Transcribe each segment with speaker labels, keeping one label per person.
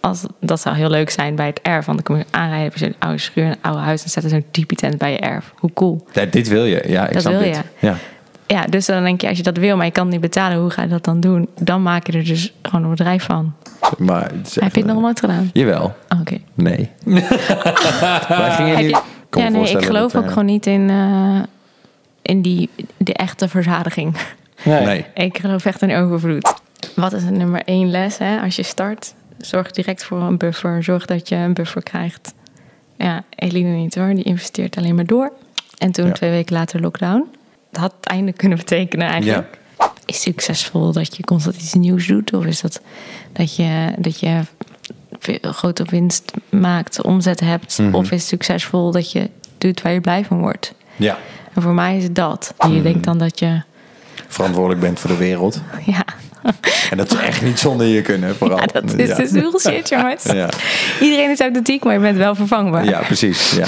Speaker 1: als, dat zou heel leuk zijn bij het erf. Want dan kom je aanrijden bij zo'n oude schuur, een oude huis... en zetten zo'n tipi-tent bij je erf. Hoe cool.
Speaker 2: Ja, dit wil je. Ja, ik
Speaker 1: Dat
Speaker 2: snap
Speaker 1: wil
Speaker 2: dit.
Speaker 1: je.
Speaker 2: Ja.
Speaker 1: Ja, dus dan denk je, als je dat wil, maar je kan het niet betalen... hoe ga je dat dan doen? Dan maak je er dus gewoon een bedrijf van.
Speaker 2: Maar het is
Speaker 1: Heb
Speaker 2: echt
Speaker 1: je het
Speaker 2: een-
Speaker 1: nog nooit gedaan?
Speaker 2: Jawel.
Speaker 1: Oh, Oké.
Speaker 2: Nee. Wij
Speaker 1: Heb
Speaker 2: gingen niet...
Speaker 1: je-
Speaker 2: Ik kan me
Speaker 1: ja, nee, ik
Speaker 2: voorstellen
Speaker 1: geloof
Speaker 2: dat,
Speaker 1: ook
Speaker 2: eh,
Speaker 1: gewoon niet in, eh, in die, de echte verzadiging.
Speaker 2: Nee.
Speaker 1: ik geloof echt in overvloed. Wat is een nummer één les hè? als je start? Zorg direct voor een buffer. Zorg dat je een buffer krijgt. Ja, Eline niet hoor. Die investeert alleen maar door. En toen
Speaker 2: Ja.
Speaker 1: twee weken later lockdown. Dat had het einde kunnen betekenen eigenlijk. Is succesvol dat je constant iets nieuws doet? Of is dat dat je, dat je veel- grote winst maakt, omzet hebt? Of is het succesvol dat je doet waar je blij van wordt?
Speaker 2: Ja.
Speaker 1: En voor mij is het dat. Je denkt dan dat je...
Speaker 2: Verantwoordelijk bent voor de wereld.
Speaker 1: Ja,
Speaker 2: En dat is echt niet zonder je kunnen, vooral.
Speaker 1: ja dat is
Speaker 2: eh, Ja.
Speaker 1: dus heel shit, jongens.
Speaker 2: Ja.
Speaker 1: Iedereen is authentiek, maar je bent wel vervangbaar.
Speaker 2: Ja, precies. Ja.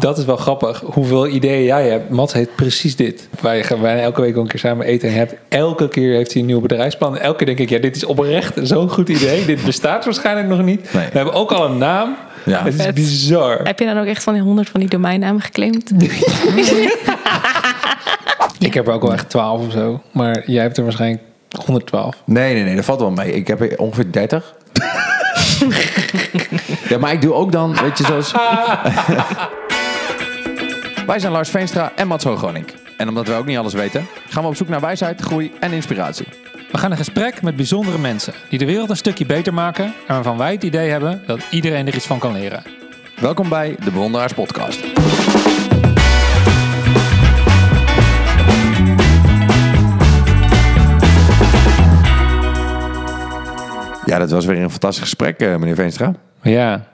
Speaker 3: Dat is wel grappig, hoeveel ideeën jij hebt. Mats heeft precies dit. Wij gaan bijna elke week wel een keer samen eten. En hij heeft, elke keer heeft hij een nieuw bedrijfsplan. En elke keer denk ik, ja, dit is oprecht zo'n goed idee. dit bestaat waarschijnlijk nog niet.
Speaker 2: Nee.
Speaker 3: We hebben ook al een naam.
Speaker 2: Ja.
Speaker 3: Het is
Speaker 1: Vet.
Speaker 3: bizar.
Speaker 1: Heb je dan ook echt van die honderd van die domeinnamen geclaimd?
Speaker 3: Ik heb er ook wel echt 12 of zo. Maar jij hebt er waarschijnlijk 112.
Speaker 2: Nee, nee, nee, dat valt wel mee. Ik heb er ongeveer 30. ja, maar ik doe ook dan, weet je, zoals... wij zijn Lars Veenstra en Mats Hoogronink. En omdat we ook niet alles weten, gaan we op zoek naar wijsheid, groei en inspiratie.
Speaker 3: We gaan in gesprek met bijzondere mensen. Die de wereld een stukje beter maken. En waarvan wij het idee hebben dat iedereen er iets van kan leren.
Speaker 2: Welkom bij de Bewonderaars Podcast. Ja, dat was weer een fantastisch gesprek, eh, meneer Veenstra.
Speaker 3: Ja,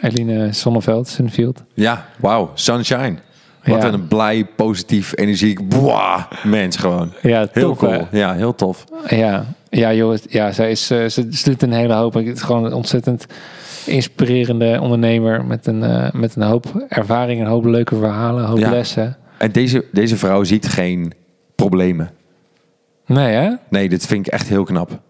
Speaker 3: Eline Sonneveld, Sunfield.
Speaker 2: Ja, wauw, sunshine. Wat
Speaker 3: Ja.
Speaker 2: een blij, positief, energiek, boah, mens gewoon.
Speaker 3: Ja,
Speaker 2: Heel
Speaker 3: top,
Speaker 2: cool.
Speaker 3: hè?
Speaker 2: Ja, heel tof.
Speaker 3: Ja, ja joh, het- ja, zij is, eh, ze, ze doet een hele hoop. Het is gewoon een ontzettend inspirerende ondernemer met een, eh, met een hoop ervaring, een hoop leuke verhalen, een hoop
Speaker 2: Ja.
Speaker 3: lessen.
Speaker 2: En deze, deze vrouw ziet geen problemen.
Speaker 3: Nee, hè?
Speaker 2: Nee, dit vind ik echt heel knap.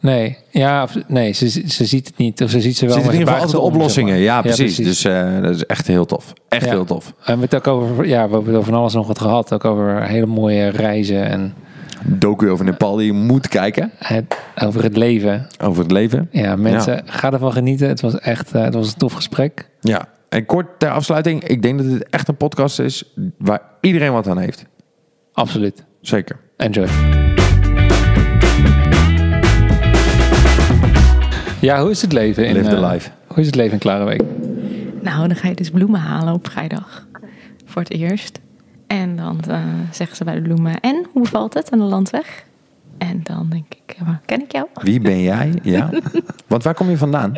Speaker 3: Nee, ja, of- nee ze, ze ziet het niet. Of ze ziet ze wel.
Speaker 2: Ze ziet in ieder
Speaker 3: maar
Speaker 2: geval
Speaker 3: buigt
Speaker 2: altijd
Speaker 3: ze om,
Speaker 2: oplossingen.
Speaker 3: zeg maar.
Speaker 2: Ja, precies. Dus eh, dat is echt heel tof. Echt
Speaker 3: Ja.
Speaker 2: heel tof.
Speaker 3: En we hebben het ook over, ja, we hebben het over van alles nog wat gehad. Ook over hele mooie reizen en
Speaker 2: Docu over Nepal die je moet kijken.
Speaker 3: het, over het leven.
Speaker 2: Over het leven.
Speaker 3: Ja, mensen, ga ervan genieten. Het was echt eh, het was een tof gesprek.
Speaker 2: Ja. En kort ter afsluiting. Ik denk dat dit echt een podcast is waar iedereen wat aan heeft.
Speaker 3: Absoluut.
Speaker 2: Zeker.
Speaker 3: Enjoy. Ja, hoe is het leven in...
Speaker 2: Live the
Speaker 3: eh,
Speaker 2: life.
Speaker 3: Hoe is het leven in Klarenbeek?
Speaker 1: Nou, dan ga je dus bloemen halen op vrijdag. Voor het eerst. En dan eh zeggen ze bij de bloemen... En, hoe bevalt het aan de landweg? En dan denk ik, ja, ken ik jou?
Speaker 2: Wie ben jij? Ja. Want waar kom je vandaan?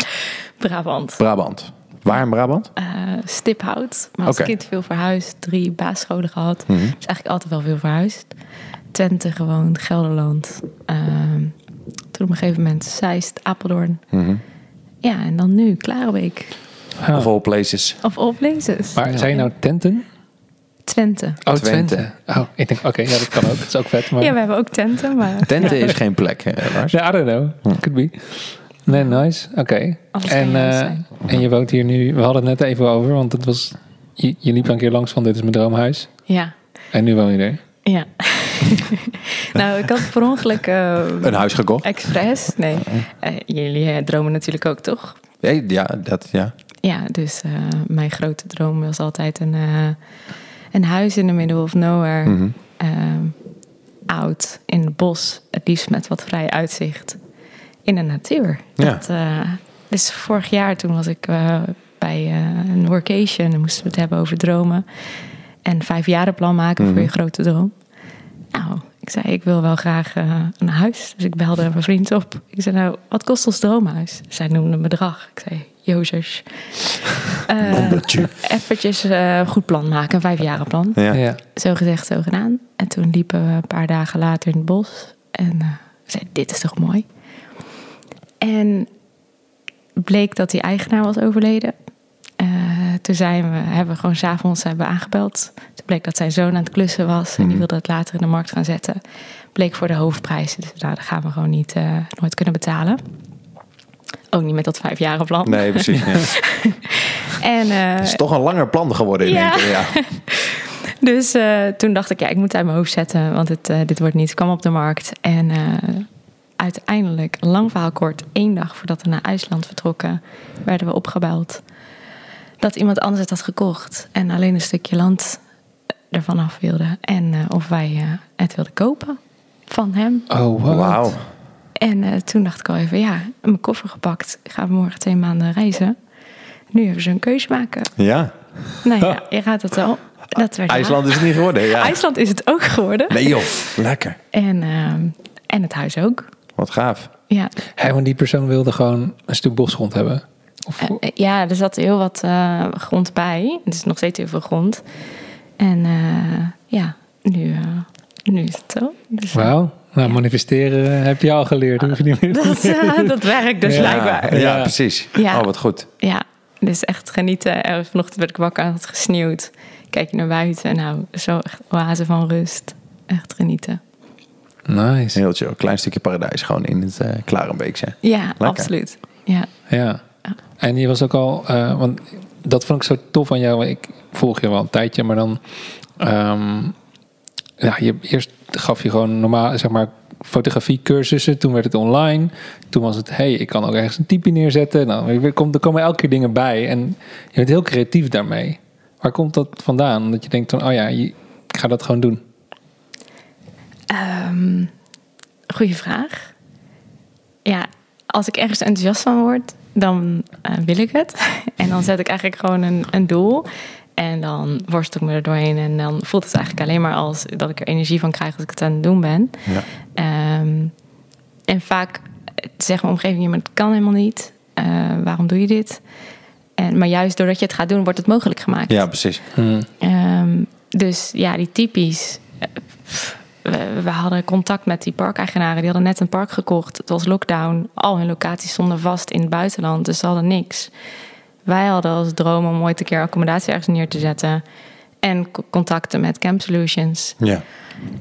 Speaker 1: Brabant.
Speaker 2: Brabant. Waar in Brabant?
Speaker 1: eh, stiphout. Maar als
Speaker 2: Oké.
Speaker 1: kind veel verhuisd. Drie basisscholen gehad. Dus eigenlijk altijd wel veel verhuisd. Twente gewoond, Gelderland. Ehm, toen op een gegeven moment Zeist, Apeldoorn. Ja, en dan nu Klarenbeek.
Speaker 2: Of all places.
Speaker 1: Of all places.
Speaker 3: Maar zijn nou tenten?
Speaker 1: Twente.
Speaker 3: Oh,
Speaker 2: Twente.
Speaker 3: Oh, ik denk, oké, ja, dat kan ook. Dat is ook vet. Maar...
Speaker 1: Ja, we hebben ook tenten, maar
Speaker 2: Tenten is geen plek, hè, Lars?
Speaker 3: Ja, I don't know.
Speaker 2: Hm.
Speaker 3: Could be. Nee, nice. Oké.
Speaker 1: Alles kan
Speaker 3: En,
Speaker 1: nice
Speaker 3: eh,
Speaker 1: zijn.
Speaker 3: en je woont hier nu... We hadden het net even over, want het was... Je, je liep een keer langs van dit is mijn droomhuis.
Speaker 1: ja.
Speaker 3: En nu woon je er.
Speaker 1: ja. nou, ik had per ongeluk eh,
Speaker 2: Een huis gekocht?
Speaker 1: expres. Nee, Eh, jullie eh, dromen natuurlijk ook, toch?
Speaker 2: Hey, Ja, dat ja.
Speaker 1: Ja, dus eh, mijn grote droom was altijd een, eh, een huis in de middle of nowhere. Ehm, oud, in het bos, het liefst met wat vrij uitzicht. In de natuur.
Speaker 2: Ja.
Speaker 1: Dat, eh, dus vorig jaar toen was ik eh, bij eh, een workation en moesten we het hebben over dromen. En vijf jaren plan maken voor je grote droom. Nou, ik zei, ik wil wel graag eh, een huis. Dus ik belde mijn vriend op. Ik zei, nou, wat kost ons droomhuis? Zij noemde een bedrag. Ik zei, Jozef, eh eventjes eh, goed plan maken, een vijfjarenplan. plan.
Speaker 2: Ja.
Speaker 3: ja.
Speaker 1: Zo gezegd, zo gedaan. En toen liepen we een paar dagen later in het bos. En eh, zei, dit is toch mooi? En bleek dat die eigenaar was overleden. Eh, toen zijn we, hebben we gewoon s'avonds hebben we aangebeld. Toen bleek dat zijn zoon aan het klussen was. En die wilde het later in de markt gaan zetten. Bleek voor de hoofdprijs. Dus nou, dat gaan we gewoon niet, eh, nooit kunnen betalen. Ook niet met dat vijfjaren plan.
Speaker 2: Nee, precies. ja.
Speaker 1: En, eh,
Speaker 2: Het is toch een langer plan geworden in
Speaker 1: Ja.
Speaker 2: één keer. Ja.
Speaker 1: Dus eh, toen dacht ik, ja, ik moet het uit mijn hoofd zetten, want het, eh, dit wordt niet. Ik kwam op de markt en eh, uiteindelijk, lang verhaal kort, één dag voordat we naar IJsland vertrokken, werden we opgebeld dat iemand anders het had gekocht en alleen een stukje land ervan af wilde. En eh, of wij eh, het wilden kopen van hem.
Speaker 3: Oh, wow.
Speaker 2: Wauw.
Speaker 1: En eh, toen dacht ik al even, ja, mijn koffer gepakt, gaan we morgen twee maanden reizen. Nu even zo'n keuze maken.
Speaker 2: Ja.
Speaker 1: Nou ja, je raadt het al. Dat werd ja.
Speaker 2: IJsland is het niet geworden. Ja.
Speaker 1: IJsland is het ook geworden.
Speaker 2: Nee joh, lekker.
Speaker 1: En, ehm, en het huis ook.
Speaker 2: Wat gaaf.
Speaker 1: Ja,
Speaker 3: Hij, want die persoon wilde gewoon een stuk bosgrond hebben. Of,
Speaker 1: Eh, eh, ja er zat heel wat eh, grond bij. Er is nog steeds heel veel grond. En eh, ja, nu, eh, nu is het zo. Dus, eh,
Speaker 3: Wauw. Nou, manifesteren eh, heb je al geleerd. Hoef je niet meer.
Speaker 1: dat, eh, dat werkt dus
Speaker 3: Ja.
Speaker 1: blijkbaar.
Speaker 2: Ja,
Speaker 3: Ja.
Speaker 2: precies.
Speaker 1: Ja.
Speaker 2: Oh, wat goed.
Speaker 1: Ja, dus echt genieten. En vanochtend werd ik wakker en had gesneeuwd. Kijk je naar buiten. Nou, zo echt oase van rust. Echt genieten.
Speaker 3: Nice.
Speaker 2: Heel chill. Klein stukje paradijs gewoon in het eh Klarenbeekse.
Speaker 1: Ja,
Speaker 2: Lekker.
Speaker 1: absoluut. Ja.
Speaker 3: Ja. En je was ook al, eh, want dat vond ik zo tof aan jou. want Ik volg je wel een tijdje, maar dan, ehm, ja, je, eerst gaf je gewoon normaal, zeg maar, fotografiecursussen. Toen werd het online. Toen was het, hey, ik kan ook ergens een typje neerzetten. Nou, er komt- er komen elke keer dingen bij. En je bent heel creatief daarmee. Waar komt dat vandaan? Dat je denkt van, oh ja, je- ik ga dat gewoon doen.
Speaker 1: Ehm goeie vraag. Ja, als ik ergens enthousiast van word, dan eh, wil ik het. En dan zet ik eigenlijk gewoon een, een doel. En dan worstel ik me er doorheen. En dan voelt het eigenlijk alleen maar als dat ik er energie van krijg als ik het aan het doen ben.
Speaker 2: Ja.
Speaker 1: Ehm, en vaak zeggen mijn omgeving, ja, maar het kan helemaal niet. Eh, waarom doe je dit? En, maar juist doordat je het gaat doen, wordt het mogelijk gemaakt.
Speaker 2: Ja, precies.
Speaker 1: Ehm, dus ja, die typisch. Eh, pff, We, we hadden contact met die parkeigenaren. Die hadden net een park gekocht. Het was lockdown. Al hun locaties stonden vast in het buitenland. Dus ze hadden niks. Wij hadden als droom om ooit een keer accommodatie ergens neer te zetten. En co- contacten met Camp Solutions.
Speaker 2: Ja.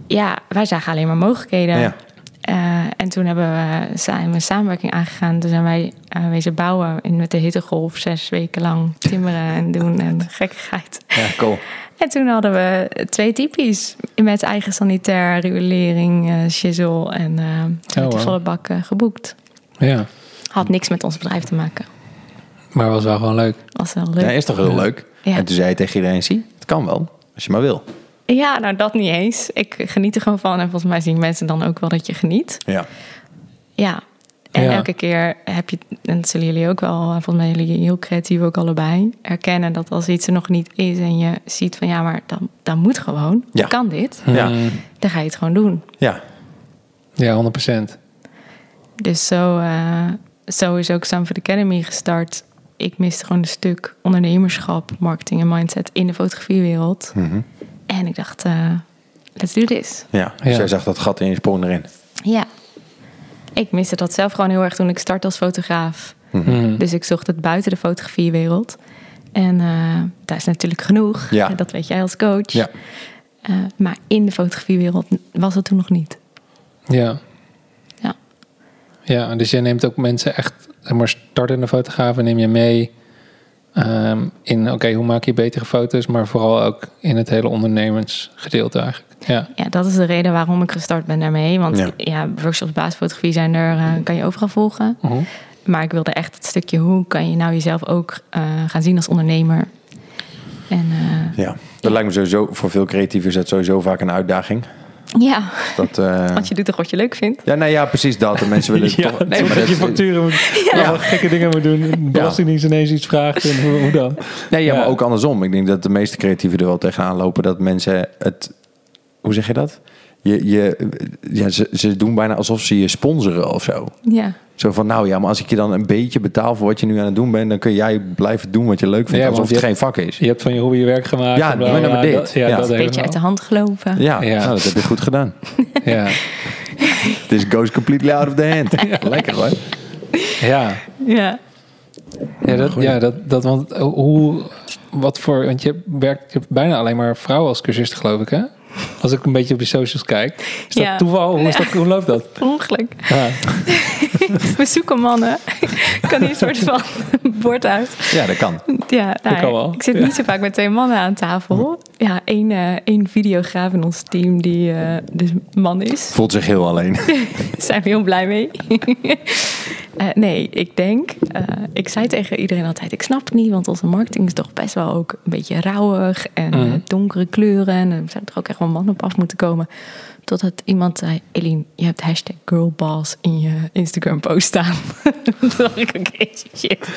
Speaker 1: Ja, wij zagen alleen maar mogelijkheden.
Speaker 2: Ja.
Speaker 1: Eh, en toen hebben we samen een samenwerking aangegaan. Toen zijn wij eh wezen bouwen in, met de hittegolf. Zes weken lang timmeren en doen en gekkigheid.
Speaker 2: Ja, cool.
Speaker 1: En toen hadden we twee typies met eigen sanitair, riolering, eh shizzle en eh
Speaker 2: Oh,
Speaker 1: met die
Speaker 3: wow.
Speaker 1: volle bak eh, geboekt.
Speaker 3: Ja.
Speaker 1: Had niks met ons bedrijf te maken.
Speaker 3: Maar was wel gewoon leuk.
Speaker 1: Was wel
Speaker 2: Ja,
Speaker 1: leuk.
Speaker 2: is toch heel leuk.
Speaker 1: Ja.
Speaker 2: En toen zei je tegen iedereen, zie, het kan wel. Als je maar wil.
Speaker 1: Ja, nou dat niet eens. Ik geniet er gewoon van en volgens mij zien mensen dan ook wel dat je geniet.
Speaker 2: Ja.
Speaker 1: Ja. En
Speaker 3: Ja.
Speaker 1: elke keer heb je, en dat zullen jullie ook wel, eh, volgens mij jullie heel creatief ook allebei, erkennen dat als iets er nog niet is en je ziet van ja, maar dan, dan moet gewoon,
Speaker 2: Ja. Hm.
Speaker 1: kan dit,
Speaker 2: Ja.
Speaker 1: dan ga je het gewoon doen.
Speaker 2: Ja.
Speaker 3: Ja, 100 procent.
Speaker 1: Dus zo, eh, zo is ook Sanford Academy gestart. Ik miste gewoon een stuk ondernemerschap, marketing en mindset in de fotografiewereld.
Speaker 2: Mhm.
Speaker 1: En ik dacht, eh, let's do this.
Speaker 2: Ja. Dus
Speaker 3: Ja.
Speaker 2: jij zag dat gat en je sprong erin.
Speaker 1: Ja. Ik miste dat zelf gewoon heel erg toen ik startte als fotograaf.
Speaker 2: Mhm.
Speaker 1: Dus ik zocht het buiten de fotografiewereld. En eh, daar is natuurlijk genoeg.
Speaker 2: Ja.
Speaker 1: En Dat weet jij als coach.
Speaker 2: Ja.
Speaker 1: Eh, maar in de fotografiewereld was dat toen nog niet.
Speaker 3: Ja.
Speaker 1: Ja.
Speaker 3: Ja, dus je neemt ook mensen echt, zeg maar startende fotografen neem je mee ehm, in, oké, hoe maak je betere foto's, maar vooral ook in het hele ondernemersgedeelte eigenlijk. Ja,
Speaker 1: Ja, dat is de reden waarom ik gestart ben daarmee. Want
Speaker 2: Ja.
Speaker 1: ja, workshops basisfotografie zijn er, eh, kan je overal volgen. Maar ik wilde echt het stukje hoe kan je nou jezelf ook eh, gaan zien als ondernemer. En eh,
Speaker 2: Ja. Dat lijkt me sowieso, voor veel creatieven is dat sowieso vaak een uitdaging.
Speaker 1: ja,
Speaker 2: Dat, eh,
Speaker 1: want je doet toch wat je leuk vindt.
Speaker 2: Ja, nee, ja, precies dat. En mensen willen toch... Nee, maar dat,
Speaker 3: moet, allemaal gekke dingen moet doen, belastingdienst ineens iets vraagt en hoe, hoe dan?
Speaker 2: Nee, ja,
Speaker 3: Ja.
Speaker 2: maar ook andersom. Ik denk dat de meeste creatieven er wel tegenaan lopen dat mensen het. Hoe zeg je dat? Je, je, ja, ze, ze doen bijna alsof ze je sponsoren of zo.
Speaker 1: Ja,
Speaker 2: Zo van, nou ja, maar als ik je dan een beetje betaal voor wat je nu aan het doen bent, dan kun jij blijven doen wat je leuk vindt.
Speaker 3: Ja,
Speaker 2: alsof
Speaker 3: want
Speaker 2: het
Speaker 3: je-
Speaker 2: geen vak is.
Speaker 3: Je hebt van je hobby je werk gemaakt.
Speaker 2: Ja,
Speaker 3: en bla,
Speaker 2: maar
Speaker 3: bla,
Speaker 2: dan
Speaker 3: bla.
Speaker 2: dit.
Speaker 3: Dat- ja,
Speaker 2: Ja.
Speaker 3: dat
Speaker 2: Een
Speaker 1: een
Speaker 3: denk ik
Speaker 1: beetje uit de
Speaker 3: wel.
Speaker 1: hand gelopen.
Speaker 2: Ja,
Speaker 3: Ja.
Speaker 2: Nou, dat heb je goed gedaan.
Speaker 3: Ja,
Speaker 2: This goes completely out of the hand. Lekker hoor.
Speaker 3: ja.
Speaker 1: Ja.
Speaker 3: Ja, dat, ja dat, dat, want eh, hoe, wat voor, want je werkt je hebt bijna alleen maar vrouwen als cursisten, geloof ik, hè? Als ik een beetje op je socials kijk. Is dat
Speaker 1: Ja.
Speaker 3: toeval? Hoe, is dat, hoe loopt dat?
Speaker 1: Per ongeluk.
Speaker 3: Ja.
Speaker 1: we zoeken mannen. Ik kan hier een soort van bord uit.
Speaker 2: Ja, dat kan.
Speaker 1: Ja, nou ja,
Speaker 3: kan wel.
Speaker 1: ik zit niet zo vaak met twee mannen aan tafel. Ja, één, eh, één videograaf in ons team die eh dus man is.
Speaker 2: Voelt zich heel alleen.
Speaker 1: Daar zijn we heel blij mee. Eh, nee, ik denk, eh, ik zei tegen iedereen altijd, ik snap het niet, want onze marketing is toch best wel ook een beetje rauwig en eh, donkere kleuren. En er zou toch ook echt wel mannen op af moeten komen. Totdat iemand zei, Eline, je hebt hashtag girlballs in je Instagram post staan. Toen dacht ik, oké, shit.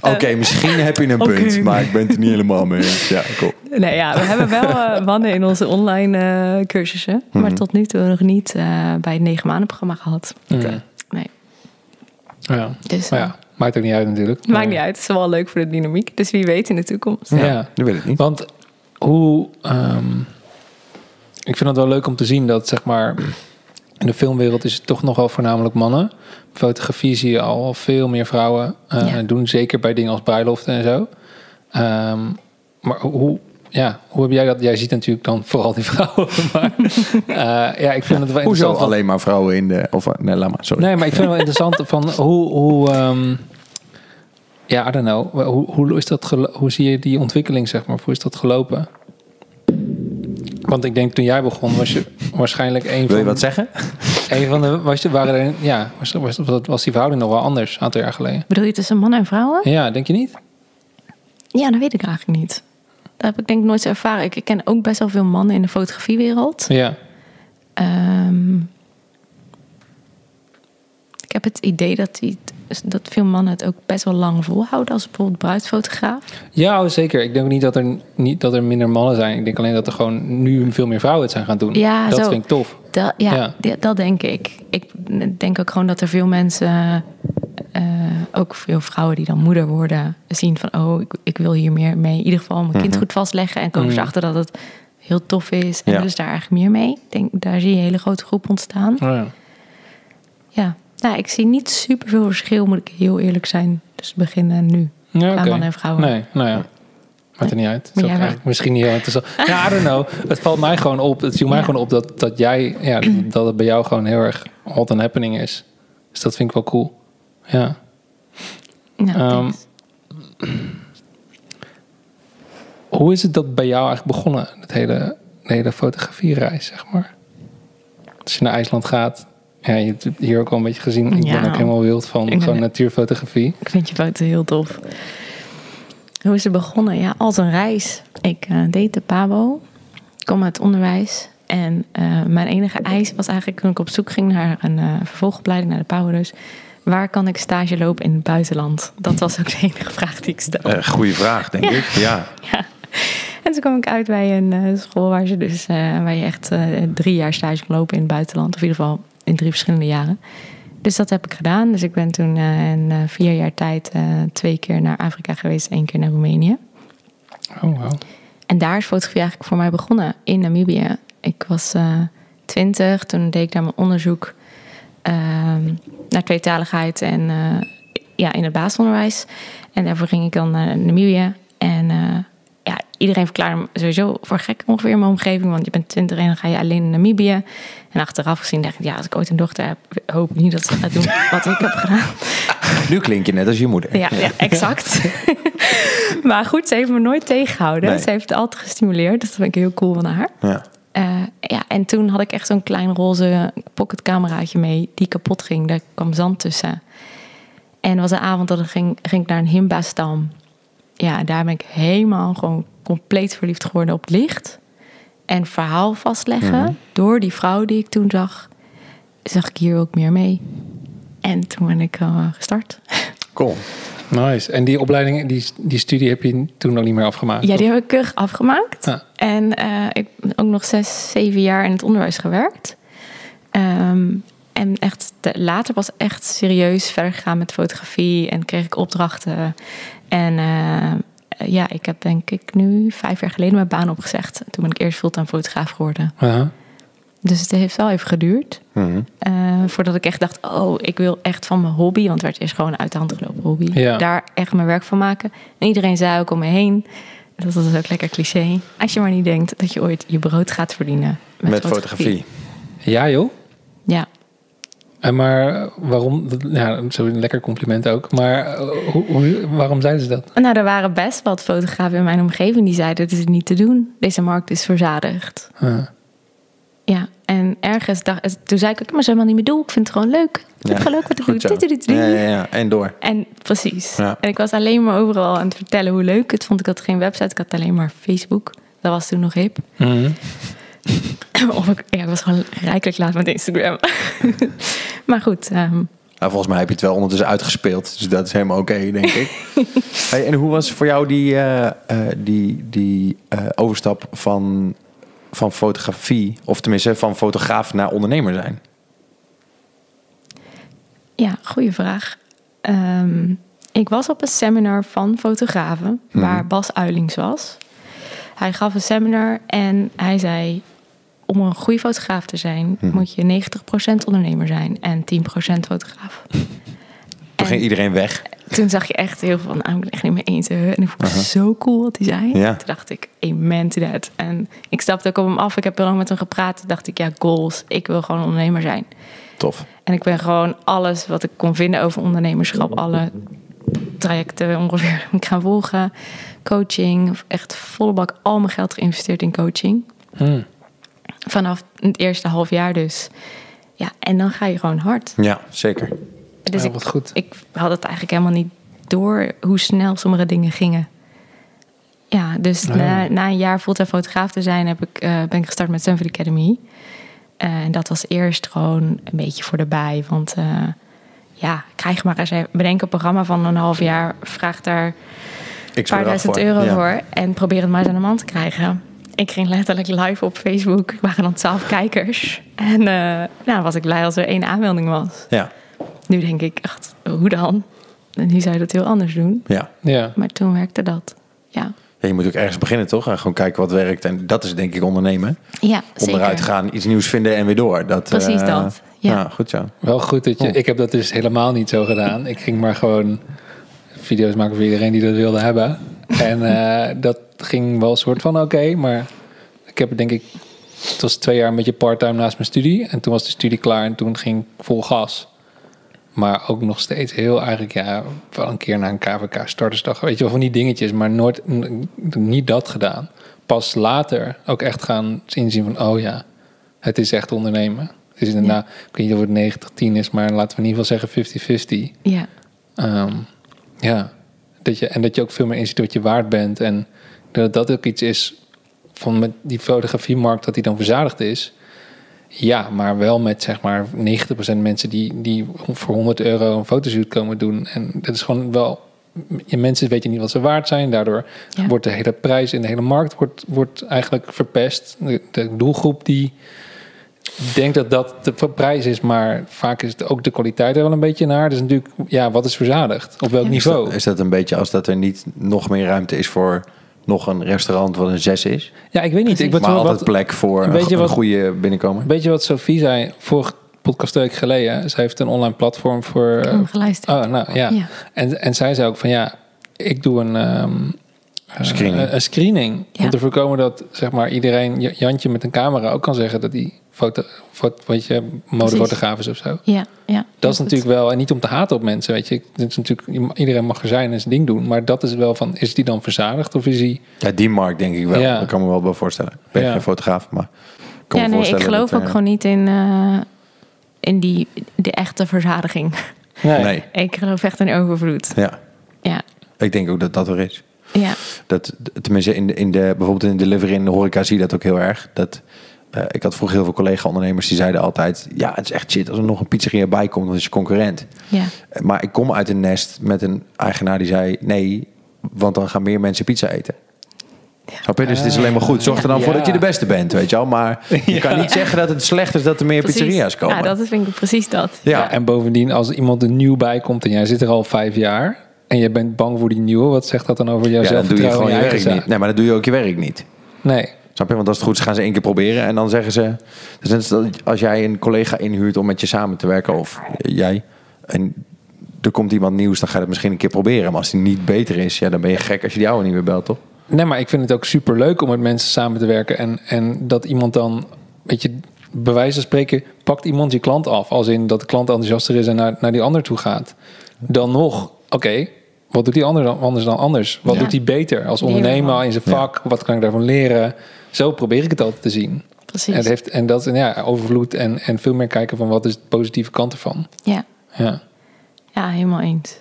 Speaker 2: Oké, misschien heb je een
Speaker 1: Oké.
Speaker 2: punt, maar ik ben het er niet helemaal mee eens. Ja, cool.
Speaker 1: Nee, ja, we hebben wel eh, mannen in onze online eh, cursussen. Maar tot nu toe nog niet eh, bij het negen maanden programma gehad.
Speaker 3: Oké.
Speaker 1: Nee,
Speaker 3: Ja.
Speaker 1: dus
Speaker 3: Maar Oh ja, maakt ook niet uit natuurlijk.
Speaker 1: maakt niet uit. Het is wel leuk voor de dynamiek. Dus wie weet in de toekomst.
Speaker 3: Ja.
Speaker 2: Nu weet ik niet.
Speaker 3: Want hoe. ehm, ik vind het wel leuk om te zien dat, zeg maar. In de filmwereld is het toch nogal voornamelijk mannen. Fotografie zie je al veel meer vrouwen eh,
Speaker 1: Ja.
Speaker 3: doen. Zeker bij dingen als bruiloften en zo. Ehm, maar hoe. Ja, hoe heb jij dat? Jij ziet natuurlijk dan vooral die vrouwen. Maar eh, ja, ik vind het
Speaker 2: Hoezo
Speaker 3: wel interessant. want-
Speaker 2: alleen maar vrouwen in de... Of, eh, nee, laat maar, sorry.
Speaker 3: Nee, maar ik vind het wel interessant van hoe. hoe ehm, ja, I don't know. Hoe, hoe, is dat gelo- hoe zie je die ontwikkeling, zeg maar? Hoe is dat gelopen? Want ik denk toen jij begon, was je waarschijnlijk een
Speaker 2: Wil
Speaker 3: van,
Speaker 2: je wat zeggen?
Speaker 3: een van de. Was je, waren er, ja, was, was, was, was die verhouding nog wel anders een aantal jaar geleden?
Speaker 1: Bedoel je tussen mannen en vrouwen?
Speaker 3: Ja, denk je niet?
Speaker 1: Ja, dat weet ik eigenlijk niet. Dat heb ik denk ik nooit zo ervaren. Ik ik ken ook best wel veel mannen in de fotografiewereld.
Speaker 3: Ja.
Speaker 1: Ehm, ik heb het idee dat, die, dat veel mannen het ook best wel lang volhouden als bijvoorbeeld bruidsfotograaf.
Speaker 3: Ja, oh, zeker. Ik denk ook niet dat, er, niet dat er minder mannen zijn. Ik denk alleen dat er gewoon nu veel meer vrouwen het zijn gaan doen.
Speaker 1: Ja,
Speaker 3: dat
Speaker 1: zo.
Speaker 3: vind ik tof.
Speaker 1: Dat, ja,
Speaker 3: Ja.
Speaker 1: di- dat denk ik. Ik denk ook gewoon dat er veel mensen, eh, ook veel vrouwen die dan moeder worden, zien van oh, ik, ik wil hier meer mee. In ieder geval mijn
Speaker 3: Mhm.
Speaker 1: kind goed vastleggen. En komen ze achter dat het heel tof is. En
Speaker 2: Ja.
Speaker 1: willen ze daar eigenlijk meer mee. Ik denk, daar zie je een hele grote groep ontstaan.
Speaker 3: Oh, ja.
Speaker 1: Ja, nou, ik zie niet super veel verschil, moet ik heel eerlijk zijn. Dus beginnen en nu.
Speaker 3: Ja,
Speaker 1: Qua
Speaker 3: oké.
Speaker 1: mannen en vrouwen.
Speaker 3: Nee, nou ja. Maakt er niet uit. Het is
Speaker 1: Maar
Speaker 3: ook
Speaker 1: jij wel.
Speaker 3: eigenlijk misschien niet heel interessant. Ja, I don't know. Het valt mij gewoon op. Het viel mij
Speaker 1: Ja.
Speaker 3: gewoon op dat, dat jij, ja, dat het bij jou gewoon heel erg hot and happening is. Dus dat vind ik wel cool. Ja.
Speaker 1: Nou,
Speaker 3: Ehm,
Speaker 1: thanks.
Speaker 3: Hoe is het dat bij jou eigenlijk begonnen? Het hele, de hele fotografiereis, zeg maar. Als je naar IJsland gaat. Ja, je hebt het hier ook al een beetje gezien. Ik
Speaker 1: Ja.
Speaker 3: ben ook helemaal wild van
Speaker 1: Ik ben-
Speaker 3: gewoon natuurfotografie.
Speaker 1: Ik vind je foto heel tof. Hoe is het begonnen? Ja, als een reis. Ik eh, deed de PABO. Ik kom uit onderwijs. En eh, mijn enige eis was eigenlijk toen ik op zoek ging naar een eh, vervolgopleiding naar de PABO dus. Waar kan ik stage lopen in het buitenland? Dat was ook de enige vraag die ik stelde.
Speaker 2: Eh, goeie vraag, denk ik. Ja.
Speaker 1: Ja. En toen kwam ik uit bij een eh, school waar, ze dus, eh, waar je echt eh, drie jaar stage kan lopen in het buitenland. Of in ieder geval in drie verschillende jaren. Dus dat heb ik gedaan. Dus ik ben toen eh, in eh, vier jaar tijd eh, twee keer naar Afrika geweest, één keer naar Roemenië.
Speaker 3: Oh, wow.
Speaker 1: En daar is fotografie eigenlijk voor mij begonnen, in Namibië. Ik was eh, twintig, toen deed ik daar mijn onderzoek ehm, naar tweetaligheid en eh, ja, in het basisonderwijs. En daarvoor ging ik dan naar Namibië. En eh, ja, iedereen verklaarde me sowieso voor gek ongeveer in mijn omgeving. Want je bent twintig en dan ga je alleen in Namibië. En achteraf gezien dacht ik, ja, als ik ooit een dochter heb, hoop ik niet dat ze gaat doen wat ik heb gedaan.
Speaker 2: Nu klink je net als je moeder.
Speaker 1: Ja, ja exact. maar goed, ze heeft me nooit tegengehouden.
Speaker 2: Nee.
Speaker 1: Ze heeft het altijd gestimuleerd. Dus dat vind ik heel cool van haar.
Speaker 2: Ja.
Speaker 1: Eh, ja, en toen had ik echt zo'n klein roze pocketcameraatje mee die kapot ging. Daar kwam zand tussen. En het was een avond dat ik ging, ging ik naar een himba-stam. Ja, daar ben ik helemaal gewoon compleet verliefd geworden op het licht. En verhaal vastleggen door die vrouw die ik toen zag, zag ik hier ook meer mee. En toen ben ik eh, gestart.
Speaker 2: Cool.
Speaker 3: Nice. En die opleiding, die, die studie heb je toen nog niet meer afgemaakt?
Speaker 1: Ja, die heb ik keurig afgemaakt.
Speaker 3: Ja.
Speaker 1: En eh, ik heb ook nog zes, zeven jaar in het onderwijs gewerkt. Ehm, en echt de- later was echt serieus verder gegaan met fotografie en kreeg ik opdrachten. En eh, ja, ik heb denk ik nu vijf jaar geleden mijn baan opgezegd. Toen ben ik eerst fulltime fotograaf geworden.
Speaker 3: Aha.
Speaker 1: Dus het heeft wel even geduurd.
Speaker 2: Mhm.
Speaker 1: eh, voordat ik echt dacht, oh, ik wil echt van mijn hobby, want het werd eerst gewoon een uit de hand gelopen hobby,
Speaker 3: Ja.
Speaker 1: daar echt mijn werk van maken. En iedereen zei ook om me heen, dat was ook lekker cliché, als je maar niet denkt dat je ooit je brood gaat verdienen met,
Speaker 2: Met fotografie.
Speaker 3: Ja, joh.
Speaker 1: Ja.
Speaker 3: En maar waarom, ja, sowieso een lekker compliment ook. Maar eh, hoe, hoe- waarom zeiden ze dat?
Speaker 1: Nou, er waren best wat fotografen in mijn omgeving die zeiden: dit is niet te doen. Deze markt is verzadigd.
Speaker 3: Ah.
Speaker 1: Ja, en ergens dacht, toen zei ik: ook, maar dat is helemaal niet mijn doel. Ik vind het gewoon leuk. Ik vind het
Speaker 2: Ja,
Speaker 1: gewoon leuk wat ik
Speaker 2: Goed zo.
Speaker 1: doe. Tudududu.
Speaker 2: Ja, ja, ja. En door.
Speaker 1: En precies.
Speaker 2: Ja.
Speaker 1: En ik was alleen maar overal aan het vertellen hoe leuk ik het vond. Ik had geen website, ik had alleen maar Facebook. Dat was toen nog hip.
Speaker 3: Mhm.
Speaker 1: Of ik, ja, ik was gewoon rijkelijk laat met Instagram. maar goed, ehm,
Speaker 2: Nou, volgens mij heb je het wel ondertussen uitgespeeld. Dus dat is helemaal oké, denk ik. Hey, en hoe was voor jou die, eh, eh, die, die eh, overstap van, van fotografie... of tenminste van fotograaf naar ondernemer zijn?
Speaker 1: ja, goede vraag. Ehm, ik was op een seminar van fotografen waar Bas Uilings was. Hij gaf een seminar en hij zei: Om een goede fotograaf te zijn, moet je 90% ondernemer zijn en 10% fotograaf.
Speaker 2: Toen ging iedereen weg.
Speaker 1: toen zag je echt heel veel van, nou, ik ben het echt niet mee eens. hè. En ik vond het zo cool wat hij zei.
Speaker 2: Ja.
Speaker 1: Toen dacht ik, amen to that. En ik stapte ook op hem af. Ik heb heel lang met hem gepraat. Toen dacht ik, ja, goals. Ik wil gewoon ondernemer zijn.
Speaker 2: Tof.
Speaker 1: En ik ben gewoon alles wat ik kon vinden over ondernemerschap. Alle trajecten ongeveer ben ik gaan volgen. Coaching. Echt volle bak al mijn geld geïnvesteerd in coaching.
Speaker 3: Hmm.
Speaker 1: Vanaf het eerste half jaar dus. Ja, en dan ga je gewoon hard.
Speaker 2: Ja, zeker.
Speaker 1: Dus
Speaker 3: Ja,
Speaker 1: ik,
Speaker 3: wat goed.
Speaker 1: ik had het eigenlijk helemaal niet door hoe snel sommige dingen gingen. Ja, dus na, na een jaar fulltime fotograaf te zijn heb ik, eh, ben ik gestart met Sunfield Academy. Eh, en dat was eerst gewoon een beetje voor de bij. Want eh, ja, krijg maar eens even- bedenk een programma van een half jaar. Vraag daar
Speaker 2: Ik
Speaker 1: een paar duizend euro
Speaker 2: Ja.
Speaker 1: voor. En probeer het maar eens aan de man te krijgen. Ik ging letterlijk live op Facebook. Er waren dan twaalf kijkers. En eh nou was ik blij als er één aanmelding was.
Speaker 2: Ja,
Speaker 1: Nu denk ik echt, hoe dan? En nu zou je dat heel anders doen.
Speaker 2: ja.
Speaker 3: Ja.
Speaker 1: Maar toen werkte dat. Ja,
Speaker 2: Ja, je moet ook ergens beginnen, toch? En gewoon kijken wat werkt. En dat is denk ik ondernemen.
Speaker 1: ja
Speaker 2: Onderuit gaan, iets nieuws vinden en weer door. Dat,
Speaker 1: Precies
Speaker 2: eh,
Speaker 1: dat, ja.
Speaker 2: goed zo.
Speaker 3: Wel goed dat je.
Speaker 2: Oh.
Speaker 3: Ik heb dat dus helemaal niet zo gedaan. Ik ging maar gewoon video's maken voor iedereen die dat wilde hebben. En eh, dat ging wel een soort van oké, maar ik heb het denk ik. Het was twee jaar een beetje part-time naast mijn studie. En toen was de studie klaar en toen ging ik vol gas. Maar ook nog steeds heel eigenlijk, ja, wel een keer naar een KVK startersdag. Weet je wel, van die dingetjes, maar nooit, n- niet dat gedaan. Pas later ook echt gaan inzien van, oh ja, het is echt ondernemen. Het is inderdaad, ik weet niet of het 90, 10 is, maar laten we in ieder geval zeggen 50-50.
Speaker 1: Ja,
Speaker 3: Ehm, ja, dat je, en dat je ook veel meer inziet wat je waard bent. En dat dat ook iets is van met die fotografiemarkt, dat die dan verzadigd is. Ja, maar wel met zeg maar 90% mensen die, die voor 100 euro een fotoshoot komen doen. En dat is gewoon wel. Je mensen weten niet wat ze waard zijn. Daardoor
Speaker 1: Ja.
Speaker 3: wordt de hele prijs in de hele markt wordt, wordt eigenlijk verpest. De, de doelgroep die denkt dat dat de prijs is, maar vaak is het ook de kwaliteit er wel een beetje naar. Dus natuurlijk, ja, wat is verzadigd? Op welk
Speaker 1: Ja.
Speaker 3: niveau?
Speaker 2: Is dat een beetje als dat er niet nog meer ruimte is voor nog een restaurant wat een zes is?
Speaker 3: Ja, ik weet niet. Ik weet
Speaker 2: maar
Speaker 3: wel
Speaker 2: altijd
Speaker 3: wat,
Speaker 2: plek voor
Speaker 3: een
Speaker 2: een,
Speaker 3: beetje
Speaker 2: go- een
Speaker 3: wat-
Speaker 2: goede binnenkomer.
Speaker 3: Weet je wat Sophie zei vorige podcast twee weken geleden? Zij heeft een online platform voor.
Speaker 1: ik heb
Speaker 3: eh,
Speaker 1: hem geluisterd.
Speaker 3: oh, nou ja.
Speaker 1: Ja.
Speaker 3: En, en zij zei ook van ja, ik doe een. ehm, eh,
Speaker 2: Screening.
Speaker 3: een screening.
Speaker 1: Ja.
Speaker 3: Om te voorkomen dat zeg maar iedereen, J- Jantje met een camera ook kan zeggen dat die foto, foto weet je, modefotograaf is of zo.
Speaker 1: ja, ja.
Speaker 3: Dat is natuurlijk wel, en niet om te haten op mensen, weet je. Dat is natuurlijk, iedereen mag er zijn en zijn ding doen. Maar dat is wel van, is die dan verzadigd of is die...
Speaker 2: Ja, die markt denk ik wel.
Speaker 3: Ja.
Speaker 2: Dat kan me wel bij voorstellen. Ik ben
Speaker 3: Ja.
Speaker 2: geen fotograaf, maar ik kan
Speaker 1: ja,
Speaker 2: me
Speaker 1: nee, ik
Speaker 2: voorstellen
Speaker 1: geloof
Speaker 2: dat,
Speaker 1: ook
Speaker 2: eh,
Speaker 1: gewoon niet in, eh, in die, de echte verzadiging.
Speaker 2: Nee,
Speaker 1: ik geloof echt in overvloed.
Speaker 2: ja.
Speaker 1: Ja,
Speaker 2: Ik denk ook dat dat er is.
Speaker 1: ja.
Speaker 2: Dat, tenminste, in de, in de, bijvoorbeeld in de delivery in de horeca zie je dat ook heel erg. Dat, eh, ik had vroeger heel veel collega-ondernemers die zeiden altijd... ja, het is echt shit als er nog een pizzeria bij komt, dan is je concurrent.
Speaker 1: ja.
Speaker 2: Maar ik kom uit een nest met een eigenaar die zei... nee, want dan gaan meer mensen pizza eten. Snap je? Dus
Speaker 1: Ah.
Speaker 2: het is alleen maar goed. Zorg er dan
Speaker 3: Ja.
Speaker 2: voor dat je de beste bent, weet je wel. Maar je kan niet zeggen dat het slecht is dat er meer
Speaker 1: Precies.
Speaker 2: pizzeria's komen.
Speaker 1: Ja, dat is- vind ik precies dat.
Speaker 2: Ja,
Speaker 3: Ja, en bovendien, als iemand er nieuw bij komt en jij zit er al vijf jaar... en je bent bang voor die nieuwe, wat zegt dat dan over jouw
Speaker 2: Ja, dan doe je
Speaker 3: zelfvertrouwen
Speaker 2: gewoon je
Speaker 3: in
Speaker 2: werk
Speaker 3: eigen
Speaker 2: niet.
Speaker 3: zaak?
Speaker 2: Nee, maar dan doe je ook je werk niet.
Speaker 3: Nee.
Speaker 2: Snap je? Want als het goed is, gaan ze één keer proberen en dan zeggen ze... Dus net als dat als jij een collega inhuurt om met je samen te werken, of jij... en er komt iemand nieuws, dan ga je het misschien een keer proberen. Maar als die niet beter is, ja, dan ben je gek als je die oude niet meer belt, toch?
Speaker 3: Nee, maar ik vind het ook super leuk om met mensen samen te werken. En, en dat iemand dan, weet je, bij wijze van spreken pakt iemand je klant af. Als in dat de klant enthousiaster is en naar, naar die ander toe gaat. Dan nog, oké, wat doet die ander dan anders dan anders? Wat
Speaker 1: Ja.
Speaker 3: doet hij beter als
Speaker 1: Leren
Speaker 3: ondernemer
Speaker 1: van.
Speaker 3: in zijn vak? Wat kan ik daarvan leren? Zo probeer ik het altijd te zien. En,
Speaker 1: Precies.
Speaker 3: het heeft, en dat is nou ja, overvloed en, en veel meer kijken van wat is de positieve kant ervan.
Speaker 1: ja.
Speaker 3: Ja.
Speaker 1: ja, helemaal eens.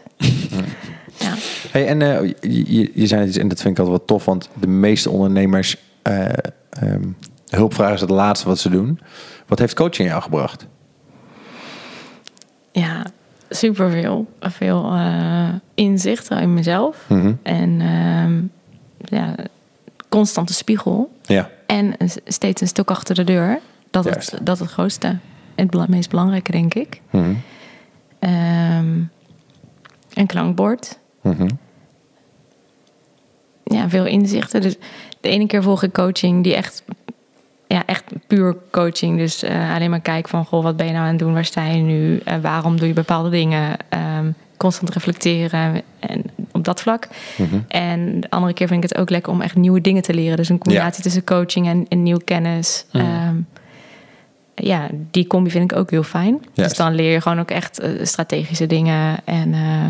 Speaker 1: ja.
Speaker 2: Hey, en eh, je, je- je zei het, en dat vind ik altijd wel tof, want de meeste ondernemers, eh ehm, hulpvraag is het laatste wat ze doen. Wat heeft coaching jou gebracht?
Speaker 1: Ja, superveel. Veel eh inzicht in mezelf.
Speaker 2: Mhm.
Speaker 1: En ehm, ja, constante spiegel.
Speaker 2: Ja.
Speaker 1: En een- steeds een stuk achter de deur. Dat is
Speaker 2: Juist.
Speaker 1: dat het grootste. En het bela- meest belangrijke, denk ik.
Speaker 2: Mhm.
Speaker 1: Ehm, een klankbord.
Speaker 2: Mhm.
Speaker 1: Ja, veel inzichten. Dus de ene keer volg ik coaching die echt... Ja, echt puur coaching. Dus eh, alleen maar kijken van... Goh, wat ben je nou aan het doen? Waar sta je nu? Eh, waarom doe je bepaalde dingen? Ehm, constant reflecteren. En op dat vlak. En de andere keer vind ik het ook lekker om echt nieuwe dingen te leren. Dus een combinatie tussen coaching en, en nieuwe kennis. Ehm, ja, die combi vind ik ook heel fijn.
Speaker 2: Juist.
Speaker 1: Dus dan leer je gewoon ook echt eh, strategische dingen en eh,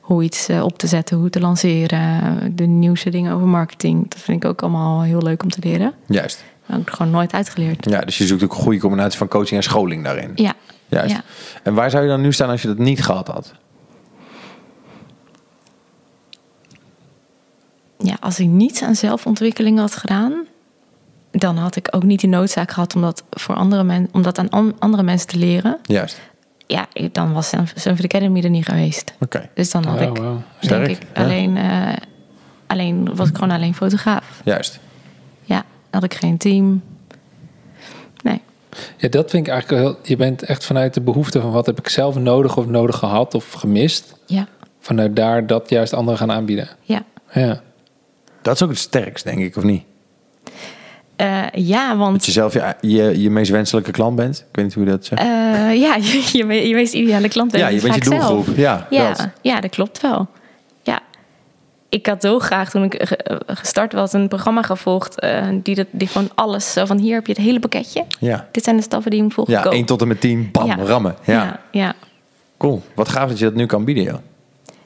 Speaker 1: hoe iets eh, op te zetten, hoe te lanceren, de nieuwste dingen over marketing. Dat vind ik ook allemaal heel leuk om te leren.
Speaker 2: Juist.
Speaker 1: Maar ook gewoon nooit uitgeleerd.
Speaker 2: Ja, dus je zoekt ook een goede combinatie van coaching en scholing daarin.
Speaker 1: Ja.
Speaker 2: Juist.
Speaker 1: Ja.
Speaker 2: En waar zou je dan nu staan als je dat niet gehad had?
Speaker 1: ja, als ik niets aan zelfontwikkeling had gedaan, dan had ik ook niet die noodzaak gehad om dat, voor andere men, om dat aan an- andere mensen te leren.
Speaker 2: Juist.
Speaker 1: Ja, ik- dan was Sanford Academy er niet geweest.
Speaker 2: Oké.
Speaker 1: Dus dan had
Speaker 3: Ja,
Speaker 1: ik,
Speaker 3: wauw.
Speaker 1: denk
Speaker 2: Oh, Sterk,
Speaker 1: ik,
Speaker 2: ja.
Speaker 1: alleen, eh, alleen was ik gewoon alleen fotograaf.
Speaker 2: Juist.
Speaker 1: Ja, had ik geen team. Nee,
Speaker 3: Ja, dat vind ik eigenlijk wel heel. Je bent echt vanuit de behoefte van wat heb ik zelf nodig of nodig gehad of gemist.
Speaker 1: ja,
Speaker 3: Vanuit daar dat juist anderen gaan aanbieden.
Speaker 1: ja.
Speaker 3: Ja.
Speaker 2: Dat is ook het sterkst, denk ik, of niet?
Speaker 1: Eh, ja, want
Speaker 2: Dat je zelf je, je, je meest wenselijke klant bent. Ik weet niet hoe je dat zegt.
Speaker 1: eh, ja, je, je, me- je meest ideale klant bent
Speaker 2: ja, je
Speaker 1: vaak
Speaker 2: bent je
Speaker 1: zelf.
Speaker 2: doelgroep. Ja,
Speaker 1: Ja,
Speaker 2: dat.
Speaker 1: ja, dat klopt wel. Ja. Ik had heel graag toen ik ge- gestart was een programma gevolgd. eh, die, dat, die gewoon alles, zo van hier heb je het hele pakketje.
Speaker 2: Ja.
Speaker 1: Dit zijn de stappen die je moet volgen.
Speaker 2: Ja,
Speaker 1: Go.
Speaker 2: 1 tot en met 10. Bam,
Speaker 1: Ja.
Speaker 2: rammen. Ja.
Speaker 1: ja, ja.
Speaker 2: Cool. Wat gaaf dat je dat nu kan bieden, joh.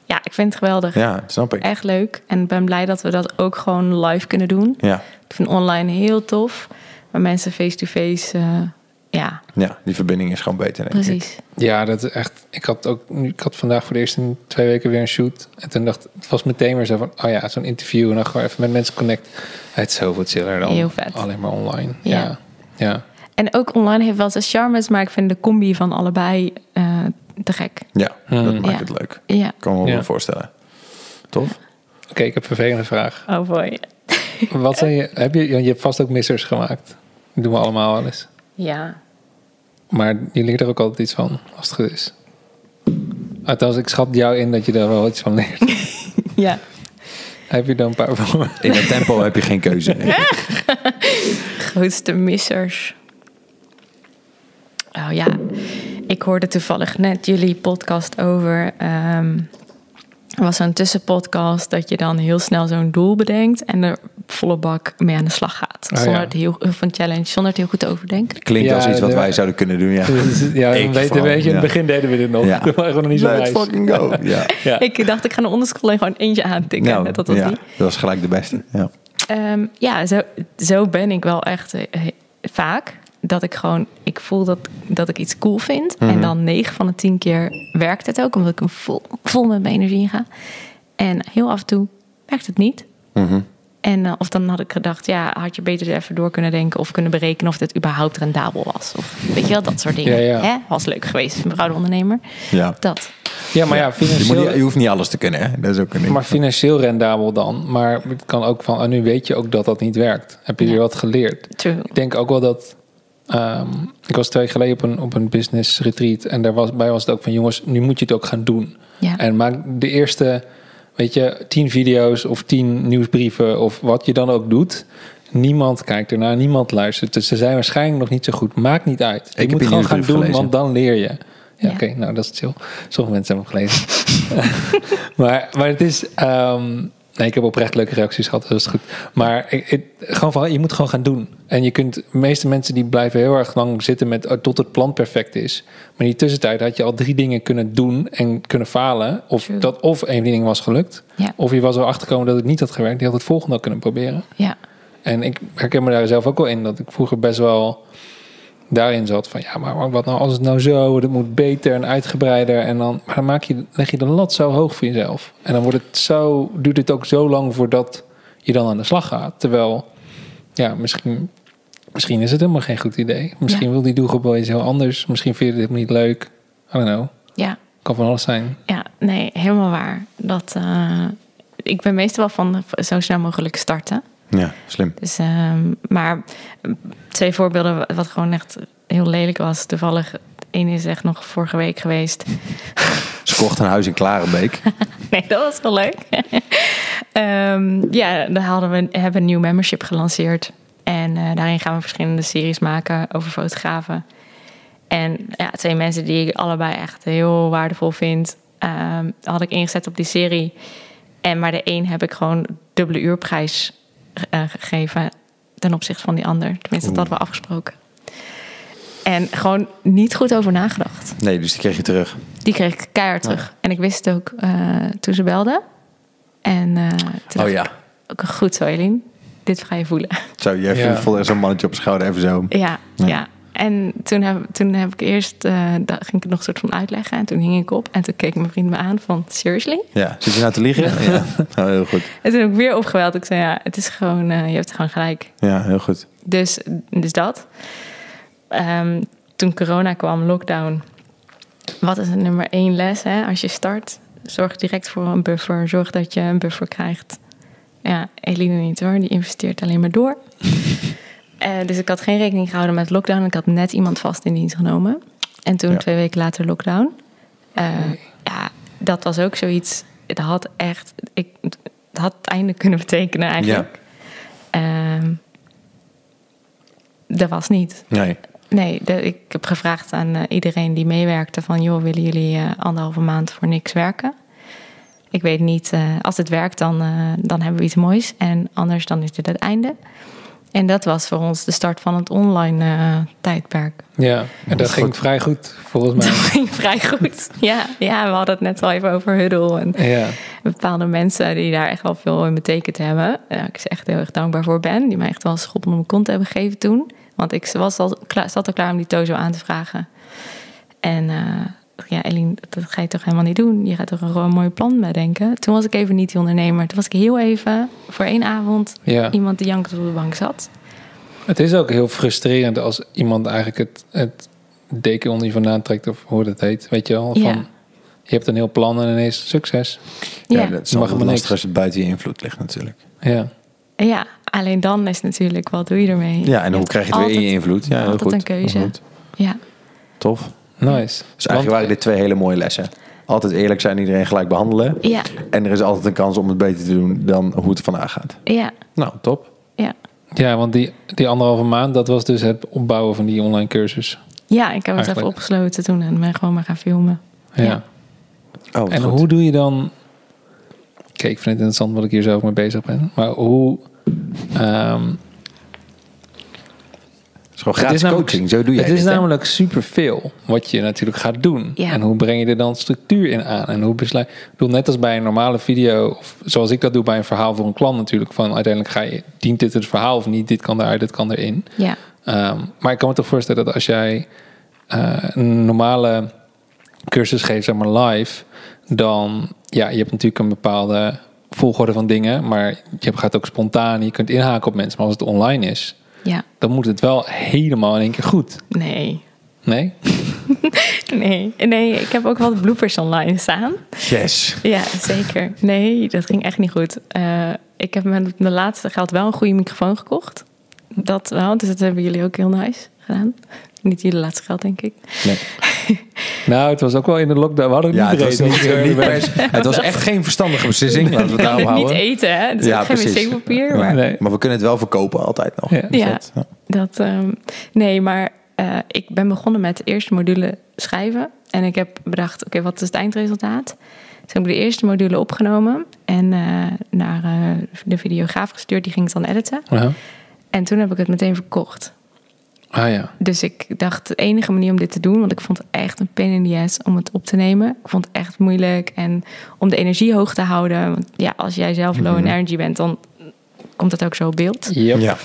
Speaker 1: Ja, ik vind het geweldig.
Speaker 2: Ja, dat snap ik.
Speaker 1: Echt leuk. En ik ben blij dat we dat ook gewoon live kunnen doen.
Speaker 2: Ja.
Speaker 1: Ik vind online heel tof. Maar mensen face-to-face, eh, ja,
Speaker 2: ja, die verbinding is gewoon beter, denk ik.
Speaker 1: precies.
Speaker 3: Ja, dat is echt. Ik had ook. nu- Ik had vandaag voor de eerste in twee weken weer een shoot. En toen dacht het was meteen weer zo van. Oh ja, zo'n interview. En dan gewoon even met mensen connect. Het is zoveel chiller dan.
Speaker 1: Heel vet.
Speaker 3: Alleen maar online. Ja.
Speaker 1: Ja.
Speaker 3: Ja.
Speaker 1: En ook online heeft wel zijn charmes, maar ik vind de combi van allebei eh, te gek.
Speaker 2: Ja, dat maakt
Speaker 1: Ja.
Speaker 2: het leuk.
Speaker 1: Ja.
Speaker 2: Ik kan me
Speaker 3: Hmm. Ja.
Speaker 2: wel voorstellen. Tof?
Speaker 3: Oké, ik heb een vervelende vraag.
Speaker 1: Oh boy.
Speaker 3: Wat zijn je. Heb je, je hebt vast ook missers gemaakt. Dat doen we allemaal wel eens.
Speaker 1: Ja.
Speaker 3: Maar je leert er ook altijd iets van, als het goed is. Althans, ik schat jou in dat je daar wel iets van leert.
Speaker 1: Ja.
Speaker 3: Heb je dan een paar voor me?
Speaker 2: In dat tempo heb je geen keuze. nee.
Speaker 1: Grootste missers. Oh ja, ik hoorde toevallig net jullie podcast over. ehm, er was zo'n tussenpodcast dat je dan heel snel zo'n doel bedenkt en er volle bak mee aan de slag gaat.
Speaker 3: Ah,
Speaker 1: Zonder
Speaker 3: ja.
Speaker 1: het heel, of een challenge, zonder het heel goed te overdenken.
Speaker 2: Klinkt
Speaker 3: Ja,
Speaker 2: als iets wat
Speaker 3: de-
Speaker 2: wij zouden kunnen doen, ja.
Speaker 3: Dus, Ja,
Speaker 2: Ik
Speaker 3: dan weet,
Speaker 2: vooral,
Speaker 3: weet je, in
Speaker 2: ja.
Speaker 3: het begin deden we dit nog.
Speaker 2: Ja.
Speaker 3: Ja. waren we nog niet zo
Speaker 2: Let's
Speaker 3: wijs.
Speaker 2: fucking go. Ja.
Speaker 3: Ja.
Speaker 1: Ik dacht, ik ga een onderschool en gewoon eentje aantikken.
Speaker 2: Nou,
Speaker 1: dat was
Speaker 2: ja,
Speaker 1: die.
Speaker 2: dat was gelijk de beste. Ja.
Speaker 1: Ehm, ja, zo, zo ben ik wel echt eh, he- vaak. Dat ik gewoon, ik voel dat, dat ik iets cool vind.
Speaker 3: Mhm.
Speaker 1: En dan 9 van de 10 keer werkt het ook, omdat ik hem vol, vol met mijn energie in ga. En heel af en toe werkt het niet.
Speaker 3: Mhm.
Speaker 1: En eh, of dan had ik gedacht, ja, had je beter even door kunnen denken of kunnen berekenen of dit überhaupt rendabel was. Of weet je wel, dat soort dingen.
Speaker 3: Ja, ja.
Speaker 1: Hè? Was leuk geweest, mevrouw de ondernemer.
Speaker 2: Ja.
Speaker 1: Dat.
Speaker 3: Ja, maar ja,
Speaker 2: Je, moet
Speaker 3: financieel,
Speaker 2: niet- je hoeft niet alles te kunnen, hè. Dat is ook een ding.
Speaker 3: maar financieel rendabel dan. Maar het kan ook van, ah, nu weet je ook dat dat niet werkt. Heb je
Speaker 1: Ja.
Speaker 3: weer wat geleerd?
Speaker 1: True.
Speaker 3: Ik denk ook wel dat. ehm, ik was twee jaar geleden op een, op een business retreat. En daarbij was het ook van: jongens, nu moet je het ook gaan doen.
Speaker 1: Ja.
Speaker 3: En maak de eerste, weet je, tien video's of tien nieuwsbrieven of wat je dan ook doet. Niemand kijkt ernaar, niemand luistert. Dus ze zijn waarschijnlijk nog niet zo goed. Maakt niet uit. Je
Speaker 2: heb
Speaker 3: moet
Speaker 2: je
Speaker 3: gewoon gaan doen,
Speaker 2: nieuwsbrief gelezen.
Speaker 3: want dan leer je. Ja,
Speaker 1: Ja.
Speaker 3: oké, nou dat is chill. Sommige mensen hebben hem gelezen. maar, maar het is, ehm, Nee, ik heb oprecht leuke reacties gehad, dat is goed. Maar ik, ik- gewoon van, je moet gewoon gaan doen. En je kunt, de meeste mensen die blijven heel erg lang zitten met, oh, tot het plan perfect is. Maar in die tussentijd had je al drie dingen kunnen doen en kunnen falen. Of,
Speaker 1: True.
Speaker 3: dat, of één van die dingen was gelukt.
Speaker 1: Ja.
Speaker 3: Of je was er achterkomen dat het niet had gewerkt. Je had het volgende al kunnen proberen.
Speaker 1: Ja,
Speaker 3: En ik herken me daar zelf ook wel in. Dat ik vroeger best wel daarin zat van... ja, maar wat nou als het nou zo... het moet beter en uitgebreider. En dan, maar dan maak je, leg je de lat zo hoog voor jezelf. En dan wordt het zo, duurt het ook zo lang voordat je dan aan de slag gaat. Terwijl, ja, misschien, misschien is het helemaal geen goed idee. Misschien
Speaker 1: Ja.
Speaker 3: wil die doelgroep wel iets heel anders. Misschien vind je dit niet leuk. I don't know.
Speaker 1: ja,
Speaker 3: Kan van alles zijn.
Speaker 1: ja. Nee, helemaal waar. Dat, eh, ik ben meestal wel van eh, zo snel mogelijk starten.
Speaker 2: Ja, slim.
Speaker 1: Dus, ehm, maar eh, twee voorbeelden wat gewoon echt heel lelijk was. Toevallig, één is echt nog vorige week geweest.
Speaker 2: Ze kocht een huis in Klarenbeek.
Speaker 1: Nee, dat was wel leuk. Ehm, ja, daar hadden we, hebben we een nieuw membership gelanceerd. En eh, daarin gaan we verschillende series maken over fotografen. En ja, twee mensen die ik allebei echt heel waardevol vind, ehm, had ik ingezet op die serie. En maar de een heb ik gewoon dubbele uurprijs ge- eh, gegeven ten opzichte van die ander. Tenminste, dat hadden we afgesproken. En gewoon niet goed over nagedacht.
Speaker 2: Nee, dus die kreeg je terug.
Speaker 1: Die kreeg ik keihard terug. En ik wist het ook eh, toen ze belde. En eh toen dacht
Speaker 2: Oh
Speaker 1: ik
Speaker 2: ja.
Speaker 1: ook goed zo, Eline. Dit ga je voelen.
Speaker 2: Zo, je
Speaker 3: Ja.
Speaker 2: voelt voelde zo'n mannetje op zijn schouder even zo.
Speaker 1: ja, ja. En toen heb, toen heb ik eerst, eh, da- ging ik het nog een soort van uitleggen. En toen hing ik op. En toen keek mijn vriend me aan van, seriously?
Speaker 2: Ja. Zit je nou te liegen? Ja. Oh, heel goed.
Speaker 1: En toen heb ik weer opgeweld. Ik zei, ja, het is gewoon, eh, je hebt gewoon gelijk.
Speaker 2: Ja, heel goed.
Speaker 1: Dus, dus dat. Ehm, toen corona kwam, lockdown. Wat is het nummer één les hè? als je start? Zorg direct voor een buffer. Zorg dat je een buffer krijgt. Ja, Eline niet hoor. Die investeert alleen maar door. Eh, dus ik had geen rekening gehouden met lockdown. Ik had net iemand vast in dienst genomen. En toen
Speaker 2: Ja.
Speaker 1: twee weken later lockdown. Eh, Ja, dat was ook zoiets. Het had echt... Ik, het had het einde kunnen betekenen eigenlijk. Ehm, dat was niet.
Speaker 2: Nee.
Speaker 1: Nee, de- ik heb gevraagd aan eh, iedereen die meewerkte van... joh, willen jullie eh, anderhalve maand voor niks werken? Ik weet niet, eh, als het werkt dan, eh, dan hebben we iets moois. En anders dan is dit het einde. En dat was voor ons de start van het online eh, tijdperk.
Speaker 3: Ja, en dat
Speaker 2: is
Speaker 3: ging
Speaker 2: goed.
Speaker 3: vrij goed volgens
Speaker 1: Dat ging vrij goed. Ja, ja, we hadden het net al even over huddle en
Speaker 3: mij. Ja.
Speaker 1: bepaalde mensen die daar echt wel veel in betekend hebben. Daar ik ze echt heel erg dankbaar voor ben. Die mij echt wel een schop onder mijn kont hebben gegeven toen. Want ik was al, klaar, zat al klaar om die Tozo aan te vragen. En eh, ja, Eline, dat ga je toch helemaal niet doen? Je gaat toch gewoon een mooi plan bedenken? Toen was ik even niet die ondernemer. Toen was ik heel even voor één avond
Speaker 3: ja.
Speaker 1: iemand die jankend op de bank zat.
Speaker 3: Het is ook heel frustrerend als iemand eigenlijk het, het deken onder je vandaan trekt of hoe dat heet. Weet je wel? Van,
Speaker 1: Ja.
Speaker 3: Je hebt een heel plan en ineens succes.
Speaker 1: Ja.
Speaker 2: Ja,
Speaker 1: Ja,
Speaker 2: dat is
Speaker 3: Mag
Speaker 2: altijd
Speaker 3: maar niks.
Speaker 2: lastig als het buiten je invloed ligt natuurlijk.
Speaker 3: Ja.
Speaker 1: alleen dan is natuurlijk, wat doe je ermee?
Speaker 2: Ja, en hoe
Speaker 1: hebt
Speaker 2: krijg je het weer in je
Speaker 1: altijd-
Speaker 2: invloed? Ja, heel
Speaker 1: altijd
Speaker 2: goed.
Speaker 1: een keuze.
Speaker 2: Heel goed.
Speaker 1: Ja,
Speaker 2: Tof.
Speaker 3: Nice.
Speaker 2: Dus eigenlijk waren dit twee hele mooie lessen. Altijd eerlijk zijn, iedereen gelijk behandelen.
Speaker 1: ja,
Speaker 2: En er is altijd een kans om het beter te doen dan hoe het vandaag gaat.
Speaker 1: ja,
Speaker 2: Nou, top.
Speaker 1: ja.
Speaker 3: ja, want die, die anderhalve maand, dat was dus het opbouwen van die online cursus.
Speaker 1: Ja, ik heb het
Speaker 3: Eigenlijk.
Speaker 1: even opgesloten toen en ben gewoon maar gaan filmen.
Speaker 3: Ja.
Speaker 1: Ja.
Speaker 2: Oh, wat
Speaker 3: En
Speaker 2: goed.
Speaker 3: hoe doe je dan... Kijk, ik vind het interessant wat ik hier zelf mee bezig ben. Maar hoe... ehm,
Speaker 2: Het is gewoon gratis coaching, zo doe je
Speaker 3: het.
Speaker 2: het.
Speaker 3: is
Speaker 2: dit, hè?
Speaker 3: namelijk superveel wat je natuurlijk gaat doen.
Speaker 1: Ja.
Speaker 3: En hoe breng je er dan structuur in aan? En hoe besluit. Ik bedoel, net als bij een normale video, of zoals ik dat doe bij een verhaal voor een klant natuurlijk. Van uiteindelijk ga je, dient dit het verhaal of niet? Dit kan eruit, dit kan erin.
Speaker 1: Ja,
Speaker 3: Ehm, maar ik kan me toch voorstellen dat als jij eh, een normale cursus geeft, zeg maar live, dan ja, je hebt natuurlijk een bepaalde volgorde van dingen, maar je gaat ook spontaan, je kunt inhaken op mensen. Maar als het online is,
Speaker 1: ja.
Speaker 3: dan moet het wel helemaal in één keer goed.
Speaker 1: Nee.
Speaker 3: Nee?
Speaker 1: Nee. Nee, ik heb ook wat bloopers online staan.
Speaker 2: Yes.
Speaker 1: Ja, zeker. Nee, dat ging echt niet goed. Eh, ik heb met mijn laatste geld wel een goede microfoon gekocht. Dat wel, dus dat hebben jullie ook heel nice gedaan. Niet jullie laatste geld, denk ik.
Speaker 2: Nee.
Speaker 3: Nou, het was ook wel in de lockdown. We hadden ook
Speaker 2: Ja, het
Speaker 3: niet
Speaker 2: was,
Speaker 3: reden.
Speaker 2: niet,
Speaker 3: om te-
Speaker 2: niet pers- het was echt geen verstandige beslissing. Laten we het daarop
Speaker 1: niet
Speaker 2: houden.
Speaker 1: eten, hè? Dus
Speaker 2: Ja,
Speaker 1: ook geen
Speaker 2: precies.
Speaker 1: wc-papier. Maar
Speaker 2: Maar,
Speaker 3: Nee.
Speaker 2: maar we kunnen het wel verkopen altijd nog.
Speaker 3: Ja.
Speaker 1: Ja.
Speaker 2: dat- ja.
Speaker 1: Dat, ehm, nee, maar eh, ik ben begonnen met de eerste module schrijven. En ik heb bedacht, oké, wat is het eindresultaat? Toen heb ik de eerste module opgenomen en eh, naar eh, de videograaf gestuurd. Die ging het dan editen.
Speaker 3: Aha.
Speaker 1: En toen heb ik het meteen verkocht.
Speaker 3: Ah ja.
Speaker 1: Dus ik dacht, de enige manier om dit te doen, want ik vond het echt een pain in the ass om het op te nemen. Ik vond het echt moeilijk en om de energie hoog te houden. Want ja, als jij zelf low in energy bent, dan komt dat ook zo op beeld.
Speaker 3: Yep.
Speaker 2: Ja.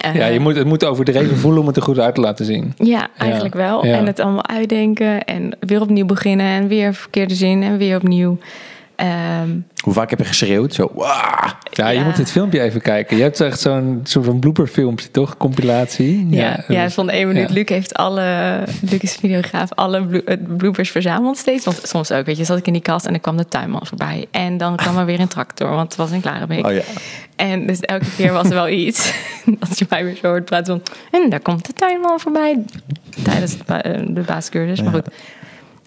Speaker 1: Eh,
Speaker 3: Ja, je moet, het moet overdreven voelen om het er goed uit te laten zien.
Speaker 1: ja, eigenlijk wel.
Speaker 3: ja.
Speaker 1: En het allemaal uitdenken en weer opnieuw beginnen en weer verkeerde zin en weer opnieuw. Ehm,
Speaker 2: Hoe vaak heb je geschreeuwd? Zo, "Wah!"
Speaker 3: Ja, je
Speaker 1: Ja.
Speaker 3: moet dit filmpje even kijken. Je hebt echt zo'n soort van blooperfilmpje, toch? Compilatie.
Speaker 1: ja, ja,
Speaker 3: dus-
Speaker 1: van één minuut.
Speaker 3: ja.
Speaker 1: Luc heeft alle, Luc is videograaf, alle blo- eh, bloopers verzameld steeds. Want soms ook, weet je, zat ik in die kast en dan kwam de tuinman voorbij. En dan kwam er weer een tractor, want het was in Klarenbeek.
Speaker 2: Oh ja.
Speaker 1: En dus elke keer was er wel iets. Als je mij weer zo hoort praten van... En daar komt de tuinman voorbij. Tijdens de, ba- eh, de basiscursus, maar goed.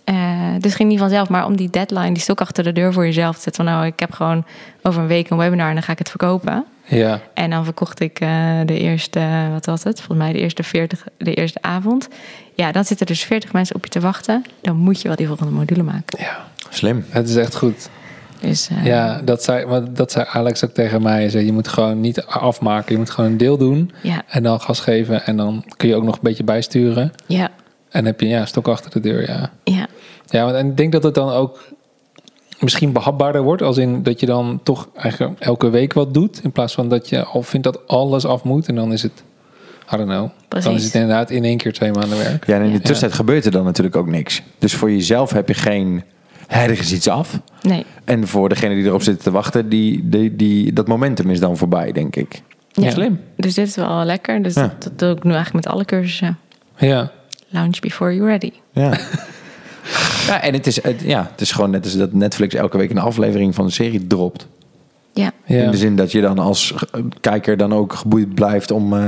Speaker 1: Eh, dus ging niet vanzelf. Maar om die deadline, die stok achter de deur voor jezelf te zetten. Van nou, ik heb gewoon over een week een webinar en dan ga ik het verkopen.
Speaker 3: ja.
Speaker 1: En dan verkocht ik eh, de eerste, wat was het? Volgens mij de eerste 40, de eerste avond. Ja, dan zitten dus 40 mensen op je te wachten. Dan moet je wel die volgende module maken.
Speaker 3: Ja,
Speaker 2: Slim.
Speaker 3: het is echt goed.
Speaker 1: Dus eh,
Speaker 3: Ja, dat zei, want dat zei Alex ook tegen mij. Hij zei, je moet gewoon niet afmaken. Je moet gewoon een deel doen
Speaker 1: ja,
Speaker 3: en dan gas geven. En dan kun je ook nog een beetje bijsturen.
Speaker 1: ja,
Speaker 3: En heb je ja, stok achter de deur, ja.
Speaker 1: ja.
Speaker 3: Ja, want- en ik denk dat het dan ook misschien behapbaarder wordt. Als in dat je dan toch eigenlijk elke week wat doet. In plaats van dat je al vindt dat alles af moet. En dan is het, I don't know. Dan
Speaker 1: Precies.
Speaker 3: is het inderdaad in één keer twee maanden werk.
Speaker 2: Ja, en in de
Speaker 1: Ja.
Speaker 2: tussentijd gebeurt er dan natuurlijk ook niks. Dus voor jezelf heb je geen ergens iets af.
Speaker 1: Nee.
Speaker 2: En voor degene die erop zitten te wachten, die, die, die, dat momentum is dan voorbij, denk ik.
Speaker 1: Ja.
Speaker 2: Slim.
Speaker 1: Dus dit is wel lekker. Dus
Speaker 2: Ja.
Speaker 1: dat, dat doe ik nu eigenlijk met alle cursussen.
Speaker 3: Ja,
Speaker 1: Lounge before you're ready.
Speaker 2: Ja. ja, en het is, het, ja, het is gewoon net als dat Netflix elke week een aflevering van een serie dropt.
Speaker 1: Ja.
Speaker 2: In
Speaker 3: ja.
Speaker 2: de zin dat je dan als eh, kijker dan ook geboeid blijft om... eh,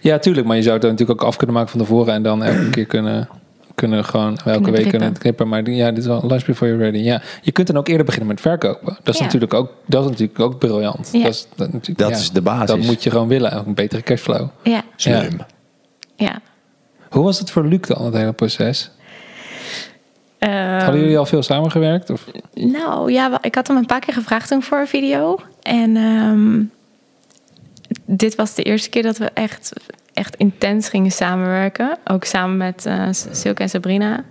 Speaker 3: ja tuurlijk. Maar je zou het dan natuurlijk ook af kunnen maken van tevoren. En dan elke keer kunnen, kunnen gewoon elke week
Speaker 1: knippen.
Speaker 3: kunnen het knippen. Maar die- ja, dit is wel lunch before you're ready. Ja, je kunt dan ook eerder beginnen met verkopen. Dat is,
Speaker 1: Ja.
Speaker 3: natuurlijk, ook, dat is natuurlijk ook briljant.
Speaker 1: Ja.
Speaker 3: Dat, is, dat, natuurlijk-
Speaker 2: Dat
Speaker 3: ja,
Speaker 2: is de basis.
Speaker 3: Dat moet je gewoon willen. Ook een betere cashflow.
Speaker 1: Ja.
Speaker 2: slim.
Speaker 1: Ja.
Speaker 3: Hoe was het voor Luc dan, het hele proces?
Speaker 1: Ehm,
Speaker 3: Hadden jullie al veel samengewerkt? Of?
Speaker 1: Nou ja, wel- ik had hem een paar keer gevraagd toen voor een video. En ehm, dit was de eerste keer dat we echt, echt intens gingen samenwerken. Ook samen met eh, Silke en Sabrina.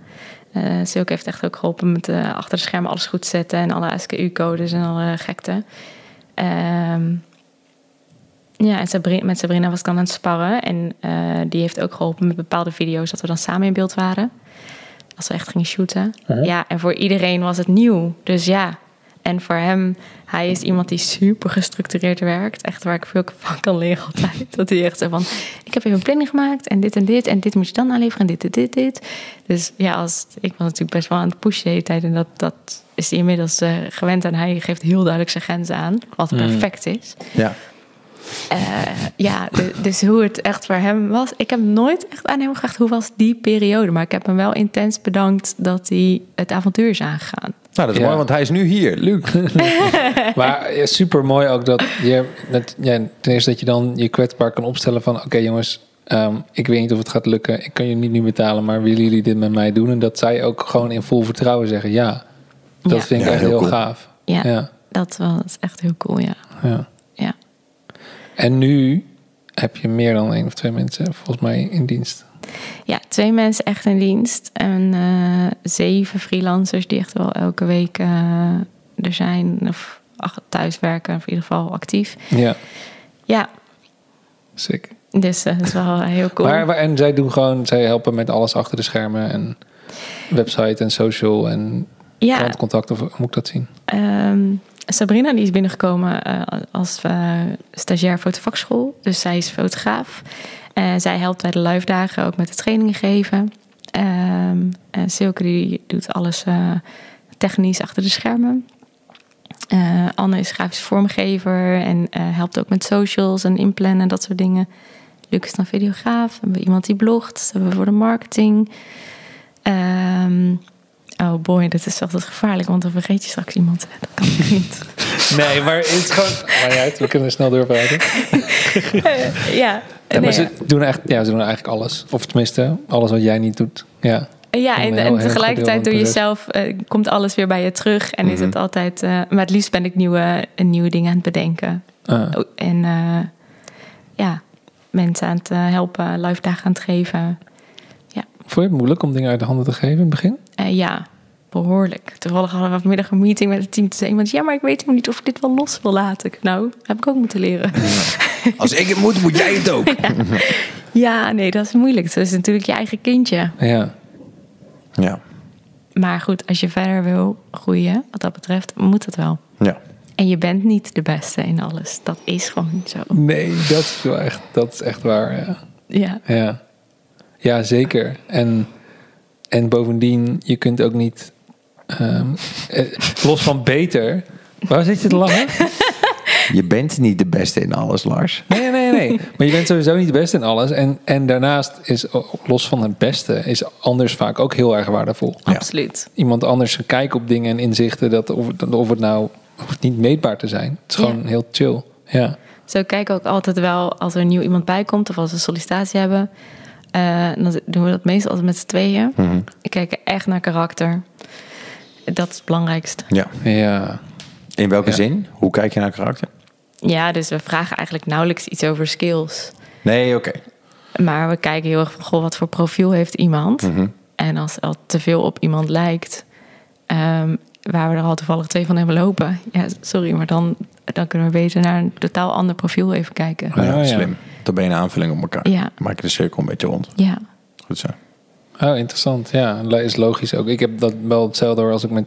Speaker 1: Eh, Silke heeft echt ook geholpen met eh, achter de schermen alles goed zetten. En alle SKU-codes en alle gekte. Ehm, ja, en Sabri- met Sabrina was ik dan aan het sparren. En eh, die heeft ook geholpen met bepaalde video's dat we dan samen in beeld waren. Als we echt gingen shooten. Ja, en voor iedereen was het nieuw. Dus ja. En voor hem, hij is iemand die super gestructureerd werkt. Echt waar ik veel van kan leren altijd. Dat hij echt zo van, ik heb even een planning gemaakt. En dit en dit. En dit moet je dan aanleveren. En dit en dit, dit. Dus ja, als, ik was natuurlijk best wel aan het pushen de hele tijd. En dat, dat is hij inmiddels eh, gewend. En hij geeft heel duidelijk zijn grenzen aan. Wat perfect is.
Speaker 2: Ja.
Speaker 1: Eh, ja, de- dus hoe het echt voor hem was. Ik heb nooit echt aan hem gevraagd hoe was die periode. Maar ik heb hem wel intens bedankt dat hij het avontuur is aangegaan.
Speaker 2: Nou, dat is
Speaker 3: Ja.
Speaker 2: mooi, want hij is nu hier, Luc.
Speaker 3: Maar super mooi ook dat je, dat, ja, ten eerste dat je dan je kwetsbaar kan opstellen van, oké jongens, ehm, ik weet niet of het gaat lukken, ik kan je niet nu betalen, maar willen jullie dit met mij doen? En dat zij ook gewoon in vol vertrouwen zeggen, ja, dat
Speaker 1: Ja.
Speaker 3: vind ik
Speaker 2: Ja,
Speaker 3: echt
Speaker 2: heel
Speaker 3: heel,
Speaker 2: cool.
Speaker 3: gaaf.
Speaker 1: Ja,
Speaker 3: Ja,
Speaker 1: Dat was echt heel cool, ja.
Speaker 3: ja.
Speaker 1: ja.
Speaker 3: En nu heb je meer dan één of twee mensen volgens mij in dienst.
Speaker 1: Ja, twee mensen echt in dienst. En eh, zeven freelancers die echt wel elke week eh, er zijn. Of ach, thuiswerken, of in ieder geval actief.
Speaker 3: Ja,
Speaker 1: Ja,
Speaker 3: sick.
Speaker 1: dus eh, dat is wel heel cool.
Speaker 3: Maar, maar- en zij doen gewoon, zij helpen met alles achter de schermen en website en social en
Speaker 1: ja,
Speaker 3: klantcontact, of hoe moet ik dat zien?
Speaker 1: Ehm, Sabrina die is binnengekomen eh, als eh, stagiair voor de vakschool. Dus zij is fotograaf. Eh, zij helpt bij de live dagen ook met de trainingen geven. Ehm, en Silke die doet alles eh, technisch achter de schermen. Eh, Anne is grafisch vormgever en eh, helpt ook met socials en inplannen en dat soort dingen. Luc is dan videograaf. We hebben iemand die blogt. Dat hebben we voor de marketing. Ehm, oh boy, dit is altijd gevaarlijk, want dan vergeet je straks iemand. Dat kan ik niet.
Speaker 3: Nee, maar het is gewoon. Maar niet uit, we kunnen snel doorpraten.
Speaker 1: ja,
Speaker 3: Ja,
Speaker 1: nee,
Speaker 3: maar ze doen, echt, ja, ze doen eigenlijk alles. Of tenminste, alles wat jij niet doet. Ja,
Speaker 1: Ja, en,
Speaker 3: heel-
Speaker 1: en
Speaker 3: heel
Speaker 1: tegelijkertijd door
Speaker 3: gedeelte
Speaker 1: jezelf eh, komt alles weer bij je terug. En is het altijd... eh, maar het liefst ben ik nieuwe, nieuwe dingen aan het bedenken.
Speaker 3: Ah.
Speaker 1: Oh, En eh, ja, mensen aan het eh, helpen, live dagen aan het geven.
Speaker 3: Vond je het moeilijk om dingen uit de handen te geven in het begin?
Speaker 1: Eh, ja, behoorlijk. Toevallig hadden we vanmiddag een meeting met het team. Toen zei iemand, ja, maar ik weet helemaal niet of ik dit wel los wil laten. Ik, Nou, heb ik ook moeten leren.
Speaker 2: Als ik het moet, moet jij het ook.
Speaker 1: ja, nee, dat is moeilijk. Dat is natuurlijk je eigen kindje.
Speaker 3: Ja.
Speaker 2: Ja,
Speaker 1: Maar goed, als je verder wil groeien, wat dat betreft, moet het wel.
Speaker 2: ja.
Speaker 1: En je bent niet de beste in alles. Dat is gewoon zo.
Speaker 3: Nee, dat is wel echt, dat is echt waar. Ja.
Speaker 1: Ja,
Speaker 3: Ja, ja zeker. En, en bovendien, je kunt ook niet. ehm, eh, los van beter. Waar zit je te lachen?
Speaker 2: Je bent niet de beste in alles, Lars.
Speaker 3: Nee, nee, nee. Maar je bent sowieso niet de beste in alles. En, en daarnaast is, o- los van het beste, is anders vaak ook heel erg waardevol.
Speaker 1: absoluut.
Speaker 3: Iemand anders zijn kijk op dingen en inzichten, dat of, het- of het nou hoeft niet meetbaar te zijn. Het is gewoon
Speaker 1: Ja.
Speaker 3: heel chill. Ja.
Speaker 1: Zo kijken we ook altijd wel als er nieuw iemand bij komt of als we een sollicitatie hebben. eh, dan doen we dat meestal altijd met z'n tweeën. We kijken echt naar karakter. Dat is het belangrijkste.
Speaker 2: Ja.
Speaker 3: Ja.
Speaker 2: In welke
Speaker 3: Ja.
Speaker 2: zin? Hoe kijk je naar karakter?
Speaker 1: Ja, dus we vragen eigenlijk nauwelijks iets over skills.
Speaker 2: Nee, oké.
Speaker 1: Maar we kijken heel erg van, goh, wat voor profiel heeft iemand? En als het al te veel op iemand lijkt, ehm, waar we er al toevallig twee van hebben lopen. Ja, sorry, maar dan, dan kunnen we beter naar een totaal ander profiel even kijken.
Speaker 3: Ja,
Speaker 2: Nou Ja,
Speaker 3: ja.
Speaker 2: slim. Dan ben je een aanvulling op elkaar.
Speaker 1: Ja.
Speaker 2: Maak je de cirkel een beetje rond.
Speaker 1: Ja,
Speaker 2: Goed zo.
Speaker 3: Oh, interessant. Ja, is logisch ook. Ik heb dat wel hetzelfde hoor als ik met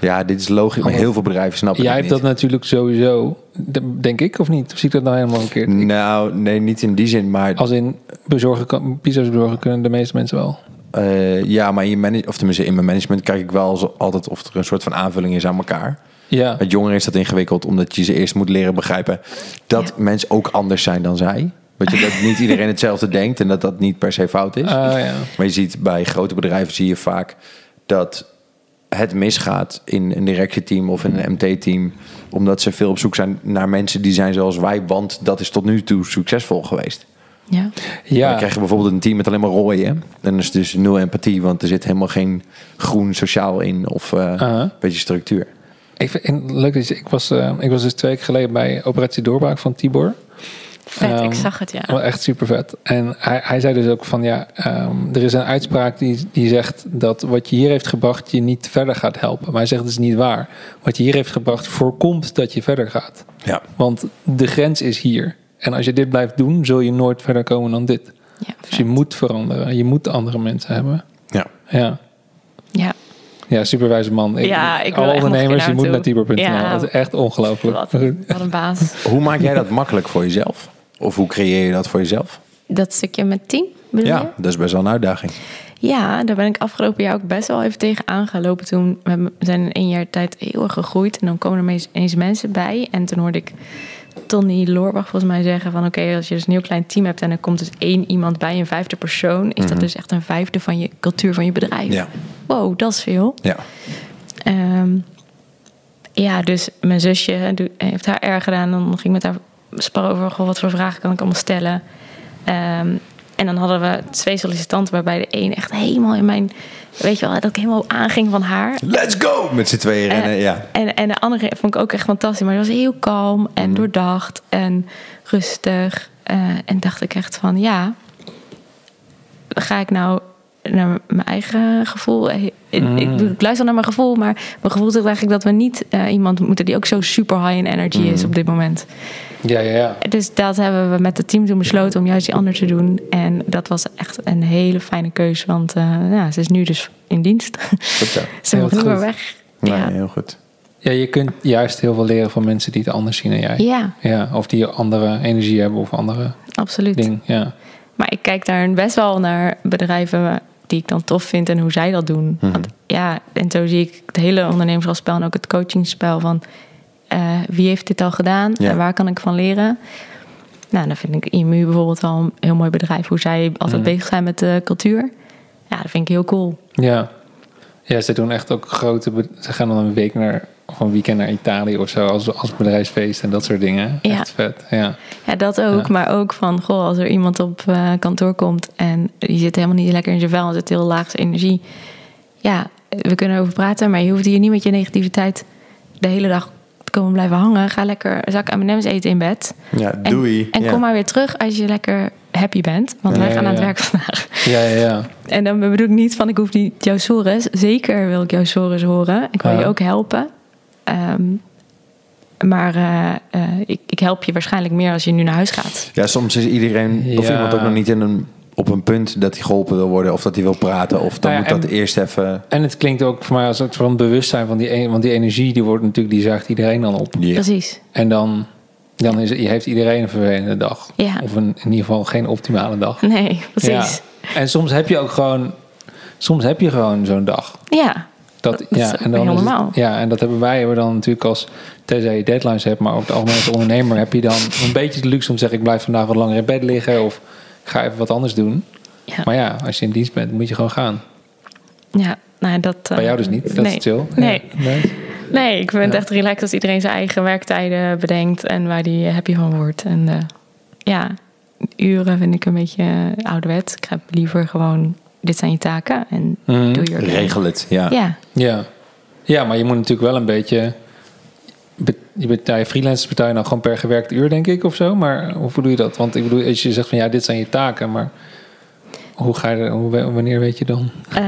Speaker 2: Ja, dit is logisch, maar heel veel bedrijven snappen
Speaker 3: Jij
Speaker 2: dit
Speaker 3: hebt dat
Speaker 2: niet.
Speaker 3: natuurlijk sowieso, de- denk ik, of niet? Of zie ik dat nou helemaal een keer?
Speaker 2: Nou, nee, niet in die zin, maar
Speaker 3: Als in bezorgen, kan- pizza's bezorgen kunnen de meeste mensen wel.
Speaker 2: eh, ja, maar in, je manage, of tenminste, in mijn management kijk ik wel zo- altijd of er een soort van aanvulling is aan elkaar.
Speaker 3: Ja,
Speaker 2: Met jongeren is dat ingewikkeld, omdat je ze eerst moet leren begrijpen dat
Speaker 1: Ja.
Speaker 2: mensen ook anders zijn dan zij. Weet je, dat niet iedereen hetzelfde denkt en dat dat niet per se fout is.
Speaker 3: Ah, ja.
Speaker 2: Maar je ziet bij grote bedrijven zie je vaak dat het misgaat in een directieteam of in een MT-team. Omdat ze veel op zoek zijn naar mensen die zijn zoals wij, want dat is tot nu toe succesvol geweest.
Speaker 1: ja.
Speaker 2: Ja.
Speaker 3: ja.
Speaker 2: Dan krijg je bijvoorbeeld een team met alleen maar rooien. Dan is het dus nul empathie, want er zit helemaal geen groen sociaal in of eh,
Speaker 3: Aha.
Speaker 2: een beetje structuur.
Speaker 3: Ik vind, en leuk dat je, ik was, eh, ik was dus twee weken geleden bij Operatie Doorbraak van Tibor.
Speaker 1: Vet,
Speaker 3: Ehm,
Speaker 1: ik zag het, ja.
Speaker 3: Wel echt super vet. En hij, hij zei dus ook van ja, ehm, er is een uitspraak die, die zegt dat wat je hier heeft gebracht je niet verder gaat helpen. Maar hij zegt het is niet waar. Wat je hier heeft gebracht voorkomt dat je verder gaat.
Speaker 2: Ja.
Speaker 3: Want de grens is hier. En als je dit blijft doen, zul je nooit verder komen dan dit.
Speaker 1: Ja,
Speaker 3: Dus je
Speaker 1: vet.
Speaker 3: moet veranderen. Je moet andere mensen hebben.
Speaker 2: Ja.
Speaker 3: Ja.
Speaker 1: ja.
Speaker 3: Ja, superwijze man.
Speaker 1: Ja, ik wil
Speaker 3: alle
Speaker 1: echt nog
Speaker 3: ondernemers, je
Speaker 1: een keer
Speaker 3: moet naar
Speaker 1: naartoe.
Speaker 3: Tibor.nl.
Speaker 1: Ja.
Speaker 3: Dat is echt ongelooflijk.
Speaker 1: Wat, wat een baas.
Speaker 2: Hoe maak jij dat makkelijk voor jezelf? Of hoe creëer je dat voor jezelf?
Speaker 1: Dat stukje met team, bedoel je?
Speaker 2: Ja, dat is best wel een uitdaging.
Speaker 1: Ja, daar ben ik afgelopen jaar ook best wel even tegen aangelopen. Toen we m- we zijn in één jaar tijd heel erg gegroeid. En dan komen er mees- ineens mensen bij. En toen hoorde ik Tony Loorbach volgens mij zeggen van... oké, als je dus een heel klein team hebt en er komt dus één iemand bij, een vijfde persoon... is dat dus echt een vijfde van je cultuur van je bedrijf.
Speaker 2: Ja.
Speaker 1: Wow, dat is veel.
Speaker 2: Ja.
Speaker 1: Ehm, ja, dus mijn zusje doe- heeft haar erg gedaan. Dan ging ik met haar sparren over goh, wat voor vragen kan ik allemaal stellen. Ehm, en dan hadden we twee sollicitanten, waarbij de een echt helemaal in mijn. Weet je wel, dat ik helemaal aanging van haar.
Speaker 2: Let's go! Met z'n tweeën rennen,
Speaker 1: Eh,
Speaker 2: ja.
Speaker 1: en, en de andere vond ik ook echt fantastisch. Maar die was heel kalm en doordacht en rustig. Eh, en dacht ik echt van, ja, ga ik nou naar mijn eigen gevoel? Eh, Ik, ik, ik luister naar mijn gevoel, maar mijn gevoel zegt eigenlijk dat we niet eh, iemand moeten die ook zo super high in energy is op dit moment.
Speaker 3: Ja, ja, ja.
Speaker 1: Dus dat hebben we met het team toen besloten om juist die ander te doen. En dat was echt een hele fijne keuze, want eh, ja, ze is nu dus in dienst.
Speaker 2: Goed Nou zo.
Speaker 1: ze
Speaker 3: Ja,
Speaker 1: mag
Speaker 3: wat
Speaker 1: niet meer
Speaker 3: goed.
Speaker 1: weg.
Speaker 2: Nee,
Speaker 1: ja.
Speaker 2: heel goed.
Speaker 3: Ja, je kunt juist heel veel leren van mensen die het anders zien dan jij.
Speaker 1: ja,
Speaker 3: Ja, of die andere energie hebben of andere
Speaker 1: absoluut.
Speaker 3: ding. Ja.
Speaker 1: Maar ik kijk daar best wel naar bedrijven die ik dan tof vind en hoe zij dat doen. Want ja, en zo zie ik het hele ondernemerschapsspel en ook het coachingspel van eh, wie heeft dit al gedaan
Speaker 2: Ja.
Speaker 1: en waar kan ik van leren. Nou, dan vind ik IMU bijvoorbeeld wel een heel mooi bedrijf, hoe zij altijd bezig zijn met de cultuur. Ja, dat vind ik heel cool.
Speaker 3: ja. Ja, ze doen echt ook grote... be- Ze gaan dan een week naar of een weekend naar Italië of zo als, als bedrijfsfeest en dat soort dingen.
Speaker 1: Ja.
Speaker 3: Echt vet. Ja.
Speaker 1: Ja, dat ook.
Speaker 3: Ja.
Speaker 1: Maar ook van, goh, als er iemand op eh, kantoor komt en die zit helemaal niet lekker in zijn vel en zit heel laag zijn energie. Ja, we kunnen erover praten, maar je hoeft hier niet met je negativiteit de hele dag te komen blijven hangen. Ga lekker een zak M&M's eten in bed.
Speaker 2: Ja,
Speaker 1: En,
Speaker 2: doei.
Speaker 1: En
Speaker 2: Ja.
Speaker 1: kom maar weer terug als je lekker happy bent. Want wij
Speaker 3: Ja,
Speaker 1: gaan aan het
Speaker 3: ja.
Speaker 1: werk vandaag.
Speaker 3: Ja, ja, ja.
Speaker 1: En dan bedoel ik niet van ik hoef niet jouw sores. Zeker wil ik jouw sores horen. Ik wil
Speaker 3: Ja.
Speaker 1: je ook helpen. Ehm, maar eh, eh, ik, ik help je waarschijnlijk meer als je nu naar huis gaat.
Speaker 2: Ja, soms is iedereen of
Speaker 3: Ja.
Speaker 2: iemand ook nog niet in een, op een punt dat hij geholpen wil worden of dat hij wil praten. Of dan
Speaker 3: Nou ja,
Speaker 2: moet dat
Speaker 3: en-
Speaker 2: eerst even.
Speaker 3: En het klinkt ook voor mij als een soort van bewustzijn van die, en- want die energie, die wordt natuurlijk, die zaagt iedereen dan op.
Speaker 1: Precies.
Speaker 3: En dan, dan is, heeft iedereen een vervelende dag.
Speaker 1: Ja.
Speaker 3: Of een, in ieder geval geen optimale dag.
Speaker 1: Nee, precies.
Speaker 3: Ja. En soms heb je ook gewoon, soms heb je gewoon zo'n dag.
Speaker 1: Ja,
Speaker 3: Dat,
Speaker 1: Dat
Speaker 3: ja,
Speaker 1: is ook
Speaker 3: en dan
Speaker 1: heel
Speaker 3: is het-
Speaker 1: normaal.
Speaker 3: ja, en dat hebben wij hebben dan natuurlijk als, tenzij je deadlines hebt, maar ook de algemene ondernemer heb je dan een beetje de luxe om te zeggen, ik blijf vandaag wat langer in bed liggen of ik ga even wat anders doen.
Speaker 1: Ja.
Speaker 3: Maar ja, als je in dienst bent, moet je gewoon gaan.
Speaker 1: Ja, nou, dat, eh,
Speaker 3: Bij jou dus niet, dat
Speaker 1: nee.
Speaker 3: is chill.
Speaker 1: Nee.
Speaker 3: Ja, nice.
Speaker 1: nee, ik vind het echt relaxed als iedereen zijn eigen werktijden bedenkt en waar die happy van wordt. En eh, ja, uren vind ik een beetje ouderwet. Ik heb liever gewoon, dit zijn je taken en
Speaker 3: Mhm.
Speaker 1: doe je werk.
Speaker 2: Regel het. Ja.
Speaker 1: Ja,
Speaker 3: Ja. ja, maar je moet natuurlijk wel een beetje. be- Je betaalt freelancers betaal je nou gewoon per gewerkt uur, denk ik, of zo. Maar hoe doe je dat? Want ik bedoel, als je zegt van ja, dit zijn je taken, maar hoe ga je, er- hoe, wanneer weet je dan?
Speaker 1: Eh,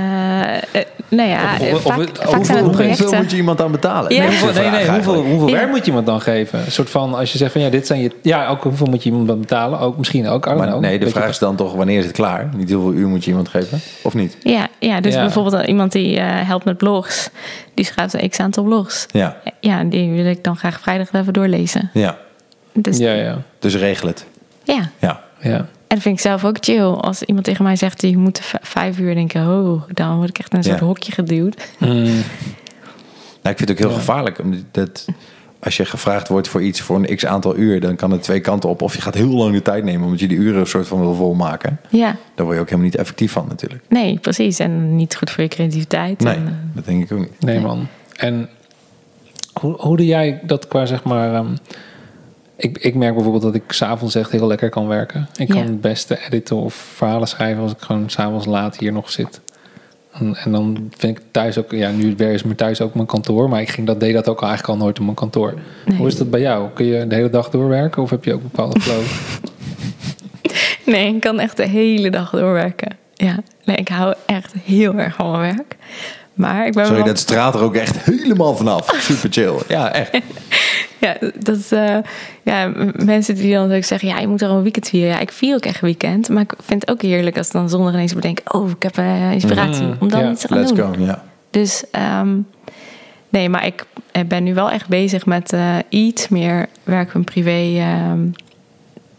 Speaker 1: eh, nou ja,
Speaker 3: Of- of-
Speaker 1: vaak,
Speaker 3: of-
Speaker 1: vaak
Speaker 3: hoeveel-
Speaker 1: zijn het
Speaker 3: hoeveel
Speaker 2: Hoeveel
Speaker 1: projecten.
Speaker 2: moet je iemand dan betalen?
Speaker 1: Ja.
Speaker 2: Dat is de
Speaker 3: Hoeveel, nee,
Speaker 2: vraag
Speaker 3: nee,
Speaker 2: eigenlijk.
Speaker 3: hoeveel, hoeveel
Speaker 1: Ja.
Speaker 3: werk moet je iemand dan geven? Een soort van, als je zegt van ja, dit zijn je. Ja, ook hoeveel moet je iemand dan betalen? Ook misschien ook. I don't
Speaker 2: Maar
Speaker 3: know.
Speaker 2: nee, de
Speaker 3: Weet je-
Speaker 2: vraag is dan toch wanneer is het klaar? Niet hoeveel uur moet je iemand geven? Of niet?
Speaker 1: Ja, ja, dus
Speaker 3: Ja.
Speaker 1: bijvoorbeeld iemand die eh, helpt met blogs. Die schrijft een x aantal blogs.
Speaker 2: Ja.
Speaker 1: Ja, die wil ik dan graag vrijdag even doorlezen.
Speaker 2: Ja.
Speaker 1: Dus,
Speaker 3: Ja, ja,
Speaker 2: Dus regel het.
Speaker 1: ja.
Speaker 2: Ja.
Speaker 3: ja.
Speaker 1: En dat vind ik zelf ook chill. Als iemand tegen mij zegt, je moet v- vijf uur denken, oh, dan word ik echt in een soort
Speaker 2: Ja.
Speaker 1: hokje geduwd.
Speaker 3: Mm,
Speaker 2: Nou, ik vind het ook heel gevaarlijk. Omdat dat, als je gevraagd wordt voor iets voor een x aantal uur, dan kan het twee kanten op. Of je gaat heel lang de tijd nemen omdat je die uren een soort van wil volmaken.
Speaker 1: Ja,
Speaker 2: Daar word je ook helemaal niet effectief van natuurlijk.
Speaker 1: nee, precies. En niet goed voor je creativiteit.
Speaker 2: Nee,
Speaker 1: En, eh,
Speaker 2: dat denk ik ook niet.
Speaker 3: nee, man. En hoe, hoe doe jij dat qua zeg maar. ehm, ik, ik merk bijvoorbeeld dat ik s'avonds echt heel lekker kan werken. Ik kan
Speaker 1: Ja.
Speaker 3: het beste editen of verhalen schrijven als ik gewoon s'avonds laat hier nog zit. En, en dan vind ik thuis ook, ja, nu weer is mijn thuis ook mijn kantoor, maar ik ging dat, deed dat ook al eigenlijk al nooit op mijn kantoor.
Speaker 1: Nee.
Speaker 3: Hoe is dat bij jou? Kun je de hele dag doorwerken of heb je ook bepaalde flow?
Speaker 1: eh, Nee, ik kan echt de hele dag doorwerken. Ja, nee, ik hou echt heel erg van mijn werk. Maar ik ben
Speaker 2: Sorry,
Speaker 1: wel...
Speaker 2: dat straalt er ook echt helemaal vanaf. Super chill. Ja, echt.
Speaker 1: Ja, dat is, eh, ja, m- mensen die dan ook zeggen, ja, je moet er een weekend vieren. Ja, ik vier ook echt weekend. Maar ik vind het ook heerlijk als ik dan zondag ineens bedenk, oh, ik heb eh, inspiratie om dan
Speaker 3: ja,
Speaker 1: iets te gaan
Speaker 2: Let's
Speaker 1: doen.
Speaker 2: go. Ja.
Speaker 1: Dus ehm, nee, maar ik eh, ben nu wel echt bezig met eh, iets meer werk en privé. ehm,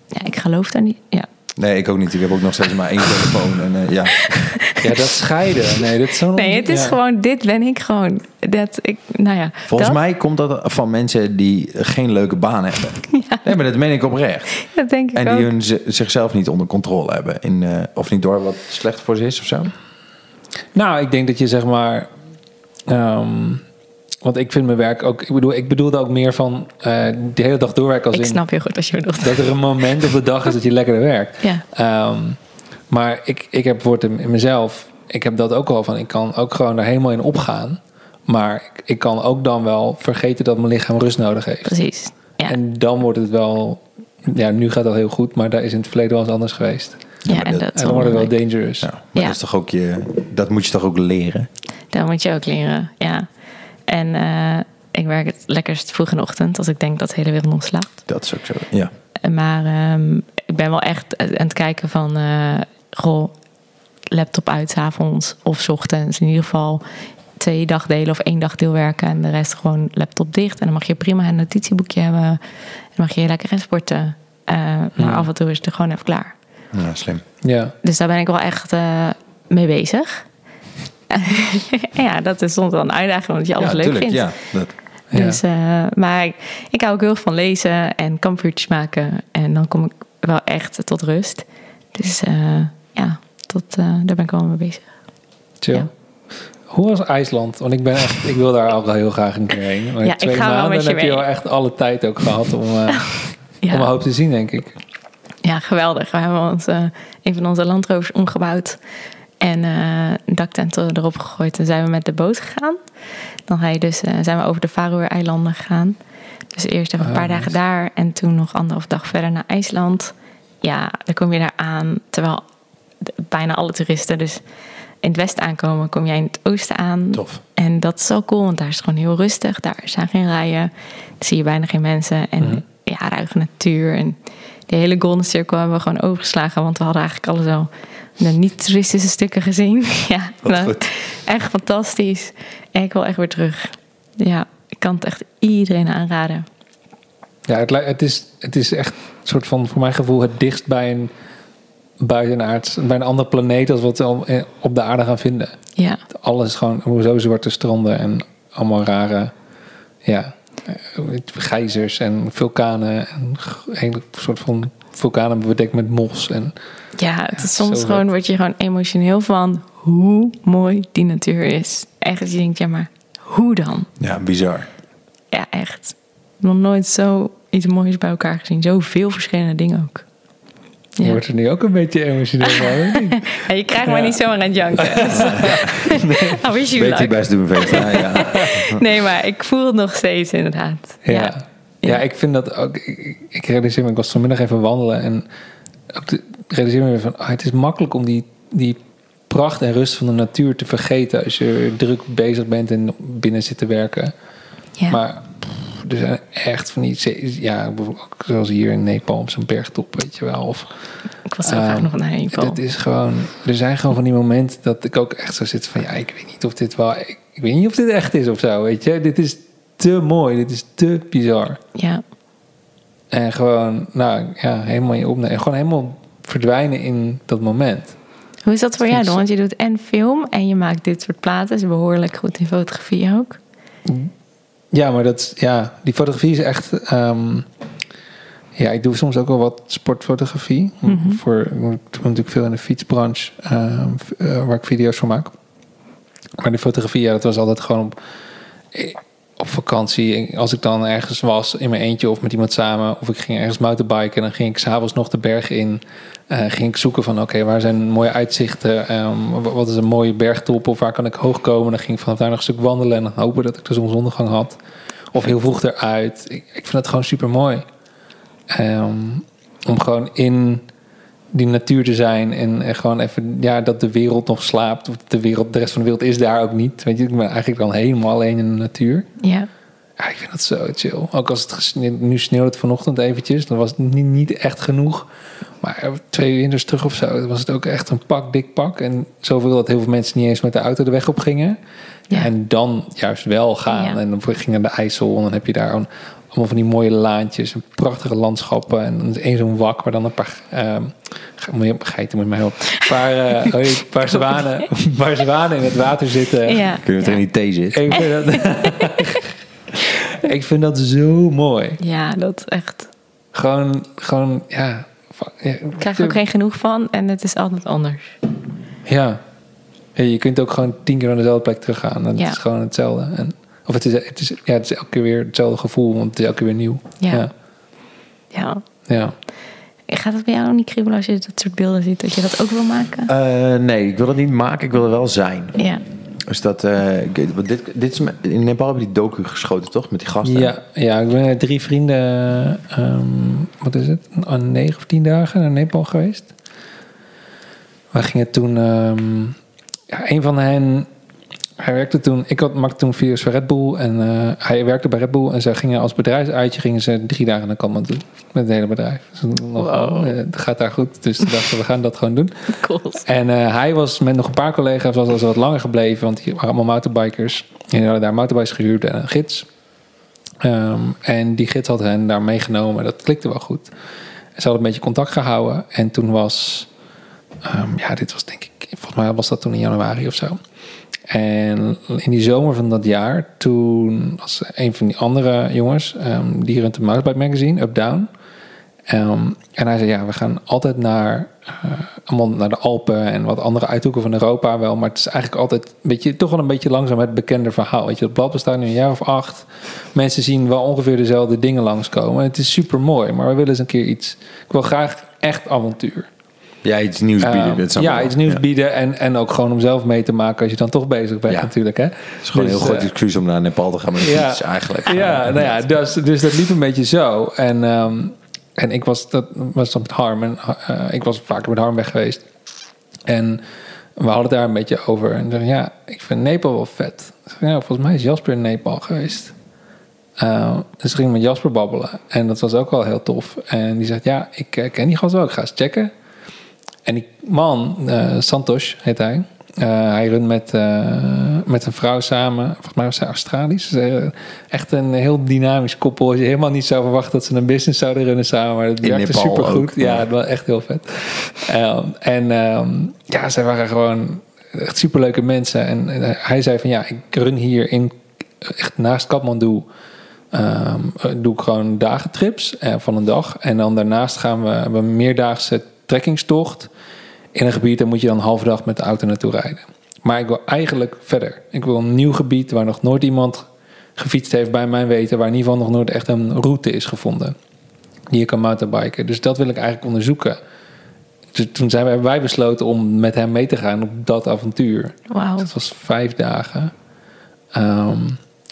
Speaker 1: ja, ik geloof daar niet. Ja.
Speaker 2: Nee, ik ook niet. Ik heb ook nog steeds maar één telefoon. En, eh, ja.
Speaker 3: ja, dat scheiden. Nee, dat is zo'n
Speaker 1: Nee, het is
Speaker 3: ja.
Speaker 1: gewoon, dit ben ik gewoon. Dat ik, nou ja.
Speaker 2: Volgens
Speaker 1: dat,
Speaker 2: mij komt dat van mensen die geen leuke baan hebben. Nee, maar dat meen ik oprecht.
Speaker 1: Dat denk ik
Speaker 2: En
Speaker 1: ook.
Speaker 2: die hun z- zichzelf niet onder controle hebben. In, eh, of niet door wat slecht voor ze is of zo.
Speaker 3: Nou, ik denk dat je zeg maar. ehm, want ik vind mijn werk ook. Ik bedoel, ik bedoelde ook meer van. eh de hele dag doorwerken als
Speaker 1: ik
Speaker 3: in.
Speaker 1: snap heel goed als je bedoelt.
Speaker 3: Dat er een moment op de dag is dat je lekkerder werkt.
Speaker 1: Ja.
Speaker 3: Ehm, maar ik, ik heb wordt in in mezelf. Ik heb dat ook al van. Ik kan ook gewoon daar helemaal in opgaan. Maar ik, ik kan ook dan wel vergeten dat mijn lichaam rust nodig heeft.
Speaker 1: Precies. Ja.
Speaker 3: En dan wordt het wel. Ja, nu gaat dat heel goed, maar daar is in het verleden wel eens anders geweest.
Speaker 1: ja,
Speaker 2: maar
Speaker 1: en
Speaker 2: dat-
Speaker 1: dat,
Speaker 3: En dan wordt het wel
Speaker 1: belangrijk.
Speaker 3: dangerous.
Speaker 2: Ja, maar
Speaker 1: Ja.
Speaker 2: Dat, is toch ook je, dat moet je toch ook leren?
Speaker 1: Dat moet je ook leren, ja. En eh, ik werk het lekkerst vroeg in de ochtend, als ik denk dat de hele wereld nog slaapt.
Speaker 2: Dat is ook zo. Ja.
Speaker 1: Maar ehm, ik ben wel echt aan het kijken van... eh, goh, laptop uit 's avonds of 's ochtends. In ieder geval twee dagdelen of één dagdeel werken... en de rest gewoon laptop dicht. En dan mag je prima een notitieboekje hebben. En dan mag je lekker gaan sporten. Eh, maar af en toe is het er gewoon even klaar.
Speaker 2: ja, slim.
Speaker 3: Ja.
Speaker 1: Dus daar ben ik wel echt eh, mee bezig. ja, dat is soms wel een uitdaging, omdat je alles
Speaker 2: ja,
Speaker 1: leuk
Speaker 2: tuurlijk,
Speaker 1: vindt.
Speaker 2: Ja, dat,
Speaker 3: Ja.
Speaker 1: Dus, eh, maar ik, ik hou ook heel erg van lezen en kampvuurtjes maken. En dan kom ik wel echt tot rust. Dus eh, ja, tot, eh, daar ben ik wel mee bezig.
Speaker 3: Chill.
Speaker 1: Ja.
Speaker 3: Hoe was IJsland? Want ik, ben echt, ik wil daar ook wel heel graag een keer heen. Maar
Speaker 1: Ja,
Speaker 3: twee
Speaker 1: ik ga wel
Speaker 3: maanden
Speaker 1: met je
Speaker 3: heb je
Speaker 1: mee.
Speaker 3: wel echt alle tijd ook gehad om, eh, om een
Speaker 1: Ja,
Speaker 3: hoop te zien, denk ik.
Speaker 1: ja geweldig. We hebben ons, eh, een van onze landrovers omgebouwd en eh, een daktent erop gegooid. En zijn we met de boot gegaan. Dan ga je dus, eh, zijn we over de Faroe-eilanden gegaan. Dus eerst even een
Speaker 3: Ah,
Speaker 1: paar dagen
Speaker 3: nice.
Speaker 1: daar en toen nog anderhalf dag verder naar IJsland. Ja, dan kom je daar aan, terwijl d- bijna alle toeristen dus in het westen aankomen, kom jij in het oosten aan.
Speaker 2: Tof.
Speaker 1: En dat is zo cool, want daar is het gewoon heel rustig. Daar zijn geen rijen, zie je bijna geen mensen. En ja, ruige natuur. En die hele golden cirkel hebben we gewoon overgeslagen, want we hadden eigenlijk alles al de niet-toeristische stukken gezien. ja,
Speaker 2: Wat
Speaker 1: nou,
Speaker 2: goed.
Speaker 1: echt fantastisch. En ik wil echt weer terug. Ja, ik kan het echt iedereen aanraden.
Speaker 3: Ja, het, lij- het, is, het is echt een soort van, voor mijn gevoel, het dichtst bij een buitenaards, bij een andere planeet als wat we al- eh, op de aarde gaan vinden.
Speaker 1: Ja,
Speaker 3: Alles gewoon, hoezo zwarte stranden en allemaal rare, ja, eh, geizers en vulkanen en g- hele soort van vulkanen bedekt met mos. En,
Speaker 1: ja het is
Speaker 3: zo
Speaker 1: soms
Speaker 3: vet.
Speaker 1: gewoon, word je gewoon emotioneel van hoe mooi die natuur is. Echt, dat je denkt, ja, maar hoe dan?
Speaker 2: Ja, bizar.
Speaker 1: Ja, echt. Nog nooit zo iets moois bij elkaar gezien. Zoveel verschillende dingen ook.
Speaker 3: Je
Speaker 1: Ja.
Speaker 3: wordt er nu ook een beetje emotioneel van. of niet?
Speaker 1: Ja, je krijgt maar niet zomaar aan het janken. I wish you
Speaker 2: Weet
Speaker 1: luck.
Speaker 2: ik best doen, weet je. Ja, ja.
Speaker 1: Nee, maar ik voel het nog steeds inderdaad.
Speaker 3: Ja.
Speaker 1: Ja.
Speaker 3: Ja. ik vind dat ook. Ik, ik- ik realiseer me, ik was vanmiddag even wandelen en ook de, realiseer me weer van, ah, het is makkelijk om die, die pracht en rust van de natuur te vergeten als je druk bezig bent en binnen zit te werken.
Speaker 1: Ja.
Speaker 3: Maar pff, er zijn echt van die, zee- ja, bijvoorbeeld ook zoals hier in Nepal op zo'n bergtop, weet je wel. Of,
Speaker 1: ik was zo graag
Speaker 3: Ehm,
Speaker 1: nog naar een
Speaker 3: dat is gewoon, er zijn gewoon van die momenten dat ik ook echt zo zit van, ja, ik weet niet of dit wel, ik, ik weet niet of dit echt is of zo, weet je. Dit is te mooi, dit is te bizar.
Speaker 1: Ja.
Speaker 3: En gewoon, nou ja, helemaal je opnemen. Gewoon helemaal verdwijnen in dat moment.
Speaker 1: Hoe is dat voor jou
Speaker 3: Vind
Speaker 1: dan?
Speaker 3: ik-
Speaker 1: Want je doet en film en je maakt dit soort platen. Is behoorlijk goed in fotografie ook.
Speaker 3: Ja, maar dat, is- ja, die fotografie is echt. ehm, ja, ik doe soms ook wel wat sportfotografie. Voor, ik doe natuurlijk veel in de fietsbranche, ehm, v- eh, waar ik video's voor maak. Maar de fotografie, ja, dat was altijd gewoon op, eh, op vakantie. En Als ik dan ergens was, in mijn eentje of met iemand samen. Of ik ging ergens mountainbiken. En dan ging ik s'avonds nog de berg in. Eh, ging ik zoeken van, oké, waar zijn mooie uitzichten? Ehm, wa- wat is een mooie bergtop? Of waar kan ik hoog komen? Dan ging ik vanaf daar nog een stuk wandelen. En dan hopen dat ik de zonsondergang had. Of heel vroeg eruit. Ik, ik vind het gewoon super mooi. om gewoon in die natuur te zijn en, en gewoon even, ja, dat de wereld nog slaapt. Of de, wereld, de rest van de wereld is daar ook niet. Weet je, ik ben eigenlijk dan helemaal alleen in de natuur.
Speaker 1: Ja.
Speaker 3: Ja, ik vind dat zo chill. Ook als het gesne- nu sneeuwde het vanochtend eventjes, dan was het niet, niet echt genoeg. Maar twee winters terug of zo, was het ook echt een pak, dik pak. En zoveel dat heel veel mensen niet eens met de auto de weg op gingen.
Speaker 1: Ja.
Speaker 3: En dan juist wel gaan.
Speaker 1: Ja.
Speaker 3: En dan ging naar de IJssel en dan heb je daar een- allemaal van die mooie laantjes en prachtige landschappen. En dan is één zo'n wak, maar dan een paar ehm, ge- moet je- geiten moet je mij helpen. Een paar, eh, hoe heet het? Een paar, zwanen, een paar zwanen in het water zitten.
Speaker 1: ja.
Speaker 2: Kun je het er in die thee zit?
Speaker 3: Ik vind dat, ik vind dat zo mooi.
Speaker 1: Ja, dat echt.
Speaker 3: Gewoon, gewoon ja. fa- ja,
Speaker 1: Ik krijg er ook geen genoeg van en het is altijd anders.
Speaker 3: Ja. Ja, Je kunt ook gewoon tien keer naar dezelfde plek teruggaan. Het
Speaker 1: Ja.
Speaker 3: is gewoon hetzelfde. En, of het is, het, is, ja, het is elke keer weer hetzelfde gevoel, want het is elke keer weer nieuw.
Speaker 1: Ja.
Speaker 3: ja.
Speaker 1: Ja.
Speaker 3: Ja.
Speaker 1: Gaat het bij jou ook niet kriebelen als je dat soort beelden ziet? Dat je dat ook wil maken?
Speaker 2: Eh, nee, ik wil het niet maken, ik wil er wel zijn.
Speaker 1: Ja.
Speaker 2: Dus dat, eh, ik- want dit, dit is, me- in Nepal hebben die docu geschoten, toch? Met die gasten.
Speaker 3: Ja, ja, ik ben met drie vrienden, ehm, wat is het, een negen of tien dagen naar Nepal geweest. We gingen toen, ehm, ja, een van hen, hij werkte toen, ik had, maakte toen video's voor Red Bull en eh, hij werkte bij Red Bull. En zij gingen als bedrijfsuitje, gingen ze drie dagen naar Kathmandu met het hele bedrijf. Dus nog,
Speaker 1: Wow.
Speaker 3: eh, het gaat daar goed, dus toen dachten we, we gaan dat gewoon doen.
Speaker 1: Cool.
Speaker 3: En eh, hij was met nog een paar collega's was, was wat langer gebleven, want die waren allemaal mountainbikers. En die hadden daar mountainbikes gehuurd en een gids. Ehm, en die gids had hen daar meegenomen. Dat klikte wel goed. En ze hadden een beetje contact gehouden. En toen was, ehm, ja, dit was denk ik, volgens mij was dat toen in januari of zo. En in die zomer van dat jaar, toen was een van die andere jongens, ehm, die runt een mountainbike magazine, Up Down. Ehm, en hij zei, ja, we gaan altijd naar, eh, allemaal naar de Alpen en wat andere uithoeken van Europa wel. Maar het is eigenlijk altijd een beetje, toch wel een beetje langzaam het bekende verhaal. Weet je, dat blad bestaat nu een jaar of acht. Mensen zien wel ongeveer dezelfde dingen langskomen. Het is super mooi, maar we willen eens een keer iets. Ik wil graag echt avontuur.
Speaker 2: Ja, iets nieuws bieden.
Speaker 3: Ehm,
Speaker 2: dat snap ik
Speaker 3: ja,
Speaker 2: wel.
Speaker 3: iets nieuws
Speaker 2: Eh, Ja.
Speaker 3: bieden en, en ook gewoon om zelf mee te maken als je dan toch bezig bent
Speaker 2: Ja.
Speaker 3: natuurlijk. Hè? Dus, eh, Het
Speaker 2: Het is gewoon een heel groot excuus om naar Nepal te gaan met de
Speaker 3: Ja.
Speaker 2: fiets eigenlijk.
Speaker 3: Ja, nou ja, dus, dus dat liep een beetje zo. En, ehm, en ik was, dat was dan met Harm. En, eh, ik was vaker met Harm weg geweest. En we hadden het daar een beetje over. En ik dacht, ja, ik vind Nepal wel vet. Ik zei, ja, volgens mij is Jasper in Nepal geweest. Eh, dus ik ging met Jasper babbelen. En dat was ook wel heel tof. En die zei, ja, ik eh, ken die gast wel. Ik ga eens checken. En die man, eh, Santosh heet hij. Eh, hij runt met, eh, met een vrouw samen. Volgens mij was zij Australisch. Ze zijn echt een heel dynamisch koppel. Je helemaal niet zou verwachten dat ze een business zouden runnen samen. Maar dat
Speaker 2: In
Speaker 3: werkte
Speaker 2: Nepal
Speaker 3: supergoed.
Speaker 2: ook.
Speaker 3: Ja, het was echt heel vet. Ehm, en ehm, ja, zij waren gewoon echt superleuke mensen. En, eh, hij zei van ja, ik run hier in, echt naast Kathmandu. ehm, eh, doe ik gewoon dagentrips eh, van een dag. En dan daarnaast gaan we hebben we een meerdaagse trekkingstocht. In een gebied, daar moet je dan een halve dag met de auto naartoe rijden. Maar ik wil eigenlijk verder. Ik wil een nieuw gebied waar nog nooit iemand gefietst heeft bij mijn weten. Waar in ieder geval nog nooit echt een route is gevonden. Die je kan mountainbiken. Dus dat wil ik eigenlijk onderzoeken. Dus toen zijn wij, hebben wij besloten om met hem mee te gaan op dat avontuur.
Speaker 1: Wauw.
Speaker 3: Dat was vijf dagen. Ehm,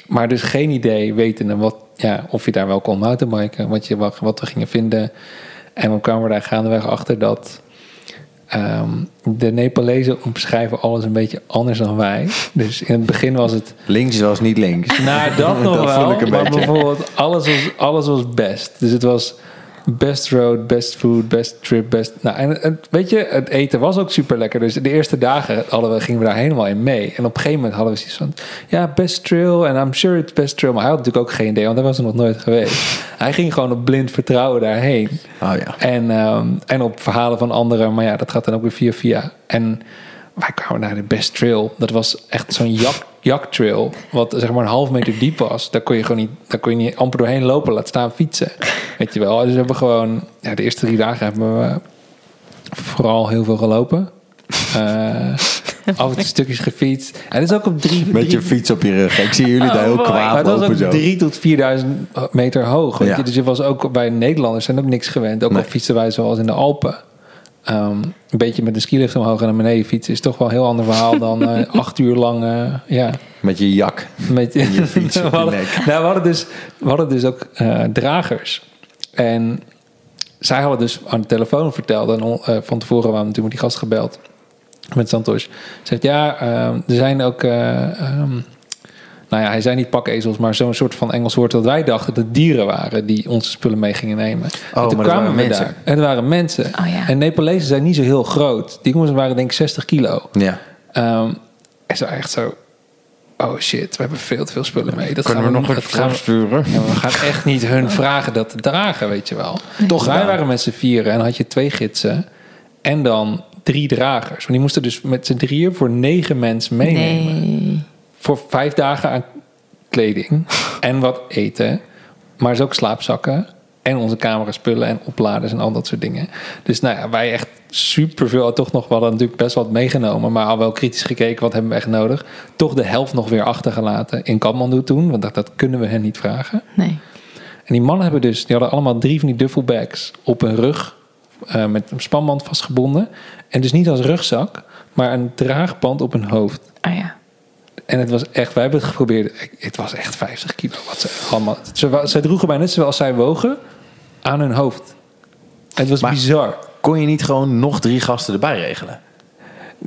Speaker 3: maar dus geen idee wetende wat, ja, of je daar wel kon mountainbiken. Wat, je, wat, wat we gingen vinden. En we kwamen er daar gaandeweg achter dat... ehm, de Nepalezen omschrijven alles een beetje anders dan wij. Dus in het begin was het...
Speaker 2: Links was niet links.
Speaker 3: Nou, dat nog
Speaker 2: Dat
Speaker 3: wel.
Speaker 2: vond ik een
Speaker 3: maar
Speaker 2: beetje.
Speaker 3: bijvoorbeeld, alles was, alles was best. Dus het was best road, best food, best trip, best... Nou, en, en weet je, het eten was ook super lekker. Dus de eerste dagen hadden we, gingen we daar helemaal in mee. En op een gegeven moment hadden we zoiets van... Ja, best trail, en I'm sure it's best trail. Maar hij had natuurlijk ook geen idee, want hij was er nog nooit geweest. Hij ging gewoon op blind vertrouwen daarheen.
Speaker 2: Oh ja.
Speaker 3: En, ehm, en op verhalen van anderen. Maar ja, dat gaat dan ook weer via via. En wij kwamen naar de Best Trail. Dat was echt zo'n jak, jaktrail. Wat zeg maar een half meter diep was. Daar kon je gewoon niet, daar kon je niet amper doorheen lopen. Laat staan fietsen. Weet je wel. Dus we hebben gewoon... Ja, de eerste drie dagen hebben we vooral heel veel gelopen. Eh af en toe stukjes gefietst. En het is ook op drie...
Speaker 2: Met
Speaker 3: drie-
Speaker 2: je fiets op je rug. Ik zie jullie daar heel
Speaker 1: mooi.
Speaker 2: kwaad
Speaker 3: maar het was
Speaker 2: lopen
Speaker 3: ook
Speaker 2: zo.
Speaker 3: 3 tot 4000 meter hoog. Weet
Speaker 2: Ja.
Speaker 3: je? Dus je was ook bij Nederlanders zijn ook niks gewend. Ook
Speaker 2: Nee.
Speaker 3: al fietsen wij zoals in de Alpen. Ehm, een beetje met een skilift omhoog en naar beneden fietsen is toch wel een heel ander verhaal dan eh, acht uur lang. eh, ja,
Speaker 2: Met je jak.
Speaker 3: met
Speaker 2: je fiets op je
Speaker 3: we, hadden,
Speaker 2: nek.
Speaker 3: nou, we, hadden dus, we hadden dus ook eh, dragers. En zij hadden dus aan de telefoon verteld. En on- eh, van tevoren waren we natuurlijk met die gast gebeld. Met Santos. Zegt ja, ehm, er zijn ook. eh, ehm, nou ja, hij zei niet pakezels, maar zo'n soort van Engels woord dat wij dachten dat het dieren waren die onze spullen mee gingen nemen.
Speaker 2: Oh, maar dat waren mensen.
Speaker 3: daar. En het waren mensen.
Speaker 1: Oh ja.
Speaker 3: En Nepalezen zijn niet zo heel groot. Die jongens waren denk ik 60 kilo.
Speaker 2: Ja.
Speaker 3: Ehm, en zo echt zo... Oh shit, we hebben veel te veel spullen mee. Dat
Speaker 2: Kunnen we
Speaker 3: gaan
Speaker 2: nog
Speaker 3: dat
Speaker 2: even
Speaker 3: gaan we-
Speaker 2: sturen?
Speaker 3: Ja, we gaan echt niet hun vragen dat te dragen, weet je wel. Toch Wij
Speaker 2: gedaan.
Speaker 3: waren met z'n vieren en had je twee gidsen. En dan drie dragers. Want die moesten dus met z'n drieën voor negen mensen meenemen
Speaker 1: Nee.
Speaker 3: voor vijf dagen aan kleding en wat eten. Maar is ook slaapzakken en onze cameraspullen en opladers en al dat soort dingen. Dus nou ja, wij echt superveel, toch nog wel natuurlijk best wat meegenomen. Maar al wel kritisch gekeken, wat hebben we echt nodig. Toch de helft nog weer achtergelaten in Kathmandu toen. Want dat, dat kunnen we hen niet vragen.
Speaker 1: Nee.
Speaker 3: En die mannen hebben dus, die hadden allemaal drie van die duffelbags op hun rug eh, met een spanband vastgebonden. En dus niet als rugzak, maar een draagband op hun hoofd.
Speaker 1: Oh ja.
Speaker 3: En het was echt, wij hebben het geprobeerd. Ik- Het was echt 50 kilo. Wat ze allemaal. Ze, wa- zij droegen bijna net zoals zij wogen aan hun hoofd. Het was
Speaker 2: Maar-
Speaker 3: bizar.
Speaker 2: Kon je niet gewoon nog drie gasten erbij regelen?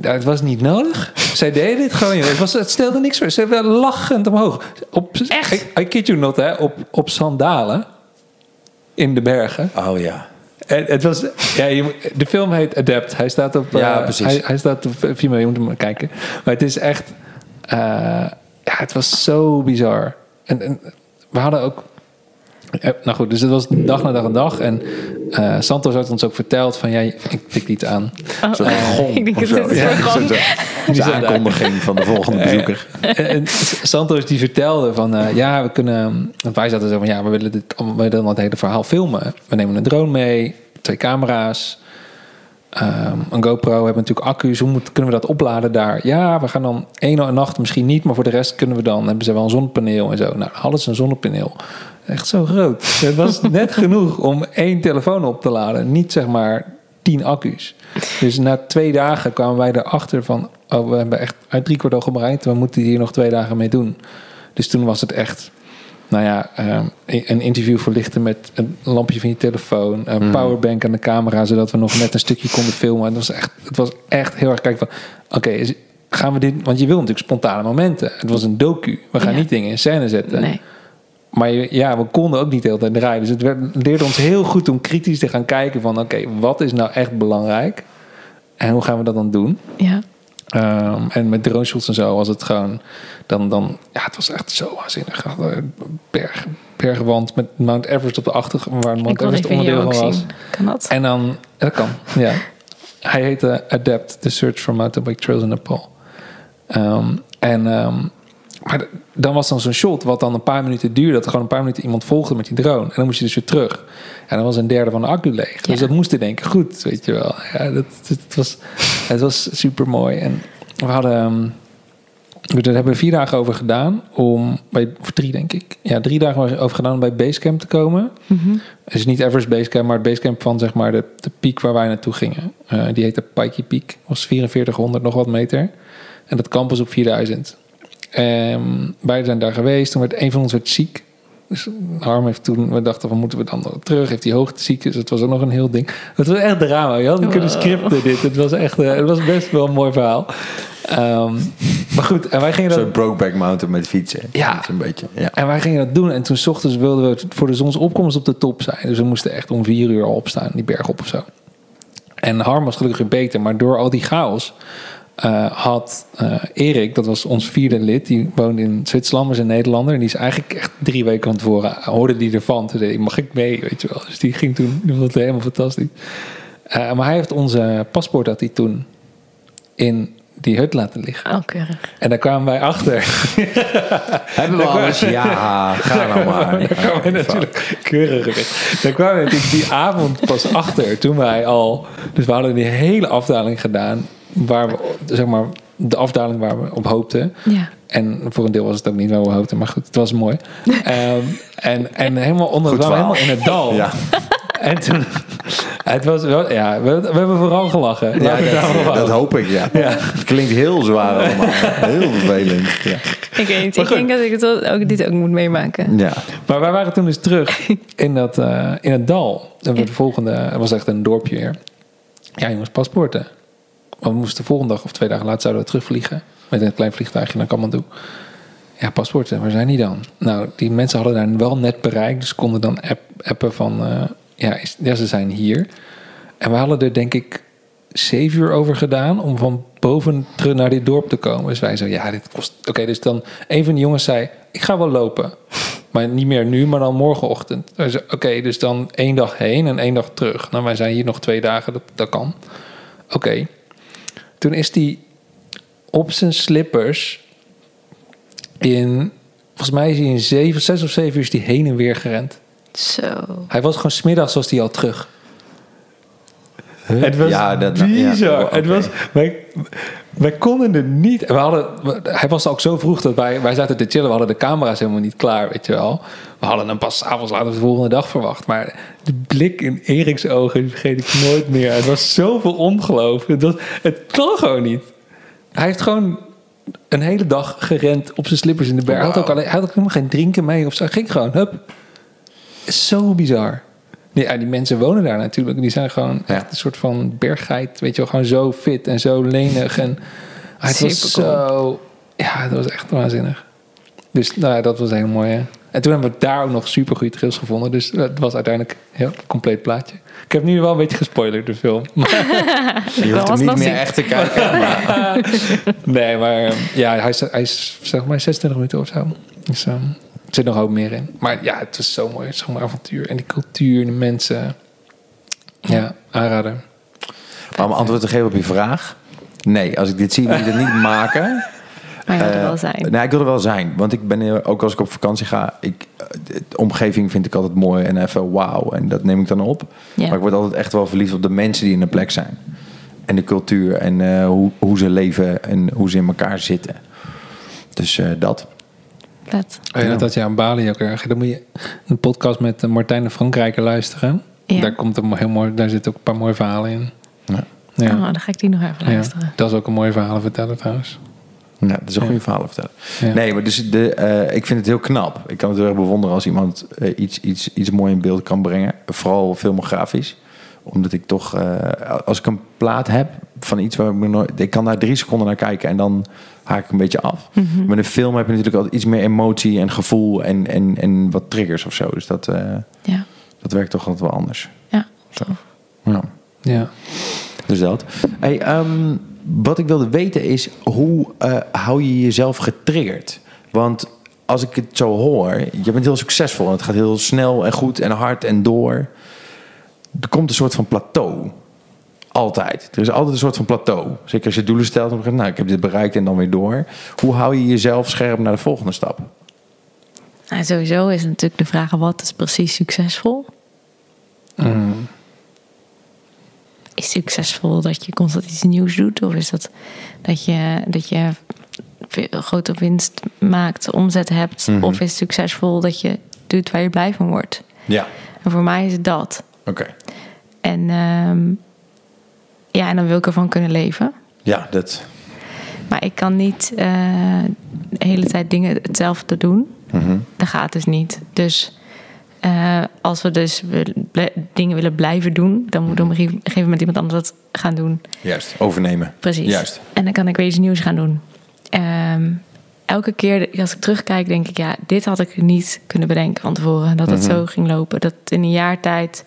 Speaker 3: Ja, het was niet nodig. Zij deden dit gewoon. joh. Het, was, het stelde niks voor. Ze werden lachend omhoog. Op, echt? I, I kid you not, hè? Op, op sandalen. In de bergen.
Speaker 2: Oh ja.
Speaker 3: En het was, ja, je moet- de film heet Adapt. Hij staat op, eh,
Speaker 2: Ja, precies.
Speaker 3: Hij, hij staat op Vimeo, je moet hem maar kijken. Maar het is echt, eh, ja, het was zo bizar. En, en we hadden ook, eh, nou goed, dus het was dag na dag en dag. En eh, Santos had ons ook verteld van, ja, ik tik niet aan.
Speaker 1: Oh,
Speaker 2: Zo'n gong
Speaker 1: ik denk
Speaker 2: of
Speaker 1: dat
Speaker 2: zo.
Speaker 1: dit is
Speaker 2: Ja,
Speaker 1: een gong.
Speaker 2: zo'n- zo'n- zo'n
Speaker 3: daar.
Speaker 2: aankondiging van de volgende bezoeker.
Speaker 3: En, en Santos die vertelde van, eh, ja, we kunnen... Want wij zaten zo van, ja, we willen, dit, allemaal- we willen het hele verhaal filmen. We nemen een drone mee, twee camera's, ehm, een GoPro, we hebben natuurlijk accu's. Hoe moet, kunnen we dat opladen daar? Ja, we gaan dan één nacht misschien niet, maar voor de rest kunnen we dan... Hebben ze wel een zonnepaneel en zo. Nou, hadden ze een zonnepaneel. Echt zo groot. Het was net genoeg om één telefoon op te laden. Niet zeg maar tien accu's. Dus na twee dagen kwamen wij erachter van... Oh, we hebben echt uit drie kwart al gebruikt. We moeten hier nog twee dagen mee doen. Dus toen was het echt... Nou ja, ehm, een interview verlichten met een lampje van je telefoon. Een
Speaker 1: Mm.
Speaker 3: powerbank aan de camera, zodat we nog net een stukje konden filmen. Het was echt, het was echt heel erg kijken van... Oké, is- gaan we dit... Want je wil natuurlijk spontane momenten. Het was een docu. We gaan
Speaker 1: Ja.
Speaker 3: niet dingen in scène zetten.
Speaker 1: Nee.
Speaker 3: Maar je- ja, we konden ook niet de hele tijd draaien. Dus het werd, leerde ons heel goed om kritisch te gaan kijken van... oké, wat is nou echt belangrijk? En hoe gaan we dat dan doen?
Speaker 1: Ja.
Speaker 3: Ehm, en met drone shots en zo was het gewoon... Dan, dan, ja, het was echt zo waanzinnig. Berg, bergwand met Mount Everest op de achtergrond... waar
Speaker 1: Ik
Speaker 3: Mount
Speaker 1: wil
Speaker 3: Everest
Speaker 1: dit video
Speaker 3: onderdeel
Speaker 1: ook
Speaker 3: van was.
Speaker 1: zien. Kan dat?
Speaker 3: En dan, dat kan, ja. Hij heette Adapt, The Search for Mountainbike Trails in Nepal. Ehm, en, ehm, maar d- dan was dan zo'n shot wat dan een paar minuten duurde. Dat er gewoon een paar minuten iemand volgde met die drone. En dan moest je dus weer terug. En dan was een derde van de accu leeg. Dus
Speaker 1: Ja.
Speaker 3: dat moest in één keer goed, weet je wel. Ja, dat, dat was, het was super mooi. En we hadden... ehm, we- Daar hebben we vier dagen over gedaan om bij, of drie denk ik. Ja, drie dagen over gedaan om bij Basecamp te komen. Het is niet Everest Basecamp, maar het Basecamp van zeg maar de, de piek waar wij naartoe gingen. Eh, die heette Pikey Peak. Was 4400 nog wat meter. En dat kamp was op 4000. Ehm beide zijn daar geweest. Toen werd een van ons werd ziek. Dus Harm heeft toen, we dachten van moeten we dan terug? Heeft hij hoogteziekte? Dus dat was ook nog een heel ding. Het was echt drama. Je had niet kunnen
Speaker 1: Wow.
Speaker 3: scripten dit. Het was echt, eh, het was best wel een mooi verhaal. Ehm, maar goed, en wij gingen dat...
Speaker 2: Zo'n Brokeback Mountain met fietsen.
Speaker 3: Ja.
Speaker 2: Dat is een beetje, ja.
Speaker 3: En wij gingen dat doen. En toen 's ochtends wilden we voor de zonsopkomst op de top zijn. Dus we moesten echt om vier uur al opstaan, die berg op of zo. En Harm was gelukkig weer beter. Maar door al die chaos eh, had eh, Erik, dat was ons vierde lid, die woonde in Zwitserland, was een Nederlander. En die is eigenlijk echt drie weken van tevoren, eh, hoorde die ervan. Toen zei hij, mag ik mee, weet je wel. Dus die ging toen, die vond het helemaal fantastisch. Eh, maar hij heeft onze paspoort, had hij toen, in die hut laten liggen.
Speaker 1: Oh, keurig.
Speaker 3: En daar kwamen wij achter.
Speaker 2: Hebben we alles? Ja, ga nou maar.
Speaker 3: Daar kwamen we natuurlijk keuriger in. Daar kwamen we natuurlijk die avond pas achter. Toen wij al... Dus we hadden die hele afdaling gedaan. Waar we, zeg maar, de afdaling waar we op hoopten.
Speaker 1: Ja.
Speaker 3: En voor een deel was het ook niet waar we hoopten. Maar goed, het was mooi. Ehm, en, en helemaal onder...
Speaker 2: Goed
Speaker 3: we waren
Speaker 2: verhaal.
Speaker 3: helemaal in het dal.
Speaker 2: Ja.
Speaker 3: En toen... Het was wel... Ja, we, we hebben vooral gelachen. Laten
Speaker 2: Ja,
Speaker 3: we het daarop
Speaker 2: dat,
Speaker 3: houden.
Speaker 2: dat hoop ik, ja. Het klinkt heel zwaar allemaal. Heel vervelend. Ja.
Speaker 1: Ik weet niet. Ik denk dat ik het wel- ook, dit ook moet meemaken.
Speaker 2: ja.
Speaker 3: Maar wij waren toen dus terug in, dat, eh, in het dal. En we de volgende, het was echt een dorpje weer. Ja, jongens, paspoorten. Want we moesten de volgende dag of twee dagen later zouden we terugvliegen. Met een klein vliegtuigje naar Kamandu. Ja, paspoorten, waar zijn die dan? Nou, die mensen hadden daar wel net bereikt. Dus konden dan app, appen van, eh, ja, is- ja, ze zijn hier. En we hadden er denk ik zeven uur over gedaan om van boven terug naar dit dorp te komen. Dus wij zeiden, ja, dit kost... Oké, dus dan een van de jongens zei, ik ga wel lopen. Maar niet meer nu, maar dan morgenochtend. Wij zeiden, Oké, dus dan één dag heen en één dag terug. Nou, wij zijn hier nog twee dagen, dat, dat kan. Oké. Toen is die op zijn slippers in... Volgens mij is hij in zeven, zes of zeven uur is die heen en weer gerend.
Speaker 1: Zo.
Speaker 3: Hij was gewoon smiddags was hij al terug. Het was
Speaker 2: Ja, dat-
Speaker 3: bizar.
Speaker 2: ja, Oh, oké.
Speaker 3: Het was, wij, wij konden het niet. We hadden, we- hij was ook zo vroeg dat wij, wij zaten te chillen. We hadden de camera's helemaal niet klaar, weet je wel. We hadden hem pas avonds later de volgende dag verwacht. Maar de blik in Erik's ogen die vergeet ik nooit meer. Het was zoveel ongeloof. Het, was, het kan gewoon niet. Hij heeft gewoon een hele dag gerend op zijn slippers in de berg. Hij, had ook alleen, hij had ook helemaal geen drinken mee of zo. Hij ging gewoon, hup, zo bizar. Die, ja, die mensen wonen daar natuurlijk. Die zijn gewoon
Speaker 2: Ja.
Speaker 3: echt een soort van berggeit. Weet je wel, gewoon zo fit en zo lenig. En Ah, het was
Speaker 1: Supercool.
Speaker 3: zo... Ja, het was echt waanzinnig. Dus nou ja, dat was heel mooi. Hè? En toen hebben we daar ook nog super goede trails gevonden. Dus het was uiteindelijk een heel compleet plaatje. Ik heb nu wel een beetje gespoilerd de film.
Speaker 2: Je hoeft hem
Speaker 1: was
Speaker 2: niet meer
Speaker 1: lastig.
Speaker 2: echt te kijken.
Speaker 3: nee, maar eh, ja, hij is, hij is zeg maar 26 minuten of zo. Dus eh, er zit nog ook meer in. Maar ja, het was zo mooi. Zo'n avontuur. En die cultuur, de mensen. Ja, aanrader.
Speaker 2: Maar om antwoord te geven op je vraag. Nee, als ik dit zie, wil ik het niet maken.
Speaker 1: Maar je wil er
Speaker 2: Eh,
Speaker 1: wel zijn.
Speaker 2: Nee, ik wil er wel zijn. Want ik ben heel- ook als ik op vakantie ga, ik, eh, de omgeving vind ik altijd mooi en even wauw. En dat neem ik dan op.
Speaker 1: Ja.
Speaker 2: Maar ik word altijd echt wel verliefd op de mensen die in de plek zijn. En de cultuur en eh, hoe, hoe ze leven en hoe ze in elkaar zitten. Dus eh, dat.
Speaker 1: Vet.
Speaker 3: Oh ja,
Speaker 2: Ja.
Speaker 3: dat je aan Bali ook erg. Dan moet je een podcast met eh, Martijn de Frankrijker luisteren.
Speaker 1: Ja.
Speaker 3: Daar, komt een heel mooi, daar zitten ook een paar mooie verhalen in.
Speaker 2: Ja.
Speaker 3: Ja.
Speaker 1: Oh, dan ga ik die nog even
Speaker 3: Ja.
Speaker 1: luisteren.
Speaker 3: Dat is ook een mooie verhaal vertellen trouwens.
Speaker 2: Ja, dat is een goede verhaal vertellen.
Speaker 3: Ja.
Speaker 2: Nee, maar dus de, eh, ik vind het heel knap. Ik kan het heel erg bewonderen als iemand eh, iets, iets, iets mooi in beeld kan brengen. Vooral filmografisch. Omdat ik toch, eh, als ik een plaat heb van iets waar ik me nooit... Ik kan daar drie seconden naar kijken en dan haak ik een beetje af. Met een film heb je natuurlijk altijd iets meer emotie en gevoel en, en, en wat triggers of zo. Dus dat, eh,
Speaker 1: Ja.
Speaker 2: dat werkt toch altijd wel anders.
Speaker 1: Ja.
Speaker 2: Zo. Ja.
Speaker 3: Ja.
Speaker 2: Dus dat. Hey, ehm, wat ik wilde weten is, hoe eh, hou je jezelf getriggerd? Want als ik het zo hoor, je bent heel succesvol en het gaat heel snel en goed en hard en door. Er komt een soort van plateau. Altijd. Er is altijd een soort van plateau. Zeker als je doelen stelt en nou, ik heb dit bereikt en dan weer door. Hoe hou je jezelf scherp naar de volgende stap?
Speaker 1: Nou, sowieso is natuurlijk de vraag: wat is precies succesvol? Is succesvol dat je constant iets nieuws doet? Of is dat dat je, dat je veel- grote winst maakt, omzet hebt? Of is succesvol dat je doet waar je blij van wordt?
Speaker 2: Ja.
Speaker 1: En voor mij is het dat.
Speaker 2: Oké.
Speaker 1: En, ehm, ja, en dan wil ik ervan kunnen leven.
Speaker 2: Ja, dat...
Speaker 1: Maar ik kan niet eh, de hele tijd dingen hetzelfde doen. Dat gaat dus niet. Dus eh, als we dus wil- ble- dingen willen blijven doen, dan moet op een gegeven gegeven moment iemand anders dat gaan doen.
Speaker 2: Juist. Overnemen.
Speaker 1: Precies.
Speaker 2: Juist.
Speaker 1: En dan kan ik weer iets nieuws gaan doen. Ehm, elke keer als ik terugkijk, denk ik, ja, dit had ik niet kunnen bedenken van tevoren. Dat het zo ging lopen. Dat in een jaar tijd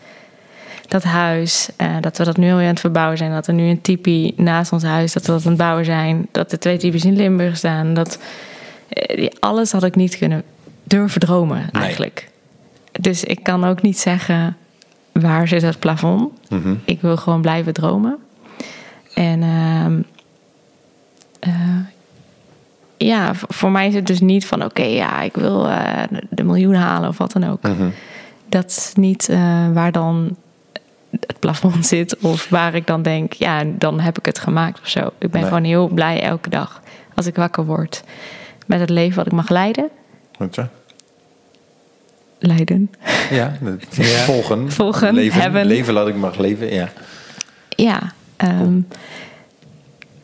Speaker 1: dat huis, eh, dat we dat nu alweer aan het verbouwen zijn. Dat er nu een tipi naast ons huis, dat we dat aan het bouwen zijn. Dat er twee types in Limburg staan. Dat, eh, die- alles had ik niet kunnen durven dromen, eigenlijk. Dus ik kan ook niet zeggen, waar zit het plafond? Ik wil gewoon blijven dromen. En ehm, eh, ja, v- voor mij is het dus niet van oké, ja, ik wil eh, de miljoen halen of wat dan ook. Dat is niet eh, waar dan het plafond zit of waar ik dan denk, ja, dan heb ik het gemaakt of zo. Ik ben
Speaker 2: Nee.
Speaker 1: gewoon heel blij elke dag als ik wakker word met het leven wat ik mag leiden.
Speaker 2: Goed zo.
Speaker 1: Leiden.
Speaker 2: Ja, dat- volgen.
Speaker 1: Volgen,
Speaker 2: leven,
Speaker 1: hebben.
Speaker 2: Leven laat ik mag leven, ja.
Speaker 1: Ja, ehm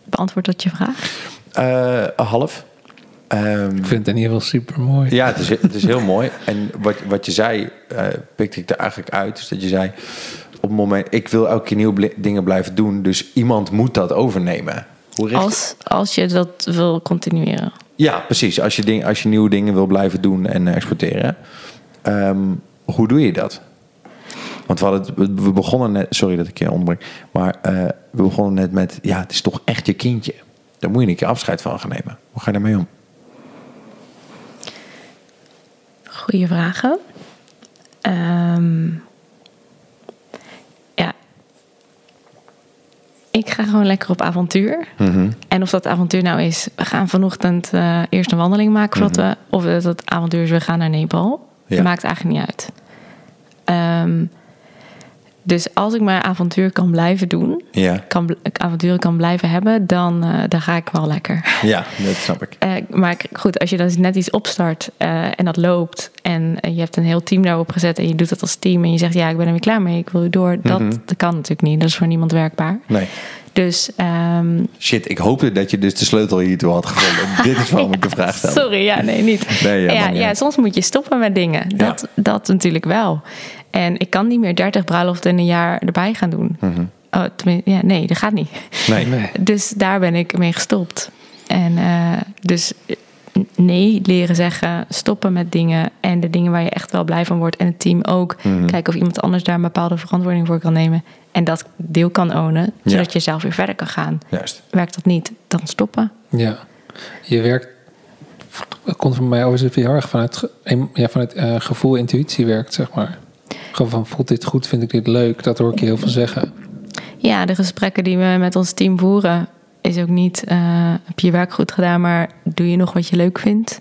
Speaker 1: beantwoord dat je vraag.
Speaker 2: Eh, half. Ehm,
Speaker 3: Ik vind het in ieder geval super mooi.
Speaker 2: ja, het is, het is heel mooi. En wat, wat je zei, eh, pikte ik er eigenlijk uit. Dus dat je zei, op het moment... Ik wil elke keer nieuwe bli- dingen blijven doen. Dus iemand moet dat overnemen. Hoe richt
Speaker 1: Als, als je dat wil continueren.
Speaker 2: Ja, precies. Als je, ding, als je nieuwe dingen wil blijven doen en eh, exporteren. Ehm, hoe doe je dat? Want we, hadden, het- we- we begonnen net... Sorry dat ik je onderbreek. Maar eh, we begonnen net met... Ja, het is toch echt je kindje. Daar moet je een keer afscheid van gaan nemen. Hoe ga je daarmee om?
Speaker 1: Goeie vragen. Ehm, ja. Ik ga gewoon lekker op avontuur.
Speaker 2: Mhm.
Speaker 1: En of dat avontuur nou is, we gaan vanochtend eh, eerst een wandeling maken. voordat we, of dat het avontuur is, we gaan naar Nepal.
Speaker 2: Mhm. Ja.
Speaker 1: Maakt eigenlijk niet uit. Ehm, dus als ik mijn avontuur kan blijven doen,
Speaker 2: Ja.
Speaker 1: kan, bl- avonturen kan blijven hebben, dan, eh, dan ga ik wel lekker.
Speaker 2: Ja, dat snap ik.
Speaker 1: Eh, maar k- goed, als je dan net iets opstart eh, en dat loopt en eh, je hebt een heel team daarop gezet en je doet dat als team en je zegt ja, ik ben er weer klaar mee, ik wil weer door. Dat, dat kan natuurlijk niet, dat is voor niemand werkbaar.
Speaker 2: Mhm. Nee.
Speaker 1: Dus ehm,
Speaker 2: Shit, ik hoopte dat je dus de sleutel hiertoe had gevonden. Dit is waarom ik de vraag stel.
Speaker 1: Sorry, ja, nee, niet.
Speaker 2: Nee, ja,
Speaker 1: ja, ja,
Speaker 2: maakt niet uit.
Speaker 1: soms moet je stoppen met dingen. Dat, dat natuurlijk wel. En ik kan niet meer 30 bruiloften in een jaar erbij gaan doen. Oh, tenmin- ja, nee, dat gaat niet.
Speaker 2: Mhm. Nee.
Speaker 3: Nee.
Speaker 1: Dus daar ben ik mee gestopt. En eh, dus eh, nee leren zeggen, stoppen met dingen en de dingen waar je echt wel blij van wordt en het team ook. Kijken of iemand anders daar een bepaalde verantwoording voor kan nemen en dat deel kan ownen,
Speaker 2: Ja.
Speaker 1: zodat je zelf weer verder kan gaan.
Speaker 2: Juist.
Speaker 1: Werkt dat niet, dan stoppen.
Speaker 3: Ja. Je werkt... Het komt voor mij overigens heel erg vanuit, ge- em- ja, vanuit eh, gevoel intuïtie werkt, zeg maar. Gewoon van, voelt dit goed, vind ik dit leuk? Dat hoor ik je heel veel zeggen.
Speaker 1: Ja, de gesprekken die we met ons team voeren is ook niet eh, heb je je werk goed gedaan, maar doe je nog wat je leuk vindt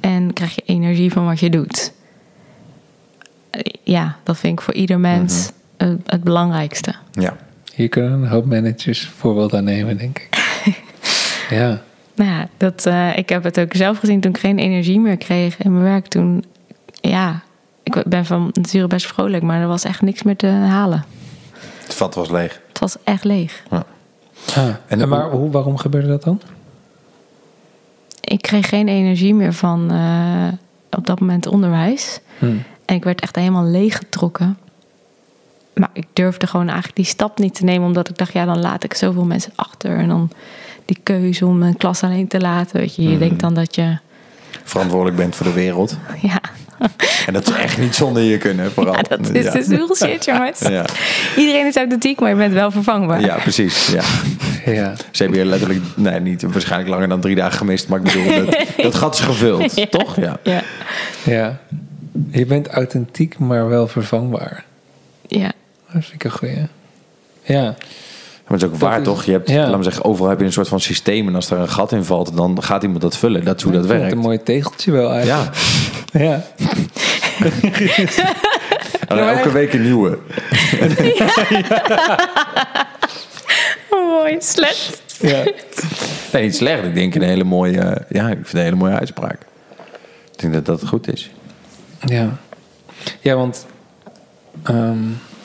Speaker 1: en krijg je energie van wat je doet. Eh, Ja, dat vind ik voor ieder mens het, het belangrijkste.
Speaker 2: Ja.
Speaker 3: Hier kunnen een hoop managers voorbeeld aan nemen, denk ik. ja.
Speaker 1: Nou ja, dat, eh, ik heb het ook zelf gezien toen ik geen energie meer kreeg in mijn werk. Toen, ja, ik ben van nature best vrolijk, maar er was echt niks meer te halen.
Speaker 2: Het vat was leeg.
Speaker 1: Het was echt leeg.
Speaker 3: Ah,
Speaker 2: En
Speaker 3: En
Speaker 2: dat-
Speaker 3: maar hoe, waarom gebeurde dat dan?
Speaker 1: Ik kreeg geen energie meer van eh, op dat moment onderwijs.
Speaker 2: Hmm.
Speaker 1: En ik werd echt helemaal leeggetrokken. Maar ik durfde gewoon eigenlijk die stap niet te nemen. Omdat ik dacht, ja, dan laat ik zoveel mensen achter. En dan die keuze om mijn klas alleen te laten. Weet
Speaker 2: Hmm.
Speaker 1: je, je denkt dan dat je...
Speaker 2: Verantwoordelijk bent voor de wereld.
Speaker 1: Ja,
Speaker 2: En dat is echt niet zonder je kunnen, vooral.
Speaker 1: ja dat is
Speaker 2: ja.
Speaker 1: dus bullshit, jongens.
Speaker 2: Ja.
Speaker 1: Iedereen is authentiek, maar je bent wel vervangbaar.
Speaker 2: ja, precies. Ja.
Speaker 3: Ja.
Speaker 2: Ze hebben hier letterlijk, nee, niet waarschijnlijk langer dan drie dagen gemist, maar ik bedoel, dat, dat gat is gevuld, toch? Ja.
Speaker 1: ja.
Speaker 3: ja. Je bent authentiek, maar wel vervangbaar.
Speaker 1: ja.
Speaker 3: Dat vind ik een goeie. Ja.
Speaker 2: Maar het is ook waar,
Speaker 3: is-
Speaker 2: toch? Je hebt,
Speaker 3: ja.
Speaker 2: laat me zeggen, overal heb je een soort van systeem en als er een gat in valt, dan gaat iemand dat vullen. Dat is hoe dat
Speaker 3: Ik vind het
Speaker 2: werkt.
Speaker 3: Een mooi tegeltje wel eigenlijk.
Speaker 2: Ja,
Speaker 3: Ja. ja.
Speaker 2: en elke week een nieuwe.
Speaker 1: Oh, mooi, slet.
Speaker 2: Nee, niet slecht. Ik denk een hele mooie, eh, ja, ik vind het een hele mooie uitspraak. Ik denk dat dat goed is.
Speaker 3: Ja. Ja, want... ehm,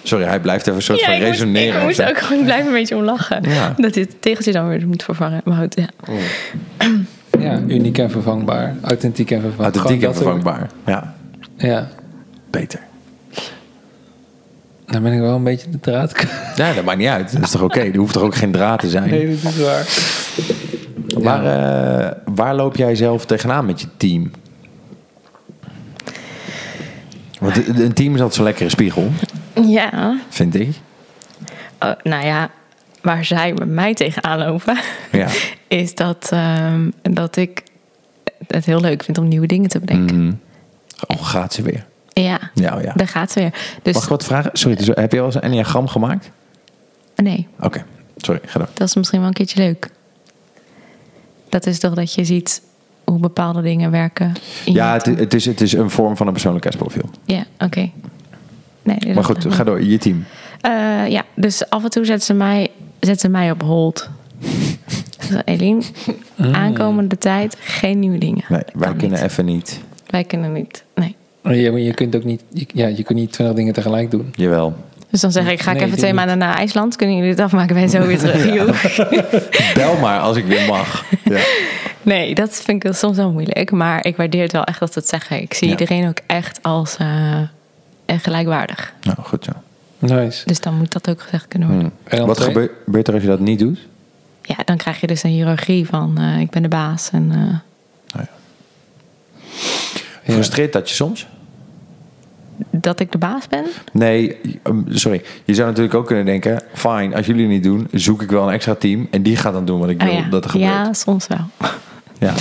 Speaker 2: Sorry, hij blijft even een soort
Speaker 1: Ja,
Speaker 2: van
Speaker 1: ik moest,
Speaker 2: resoneren.
Speaker 1: ik
Speaker 2: of
Speaker 1: moest
Speaker 2: zo.
Speaker 1: ook gewoon blijven een beetje om lachen.
Speaker 2: Ja.
Speaker 1: Dat dit tegeltje dan weer moet vervangen. Maar goed, ja.
Speaker 3: ja, uniek en vervangbaar. Authentiek en vervangbaar.
Speaker 2: Authentiek en
Speaker 3: Gewoon dat ook.
Speaker 2: vervangbaar. Ja,
Speaker 3: Ja.
Speaker 2: beter.
Speaker 3: Dan ben ik wel een beetje de draad. kwijt.
Speaker 2: Ja, dat maakt niet uit. Dat is toch oké? Er hoeft toch ook geen draad te zijn?
Speaker 3: Nee, dat is waar.
Speaker 2: Waar, eh, waar loop jij zelf tegenaan met je team? Want een een team is altijd zo'n lekkere spiegel,
Speaker 1: Ja.
Speaker 2: vind ik.
Speaker 1: Oh, nou ja, waar zij met mij tegenaan lopen,
Speaker 2: Ja.
Speaker 1: is dat, ehm, dat ik het heel leuk vind om nieuwe dingen te bedenken.
Speaker 2: Oh, gaat ze weer.
Speaker 1: Ja,
Speaker 2: Ja, oh ja.
Speaker 1: daar gaat ze weer. Dus
Speaker 2: Mag ik wat vragen? Sorry, dus heb je wel eens een enneagram gemaakt?
Speaker 1: nee,
Speaker 2: Oké, sorry, ga door.
Speaker 1: dat is misschien wel een keertje leuk. Dat is toch dat je ziet hoe bepaalde dingen werken. in
Speaker 2: Ja,
Speaker 1: je
Speaker 2: het,
Speaker 1: team.
Speaker 2: het, is, het is een vorm van een persoonlijkheidsprofiel.
Speaker 1: Ja, oké. Nee, dat-
Speaker 2: Maar goed, ga door. Je team.
Speaker 1: Eh, ja, dus af en toe zetten ze mij, zetten ze mij op hold. Dus Eline,
Speaker 3: Ah.
Speaker 1: aankomende tijd geen nieuwe dingen.
Speaker 2: Nee,
Speaker 1: Dat
Speaker 2: wij
Speaker 1: kan
Speaker 2: kunnen
Speaker 1: niet.
Speaker 2: even niet.
Speaker 1: Wij kunnen niet. Nee.
Speaker 3: Ja, maar je kunt ook niet... je- ja, je kunt niet twintig dingen tegelijk doen.
Speaker 2: Jawel.
Speaker 1: Dus dan zeg ik, ga ik
Speaker 3: Nee,
Speaker 1: even
Speaker 3: doe
Speaker 1: twee
Speaker 3: niet.
Speaker 1: maanden naar IJsland. Kunnen jullie dit afmaken? Ben je zo weer terug. Joe.
Speaker 2: Bel maar als ik weer mag. Ja.
Speaker 1: Nee, dat vind ik wel soms wel moeilijk. Maar ik waardeer het wel echt dat ze het zeggen. Ik zie
Speaker 2: Ja.
Speaker 1: iedereen ook echt als eh, eh, gelijkwaardig.
Speaker 2: Nou, goed zo.
Speaker 3: Nice.
Speaker 1: Dus dan moet dat ook gezegd kunnen worden.
Speaker 3: En dan
Speaker 2: Wat
Speaker 3: twee-
Speaker 2: gebeurt gebeurt er als je dat niet doet?
Speaker 1: Ja, dan krijg je dus een hiërarchie van eh, ik ben de baas. En, eh,
Speaker 2: Nou Frustreert dat je soms?
Speaker 1: dat ik de baas ben.
Speaker 2: Nee, ehm, sorry. Je zou natuurlijk ook kunnen denken: fijn, als jullie het niet doen, zoek ik wel een extra team en die gaat dan doen wat ik
Speaker 1: Ah
Speaker 2: wil
Speaker 1: ja.
Speaker 2: dat er gebeurt.
Speaker 1: ja, soms wel.
Speaker 2: Ja.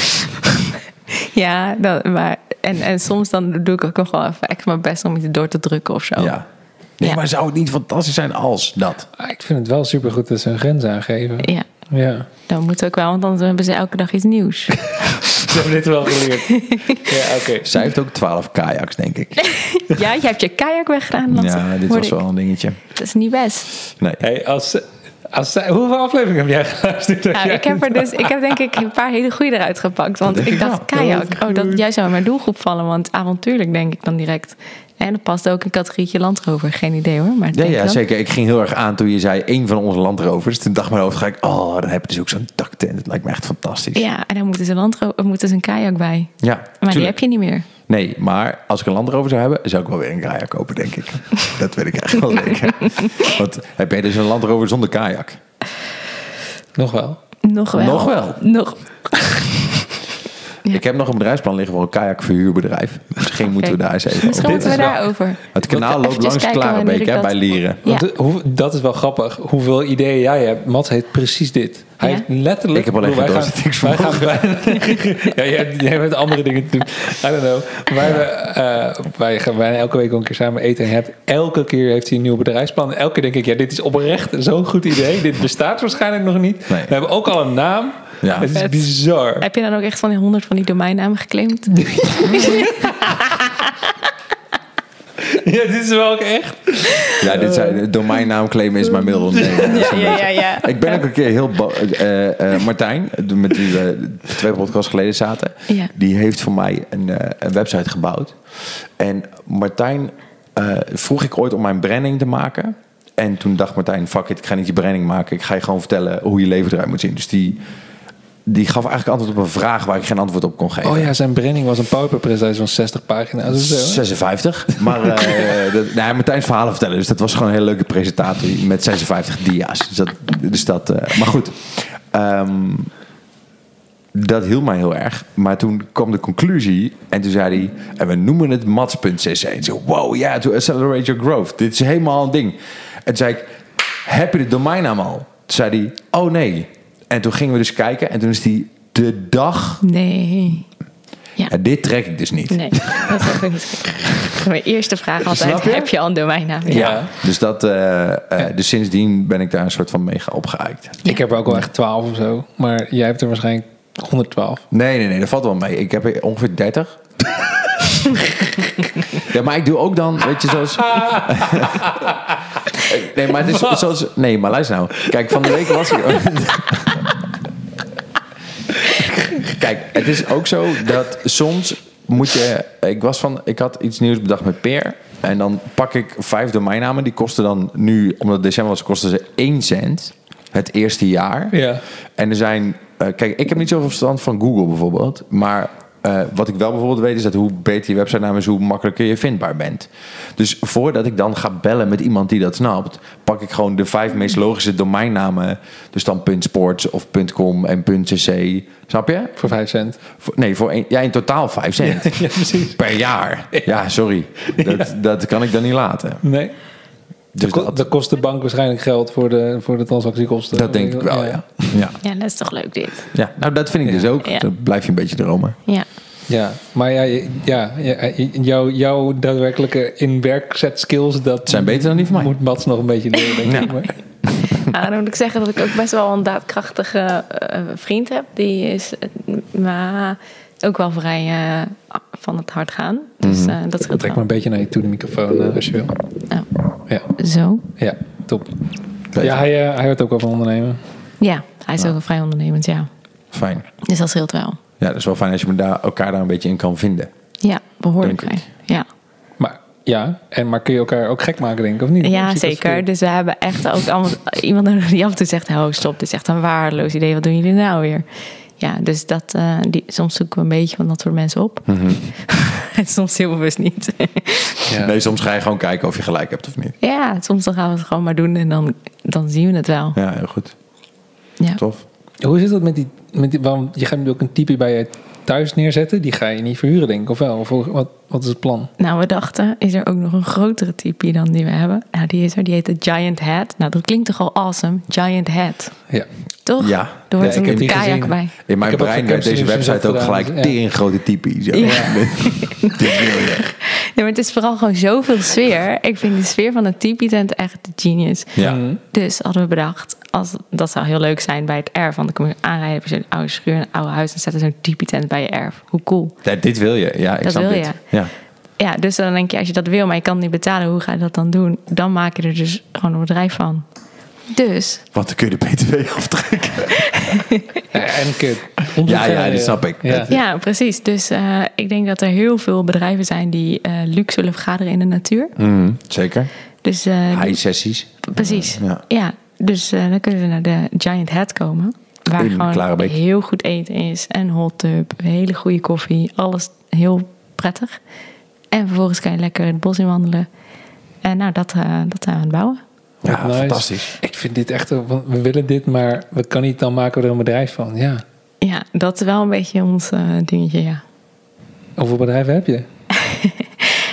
Speaker 1: Ja, dat, maar, en, en soms dan doe ik ook nog wel even extra mijn best om iets door te drukken of zo.
Speaker 2: Ja. Nee,
Speaker 1: Oh. Ja.
Speaker 2: maar zou het niet fantastisch zijn als dat?
Speaker 3: Ah, ik vind het wel supergoed dat ze een grens aangeven.
Speaker 1: ja
Speaker 3: Ja.
Speaker 1: dat moet ook wel, want dan hebben ze elke dag iets nieuws.
Speaker 3: Ze hebben dit wel geleerd. ja, oké.
Speaker 2: Zij heeft ook 12 kajaks, denk ik.
Speaker 1: ja, je hebt je kajak weggedaan. Lasse,
Speaker 2: Ja, dit
Speaker 1: hoorde ik.
Speaker 2: was wel een dingetje.
Speaker 1: Dat is niet best.
Speaker 2: Nee.
Speaker 3: Hey, als, ze- als zij, hoeveel afleveringen heb jij geluisterd? dat
Speaker 1: Nou,
Speaker 3: jij
Speaker 1: ik heb er dus, ik heb denk ik een paar hele goede eruit gepakt. Want ik dacht, kajak, oh, dat, jij zou in mijn doelgroep vallen. Want avontuurlijk denk ik dan direct. En dat past ook een categorietje landrover. Geen idee hoor, maar
Speaker 2: Ja,
Speaker 1: denk
Speaker 2: ja,
Speaker 1: dan.
Speaker 2: zeker. Ik ging heel erg aan toen je zei één van onze landrovers. Toen dacht mijn hoofd, ga ik, oh, dan heb je dus ook zo'n daktent. Dat lijkt me echt fantastisch.
Speaker 1: Ja, en dan moeten ze, landro- er moet dus een kajak bij.
Speaker 2: Ja,
Speaker 1: Maar die
Speaker 2: tuurlijk.
Speaker 1: heb je niet meer.
Speaker 2: Nee, maar als ik een landrover zou hebben, zou ik wel weer een kajak kopen, denk ik. Dat weet ik eigenlijk wel zeker. Want heb jij dus een landrover zonder kajak?
Speaker 3: Nog wel.
Speaker 1: Nog wel.
Speaker 2: Nog wel?
Speaker 1: Nog. Ja.
Speaker 2: Ik heb nog een bedrijfsplan liggen voor een kajakverhuurbedrijf. Misschien moeten we daar eens even
Speaker 1: Misschien
Speaker 2: over.
Speaker 1: moeten we
Speaker 3: Dit is
Speaker 1: daarover.
Speaker 2: Het kanaal loopt
Speaker 1: Eventjes
Speaker 2: langs
Speaker 1: kijken wanneer
Speaker 2: Klarenbeek
Speaker 1: ik
Speaker 2: hè,
Speaker 1: dat-
Speaker 2: bij Lieren.
Speaker 1: Ja.
Speaker 3: Want de- hoe- dat is wel grappig. Hoeveel ideeën jij hebt. Mat heeft precies dit. Hij
Speaker 1: Ja.
Speaker 3: heeft letterlijk...
Speaker 2: Ik heb alleen
Speaker 3: bedoel,
Speaker 2: geen
Speaker 3: wij gaan-
Speaker 2: doorzettingsvermogen.
Speaker 3: wij gaan- ja, jij, hebt- jij bent andere dingen te doen. I don't know. Wij, hebben, eh, wij gaan bijna elke week wel een keer samen eten. En hij heeft, elke keer heeft hij een nieuw bedrijfsplan. Elke keer denk ik, ja, dit is oprecht zo'n goed idee. dit bestaat waarschijnlijk nog niet.
Speaker 2: Nee.
Speaker 3: We hebben ook al een naam.
Speaker 2: Ja.
Speaker 3: Het is
Speaker 1: Vet.
Speaker 3: bizar.
Speaker 1: Heb je dan ook echt van die honderd van die domeinnamen geclaimd?
Speaker 3: Ja, dit is wel ook echt.
Speaker 2: Ja, dit zijn domeinnaamclaimen is mijn middelondernemer. Dat is een beetje-
Speaker 1: ja.
Speaker 2: Ik ben ook een keer heel... bo- eh, eh, Martijn, met wie we twee podcasts geleden zaten...
Speaker 1: Ja.
Speaker 2: die heeft voor mij een, eh, een website gebouwd. En Martijn eh, vroeg ik ooit om mijn branding te maken... En toen dacht Martijn, fuck it, ik ga niet je branding maken. Ik ga je gewoon vertellen hoe je leven eruit moet zien. Dus die, die gaf eigenlijk antwoord op een vraag waar ik geen antwoord op kon geven.
Speaker 3: Oh ja, zijn branding was een PowerPoint-presentatie van 60 pagina's. of zo.
Speaker 2: 56. Maar eh dat, nou, ja, Martijn's verhalen vertellen. Dus dat was gewoon een hele leuke presentatie met 56 dia's. Dus dat, dus dat, eh, maar goed, Ehm, dat hielp mij heel erg. Maar toen kwam de conclusie en toen zei hij... En we noemen het mats.cc. En zo, wow, ja, to accelerate your growth. Dit is helemaal een ding. En toen zei ik, heb je de domeinnaam al? Toen zei hij, oh nee. En toen gingen we dus kijken en toen is hij de dag...
Speaker 1: Nee.
Speaker 2: Ja, dit trek ik dus niet.
Speaker 1: Nee, dat heb ik niet. Mijn eerste vraag altijd,
Speaker 2: Snap je?
Speaker 1: heb je al een domeinnaam?
Speaker 2: Ja.
Speaker 3: Ja.
Speaker 2: Dus, dat, eh, eh, dus sindsdien ben ik daar een soort van mega opgeëikt.
Speaker 3: Ik heb er ook wel echt 12 of zo. Maar jij hebt er waarschijnlijk 112.
Speaker 2: Nee, nee, nee, dat valt wel mee. Ik heb er ongeveer 30. ja, maar ik doe ook dan, weet je, zoals... nee, maar het is zoals... Nee, maar luister nou. Kijk, van de week was ik... Kijk, het is ook zo dat soms moet je... Ik, was van, ik had iets nieuws bedacht met Peer. En dan pak ik vijf domeinnamen. Die kosten dan nu, omdat het december was, kosten ze 1 cent. Het eerste jaar.
Speaker 3: Ja.
Speaker 2: En er zijn... eh, kijk, ik heb niet zoveel verstand van Google bijvoorbeeld. Maar eh, wat ik wel bijvoorbeeld weet is dat hoe beter je website naam is... hoe makkelijker je vindbaar bent. Dus voordat ik dan ga bellen met iemand die dat snapt... pak ik gewoon de vijf meest logische domeinnamen. Dus dan .sports of .com en .cc. Snap je?
Speaker 3: Voor 5 cent.
Speaker 2: Voor- nee, voor een, ja, in totaal 5 cent
Speaker 3: Ja, precies.
Speaker 2: per jaar. Ja, sorry. Dat, dat kan ik dan niet laten.
Speaker 3: Nee.
Speaker 2: Dus
Speaker 3: Ko-
Speaker 2: dat,
Speaker 3: dat kost de bank waarschijnlijk geld voor de, voor de transactiekosten.
Speaker 2: dat denk ik wel, ja. Ja.
Speaker 1: Ja, dat is toch leuk dit.
Speaker 2: ja. Nou, dat vind ik dus ook.
Speaker 1: Ja.
Speaker 2: Dan blijf je een beetje dromen.
Speaker 1: Ja.
Speaker 3: Ja, maar ja, je- ja, ja, jouw, jouw daadwerkelijke inwerkzet skills... Dat
Speaker 2: Zijn beter dan die van mij.
Speaker 3: Moet Mats nog een beetje leren, denk ik. Maar,
Speaker 1: Nou, dan moet ik zeggen dat ik ook best wel een daadkrachtige eh, vriend heb. Die is eh, maar ook wel vrij eh, van het hart gaan. Dus
Speaker 2: Mhm.
Speaker 1: eh, dat scheelt
Speaker 3: trek maar een
Speaker 1: wel.
Speaker 3: beetje naar je toe de microfoon eh, als je wil.
Speaker 1: Nou,
Speaker 3: Ja,
Speaker 1: zo.
Speaker 3: ja top. Ja, hij, eh, hij houdt ook wel van ondernemen.
Speaker 1: Ja, hij is ook vrij ondernemend, ja.
Speaker 2: Fijn.
Speaker 1: Dus dat scheelt wel.
Speaker 2: Ja, dat is wel fijn als je me daar, elkaar daar een beetje in kan vinden.
Speaker 1: Ja, behoorlijk
Speaker 2: Denk ik.
Speaker 1: vrij. Ja.
Speaker 3: Maar ja, en, maar kun je elkaar ook gek maken, denk ik, of niet?
Speaker 1: Ja,
Speaker 3: Zit dat
Speaker 1: zeker.
Speaker 3: verkeerd?
Speaker 1: Dus we hebben echt ook allemaal iemand nodig die af en toe zegt: Oh, stop, dit is echt een waardeloos idee. Wat doen jullie nou weer? Ja, dus dat, eh, die, soms zoeken we een beetje van dat soort mensen op.
Speaker 2: Mhm.
Speaker 1: en soms heel bewust niet.
Speaker 3: Ja.
Speaker 2: Nee, soms ga je gewoon kijken of je gelijk hebt of niet.
Speaker 1: ja, soms dan gaan we het gewoon maar doen en dan, dan zien we het wel.
Speaker 2: Ja, heel goed.
Speaker 1: Ja.
Speaker 2: Tof.
Speaker 3: Hoe zit dat met die, met die want je gaat nu ook een type bij je thuis neerzetten. Die ga je niet verhuren, denk ik, of wel? Of hoe- wat, wat is het plan?
Speaker 1: Nou, we dachten: is er ook nog een grotere typie dan die we hebben? Nou, die is er. Die heet de Giant Head. Nou, dat klinkt toch al awesome? Giant Head.
Speaker 3: Ja.
Speaker 1: Toch?
Speaker 2: Ja.
Speaker 1: Er
Speaker 2: Ja,
Speaker 1: hoort
Speaker 2: ik heb
Speaker 1: een
Speaker 3: die
Speaker 1: kajak
Speaker 3: gezien.
Speaker 1: bij.
Speaker 2: In mijn
Speaker 3: Ik heb ook
Speaker 2: brein
Speaker 3: voor
Speaker 2: werd deze
Speaker 3: Capsule Susan
Speaker 2: website ook
Speaker 3: gedaan,
Speaker 2: gelijk
Speaker 3: ja.
Speaker 2: tering grote typie. Zo.
Speaker 1: Ja.
Speaker 2: Dit wil je.
Speaker 1: Ja, maar het is vooral gewoon zoveel sfeer. Ik vind de sfeer van de tipi-tent echt genius.
Speaker 2: Ja.
Speaker 1: Dus hadden we bedacht, als, dat zou heel leuk zijn bij het erf. Want dan kom je aanrijden bij zo'n oude schuur, een oude huis... en zetten zo'n tipi-tent bij je erf. Hoe cool.
Speaker 2: Ja, dit wil je. Ja, ik
Speaker 1: Dat
Speaker 2: snap
Speaker 1: wil
Speaker 2: dit.
Speaker 1: je.
Speaker 2: Ja.
Speaker 1: Ja, dus dan denk je, als je dat wil, maar je kan het niet betalen... hoe ga je dat dan doen? Dan maak je er dus gewoon een bedrijf van. Dus,
Speaker 2: Want dan kun je de BTW aftrekken.
Speaker 3: En kut.
Speaker 2: Ja, ja, dat snap ik.
Speaker 3: eh, Ja.
Speaker 1: ja, precies. Dus eh, ik denk dat er heel veel bedrijven zijn... die eh, luxe zullen vergaderen in de natuur.
Speaker 2: Mm, Zeker.
Speaker 1: Dus eh,
Speaker 2: High sessies.
Speaker 1: Precies.
Speaker 2: Eh, Ja.
Speaker 1: Ja, dus eh, dan kunnen ze naar de Giant Head komen. Waar
Speaker 2: In
Speaker 1: gewoon
Speaker 2: Klarenbeek.
Speaker 1: heel goed eten is. En hot tub, hele goede koffie. Alles heel prettig. En vervolgens kan je lekker het bos in wandelen. En nou, dat, eh, dat zijn we aan het bouwen.
Speaker 2: Ja,
Speaker 3: Nice.
Speaker 2: fantastisch.
Speaker 3: eh, Ik vind dit echt, want we willen dit, maar we kan niet dan maken we er een bedrijf van. Ja,
Speaker 1: Ja, dat is wel een beetje ons eh, dingetje, ja.
Speaker 3: Hoeveel bedrijven heb je?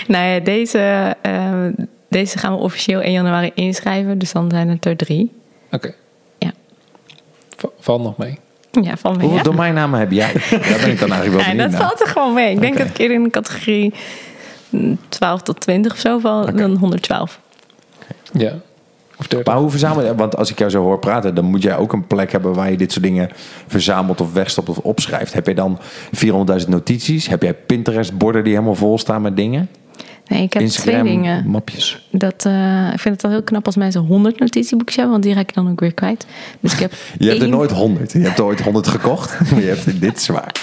Speaker 1: Nou ja, deze, eh, deze gaan we officieel 1 januari inschrijven. Dus dan zijn het er drie.
Speaker 3: Oké.
Speaker 1: Ja.
Speaker 3: Va- Valt nog mee.
Speaker 1: Ja, van mij.
Speaker 2: Hoeveel
Speaker 1: ja.
Speaker 2: domeinnamen heb jij? Daar ben ik dan eigenlijk wel
Speaker 1: Ja,
Speaker 2: benieuwd
Speaker 1: dat
Speaker 2: naar.
Speaker 1: valt er gewoon mee. Ik denk
Speaker 2: Oké.
Speaker 1: dat ik hier in de categorie mm, 12 tot 20 of zo val, dan 112.
Speaker 3: Ja. Of dertig.
Speaker 2: Maar hoe verzamel je... Want als ik jou zo hoor praten, dan moet jij ook een plek hebben... waar je dit soort dingen verzamelt of wegstopt of opschrijft. Heb je dan 400.000 notities? Heb jij Pinterest-borden die helemaal vol staan met dingen?
Speaker 1: Nee, ik heb twee dingen.
Speaker 2: Instagram-mapjes?
Speaker 1: Dat, eh, ik vind het al heel knap als mensen 100 notitieboekjes hebben, want die raak ik dan ook weer kwijt. Dus ik heb
Speaker 2: Je hebt er
Speaker 1: één-
Speaker 2: nooit 100. Je hebt er ooit 100 gekocht. Maar je hebt dit zwaar.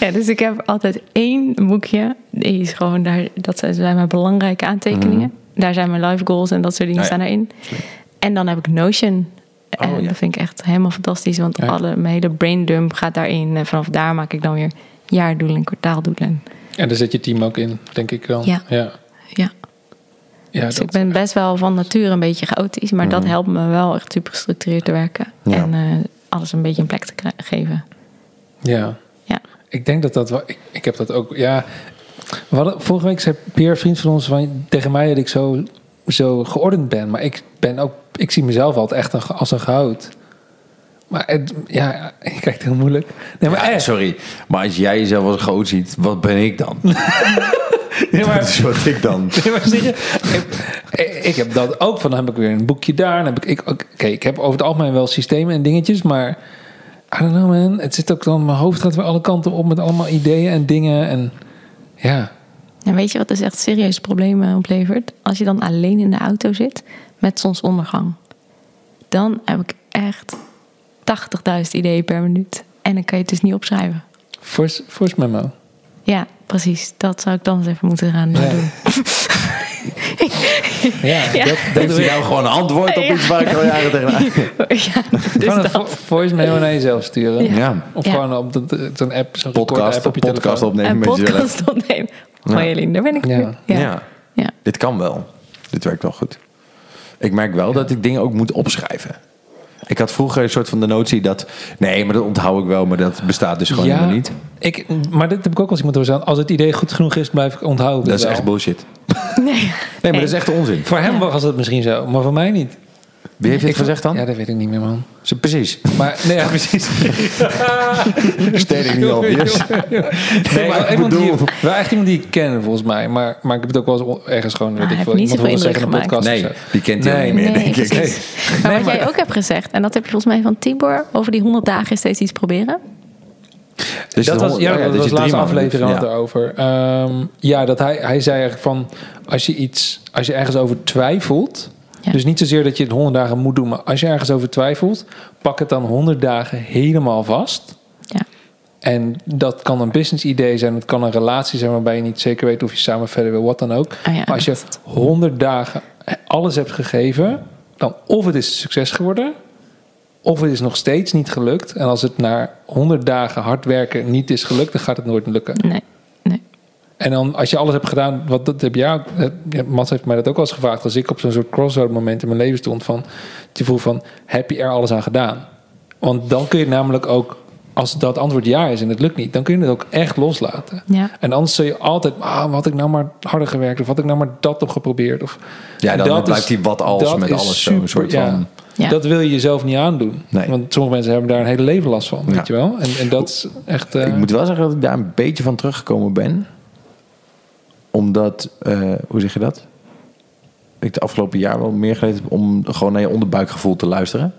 Speaker 1: Ja, dus ik heb altijd één boekje. Die is gewoon daar, dat zijn mijn belangrijke aantekeningen. Daar zijn mijn life goals en dat soort dingen
Speaker 2: Mhm. Nou Ja, ja.
Speaker 1: staan erin. En dan heb ik Notion. En
Speaker 2: Oh, ja.
Speaker 1: dat vind ik echt helemaal fantastisch, want
Speaker 3: Ja.
Speaker 1: alle, mijn hele braindump gaat daarin. En vanaf daar maak ik dan weer jaardoelen en kwartaaldoelen.
Speaker 3: En daar zit je team ook in, denk ik dan.
Speaker 1: Ja.
Speaker 3: Ja.
Speaker 1: Ja.
Speaker 3: Ja,
Speaker 1: Dus
Speaker 3: dat-
Speaker 1: ik ben best wel van nature een beetje chaotisch, maar dat helpt me wel echt super gestructureerd te werken.
Speaker 2: Mhm. Ja.
Speaker 1: En eh, alles een beetje een plek te kri- geven.
Speaker 3: ja.
Speaker 1: Ja.
Speaker 3: Ik denk dat dat wel. Ik, ik heb dat ook. Ja. We hadden- vorige week zei Pierre, vriend van ons, van, tegen mij dat ik zo, zo geordend ben. Maar ik ben ook. Ik zie mezelf altijd echt een ge- als een gehout. Maar het, ja, ik kijk heel moeilijk. Nee, maar echt.
Speaker 2: sorry. Maar als jij jezelf als groot ziet, wat ben ik dan?
Speaker 3: Nee, maar-
Speaker 2: Dat is wat ik dan.
Speaker 3: Nee, maar zie je, ik, ik- ik heb dat ook. Van dan heb ik weer een boekje daar. Dan heb ik, ik, ook- oké, ik heb over het algemeen wel systemen en dingetjes, maar I don't know man. Het zit ook dan, mijn hoofd gaat weer alle kanten op met allemaal ideeën en dingen. En ja,
Speaker 1: En weet je wat dus echt serieus problemen oplevert? Als je dan alleen in de auto zit met zonsondergang. Dan heb ik echt 80.000 ideeën per minuut. En dan kan je het dus niet opschrijven.
Speaker 3: force, force memo.
Speaker 1: Ja, precies. Dat zou ik dan eens even moeten gaan eh,
Speaker 3: Ja.
Speaker 1: doen.
Speaker 3: Ja, dat, dat
Speaker 2: Heeft hij nou gewoon een antwoord op iets waar ik al jaren tegenaan...
Speaker 1: Ja, dus
Speaker 3: Gewoon een
Speaker 1: dat.
Speaker 3: vo- voice memo naar jezelf sturen.
Speaker 1: Ja.
Speaker 2: Ja.
Speaker 3: Of
Speaker 1: Ja.
Speaker 3: gewoon op de- zo'n app,
Speaker 2: Podcast,
Speaker 3: zo'n recorder-app op je
Speaker 2: podcast
Speaker 3: telefoon.
Speaker 2: opnemen
Speaker 1: Een
Speaker 2: met jezelf.
Speaker 1: Eh, podcast opnemen. Hoi Eline, daar ben ik
Speaker 3: Ja.
Speaker 1: weer.
Speaker 2: Ja.
Speaker 1: Ja. Ja.
Speaker 2: dit kan wel. Dit werkt wel goed. Ik merk wel dat ik dingen ook moet opschrijven. Ik had vroeger een soort van de notie dat... Nee, maar dat onthoud ik wel, maar dat bestaat dus gewoon helemaal niet.
Speaker 3: Ik, maar dit heb ik ook als iemand hoor zeggen. Als het idee goed genoeg is, blijf ik onthouden.
Speaker 2: Dat is
Speaker 3: wel.
Speaker 2: echt bullshit.
Speaker 1: Nee.
Speaker 2: Nee, maar dat is echt onzin.
Speaker 3: Voor hem was het misschien zo, maar voor mij niet.
Speaker 2: Wie heeft dit
Speaker 3: Ik-
Speaker 2: gezegd dan?
Speaker 3: Ja, dat weet ik niet meer, man.
Speaker 2: Ze- Precies.
Speaker 3: Maar nee, ja, precies.
Speaker 2: Stedelijk niet obvious.
Speaker 3: Nee,
Speaker 2: maar
Speaker 3: wel
Speaker 2: ik
Speaker 3: iemand die,
Speaker 2: bedoel-
Speaker 3: wel echt iemand die ik ken, volgens mij. Maar, maar ik heb het ook wel eens ergens gewoon, weet
Speaker 1: Ah,
Speaker 3: ik
Speaker 1: hij
Speaker 3: veel,
Speaker 1: heeft niet
Speaker 3: iemand horen
Speaker 1: zoveel
Speaker 3: zeggen in een
Speaker 1: indruk
Speaker 3: podcast.
Speaker 2: Nee,
Speaker 3: of zo.
Speaker 2: die kent hij
Speaker 3: Nee.
Speaker 2: ook niet meer,
Speaker 1: Nee,
Speaker 2: denk ik.
Speaker 1: precies. Maar
Speaker 3: Nee,
Speaker 1: wat jij ook hebt gezegd, en dat heb je volgens mij van Tibor, over die 100 dagen is steeds iets proberen.
Speaker 2: Dus
Speaker 3: dat
Speaker 2: het
Speaker 3: was,
Speaker 2: honderd-
Speaker 3: ja,
Speaker 2: oh
Speaker 3: dat
Speaker 2: dus
Speaker 3: was
Speaker 2: je
Speaker 3: de laatste
Speaker 2: drie maanden
Speaker 3: aflevering
Speaker 2: doet.
Speaker 3: had het erover. Ehm, ja, dat hij, hij zei eigenlijk van... Als je, iets, als je ergens over twijfelt...
Speaker 1: Ja.
Speaker 3: Dus niet zozeer dat je het 100 dagen moet doen... maar als je ergens over twijfelt... pak het dan 100 dagen helemaal vast.
Speaker 1: Ja.
Speaker 3: En dat kan een business idee zijn, het kan een relatie zijn waarbij je niet zeker weet of je samen verder wil, wat dan ook.
Speaker 1: Oh ja,
Speaker 3: maar als je 100 dagen alles hebt gegeven, dan of het is een succes geworden, of het is nog steeds niet gelukt. En als het na 100 dagen hard werken niet is gelukt, dan gaat het nooit lukken.
Speaker 1: Nee, nee.
Speaker 3: En dan als je alles hebt gedaan, wat dat heb jij, ook- eh, ja, Mats heeft mij dat ook al eens gevraagd, als ik op zo'n soort crossroad moment in mijn leven stond van, die vroeg van, heb je er alles aan gedaan? Want dan kun je namelijk ook, als dat antwoord ja is en het lukt niet, dan kun je het ook echt loslaten.
Speaker 1: Ja.
Speaker 3: En anders zul je altijd, ah, had ik nou maar harder gewerkt of had ik nou maar dat nog geprobeerd of.
Speaker 2: Ja, dan
Speaker 3: dat
Speaker 2: blijft die wat als
Speaker 3: dat
Speaker 2: met
Speaker 3: is
Speaker 2: alles zo'n soort van-
Speaker 1: Ja.
Speaker 3: Dat wil je jezelf niet aandoen.
Speaker 2: Nee.
Speaker 3: Want sommige mensen hebben daar een hele leven last van, weet
Speaker 2: Ja.
Speaker 3: je wel? En, en dat is echt. eh,
Speaker 2: Ik moet wel zeggen dat ik daar een beetje van teruggekomen ben. Omdat, eh, hoe zeg je dat? Ik de afgelopen jaar wel meer geleerd heb om gewoon naar je onderbuikgevoel te luisteren.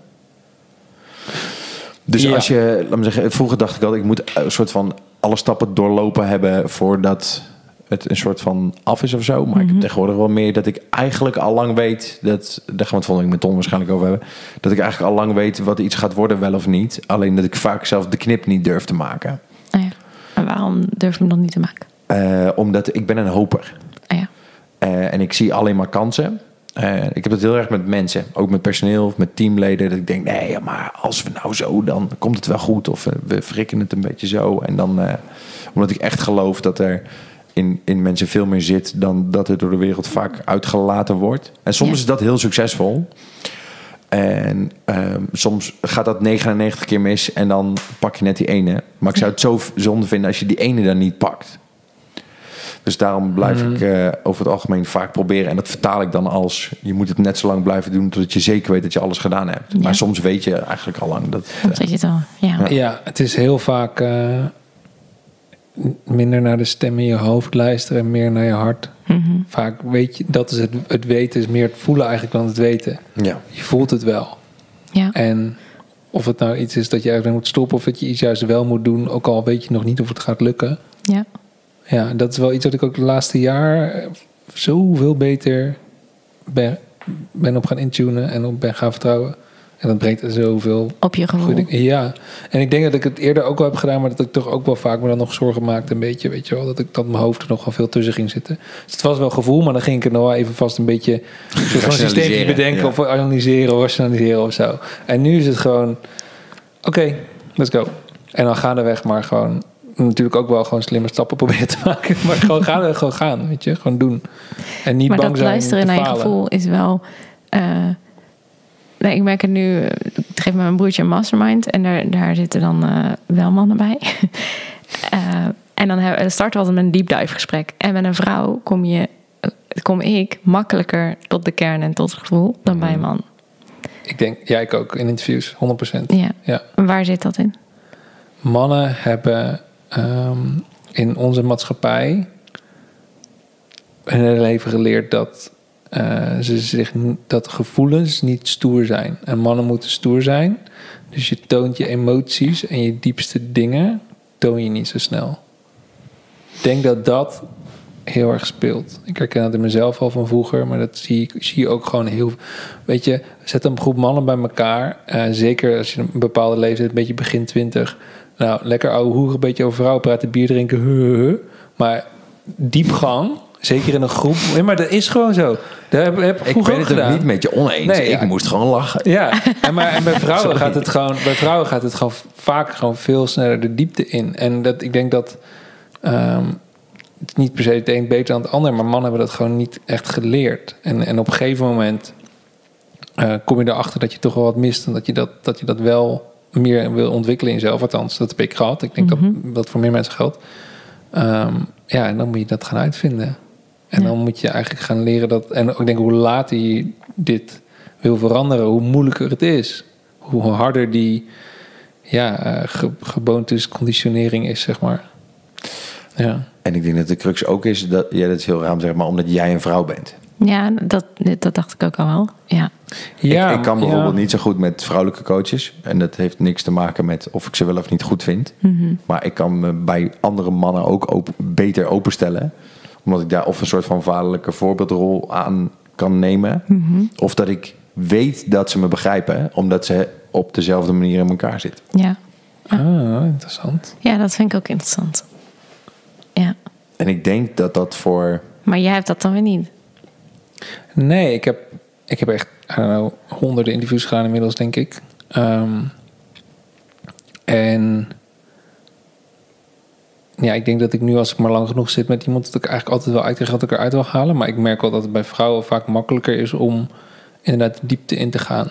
Speaker 2: Dus
Speaker 3: Ja.
Speaker 2: als je, laat me zeggen, vroeger dacht ik altijd, ik moet een soort van alle stappen doorlopen hebben voordat het een soort van af is of zo. Maar ik heb tegenwoordig wel meer dat ik eigenlijk al lang weet dat, daar gaan we het volgende week met Tom waarschijnlijk over hebben, dat ik eigenlijk al lang weet wat iets gaat worden, wel of niet. Alleen dat ik vaak zelf de knip niet durf te maken.
Speaker 1: Ah ja. En waarom durf je hem dan niet te maken?
Speaker 2: Eh, omdat ik ben een hoper.
Speaker 1: Ah ja.
Speaker 2: Eh, en ik zie alleen maar kansen. Eh, ik heb dat heel erg met mensen. Ook met personeel of met teamleden. Dat ik denk, nee, ja, maar als we nou zo, dan komt het wel goed. Of eh, we frikken het een beetje zo. En dan, eh, omdat ik echt geloof dat er in, in mensen veel meer zit... dan dat er door de wereld vaak uitgelaten wordt. En soms
Speaker 1: Ja.
Speaker 2: is dat heel succesvol. En ehm, soms gaat dat 99 keer mis en dan pak je net die ene. Maar ik zou het zo v- zonde vinden als je die ene dan niet pakt. Dus daarom blijf
Speaker 3: Mm.
Speaker 2: ik eh, over het algemeen vaak proberen. En dat vertaal ik dan als je moet het net zo lang blijven doen totdat je zeker weet dat je alles gedaan hebt.
Speaker 1: Ja.
Speaker 2: Maar soms weet je eigenlijk al lang dat. eh,
Speaker 1: Omdat je het al... Ja,
Speaker 3: Ja, het is heel vaak eh, n- minder naar de stem in je hoofd luisteren en meer naar je hart.
Speaker 1: Mhm.
Speaker 3: Vaak weet je, dat is het, het weten is meer het voelen eigenlijk dan het weten.
Speaker 2: ja.
Speaker 3: Je voelt het wel.
Speaker 1: ja.
Speaker 3: En of het nou iets is dat je eigenlijk moet stoppen of dat je iets juist wel moet doen, ook al weet je nog niet of het gaat lukken.
Speaker 1: ja.
Speaker 3: Ja, dat is wel iets wat ik ook de laatste jaar eh, zoveel beter ben, ben op gaan intunen en op ben gaan vertrouwen. En dat brengt zoveel
Speaker 1: Op je gevoel.
Speaker 3: Goed, ik- ja, en ik denk dat ik het eerder ook wel heb gedaan, maar dat ik toch ook wel vaak me dan nog zorgen maakte, een beetje, weet je wel, dat ik dat mijn hoofd er nog wel veel tussen ging zitten. Dus het was wel gevoel, maar dan ging ik er nog wel even vast een beetje een soort van systeempje
Speaker 2: Rationaliseren,
Speaker 3: bedenken
Speaker 2: ja.
Speaker 3: of analyseren of rationaliseren of zo. En nu is het gewoon, oké, let's go. En dan gaandeweg maar gewoon, natuurlijk ook wel gewoon slimme stappen proberen te maken, maar gewoon gaandeweg gewoon gaan, weet je, gewoon doen. En niet
Speaker 1: maar
Speaker 3: bang
Speaker 1: dat
Speaker 3: zijn
Speaker 1: luisteren
Speaker 3: te
Speaker 1: naar je
Speaker 3: falen.
Speaker 1: gevoel is wel. eh, nee, ik merk het nu. eh, Ik geef met mijn broertje een mastermind en daar, daar zitten dan eh, wel mannen bij. Eh, en dan heb- starten we altijd met een deep dive gesprek. En met een vrouw kom, je, eh, kom ik makkelijker tot de kern en tot het gevoel dan bij
Speaker 3: Mhm.
Speaker 1: een man.
Speaker 3: Ik denk, jij ik ook, in interviews, 100%.
Speaker 1: Ja.
Speaker 3: Ja.
Speaker 1: Waar zit dat in?
Speaker 3: mannen hebben ehm, in onze maatschappij hun hele leven geleerd dat, eh, ze zich, n- dat gevoelens niet stoer zijn. En mannen moeten stoer zijn. Dus je toont je emoties en je diepste dingen toon je niet zo snel. Ik denk dat dat heel erg speelt. Ik herken dat in mezelf al van vroeger, maar dat zie ik zie je ook gewoon heel. Weet je, zet een groep mannen bij elkaar. eh, zeker als je een bepaalde leeftijd, een beetje begin twintig. Nou, lekker ouwe hoeren, een beetje over vrouwen praten, bier drinken. huh, huh, huh. Maar diepgang, zeker in een groep. Nee, maar dat is gewoon zo. Daar heb, heb ik
Speaker 2: Ik
Speaker 3: vroeger
Speaker 2: ben
Speaker 3: ook
Speaker 2: het
Speaker 3: gedaan.
Speaker 2: er niet met je oneens.
Speaker 3: Nee,
Speaker 2: ik
Speaker 3: ja.
Speaker 2: moest gewoon lachen.
Speaker 3: Ja, en, maar, en bij, vrouwen gaat het gewoon, bij vrouwen gaat het gewoon vaak gewoon veel sneller de diepte in. En dat, ik denk dat ehm, het is niet per se het een beter dan het ander, maar mannen hebben dat gewoon niet echt geleerd. En, en op een gegeven moment eh, kom je erachter dat je toch wel wat mist en dat je dat, dat, je dat wel meer wil ontwikkelen in jezelf. Althans, dat heb ik gehad. Ik denk dat dat voor meer mensen geldt. Ehm, ja, en dan moet je dat gaan uitvinden. En
Speaker 1: Ja.
Speaker 3: dan moet je eigenlijk gaan leren dat. En ook denk hoe later je dit wil veranderen, hoe moeilijker het is. Hoe harder die ja, eh, ge- gewoontes, conditionering is, zeg maar. Ja.
Speaker 2: En ik denk dat de crux ook is dat, ja, dat is heel raar om te zeggen, maar omdat jij een vrouw bent.
Speaker 1: Ja, dat, dat dacht ik ook al wel. Ja.
Speaker 3: ja
Speaker 2: ik, ik kan
Speaker 3: ja.
Speaker 2: bijvoorbeeld niet zo goed met vrouwelijke coaches. En dat heeft niks te maken met of ik ze wel of niet goed vind.
Speaker 3: Mhm.
Speaker 2: Maar ik kan me bij andere mannen ook op, beter openstellen. Omdat ik daar of een soort van vaderlijke voorbeeldrol aan kan nemen.
Speaker 3: Mhm.
Speaker 2: Of dat ik weet dat ze me begrijpen. Omdat ze op dezelfde manier in elkaar zitten.
Speaker 1: Ja.
Speaker 3: Ah, interessant.
Speaker 1: ja, dat vind ik ook interessant. Ja.
Speaker 2: En ik denk dat dat voor...
Speaker 1: Maar jij hebt dat dan weer niet.
Speaker 3: Nee, ik heb, ik heb echt I don't know, honderden interviews gedaan inmiddels, denk ik. Ehm, en ja, ik denk dat ik nu, als ik maar lang genoeg zit met iemand, dat ik eigenlijk altijd wel uitkrijg wat ik eruit wil halen. Maar ik merk wel dat het bij vrouwen vaak makkelijker is om inderdaad de diepte in te gaan.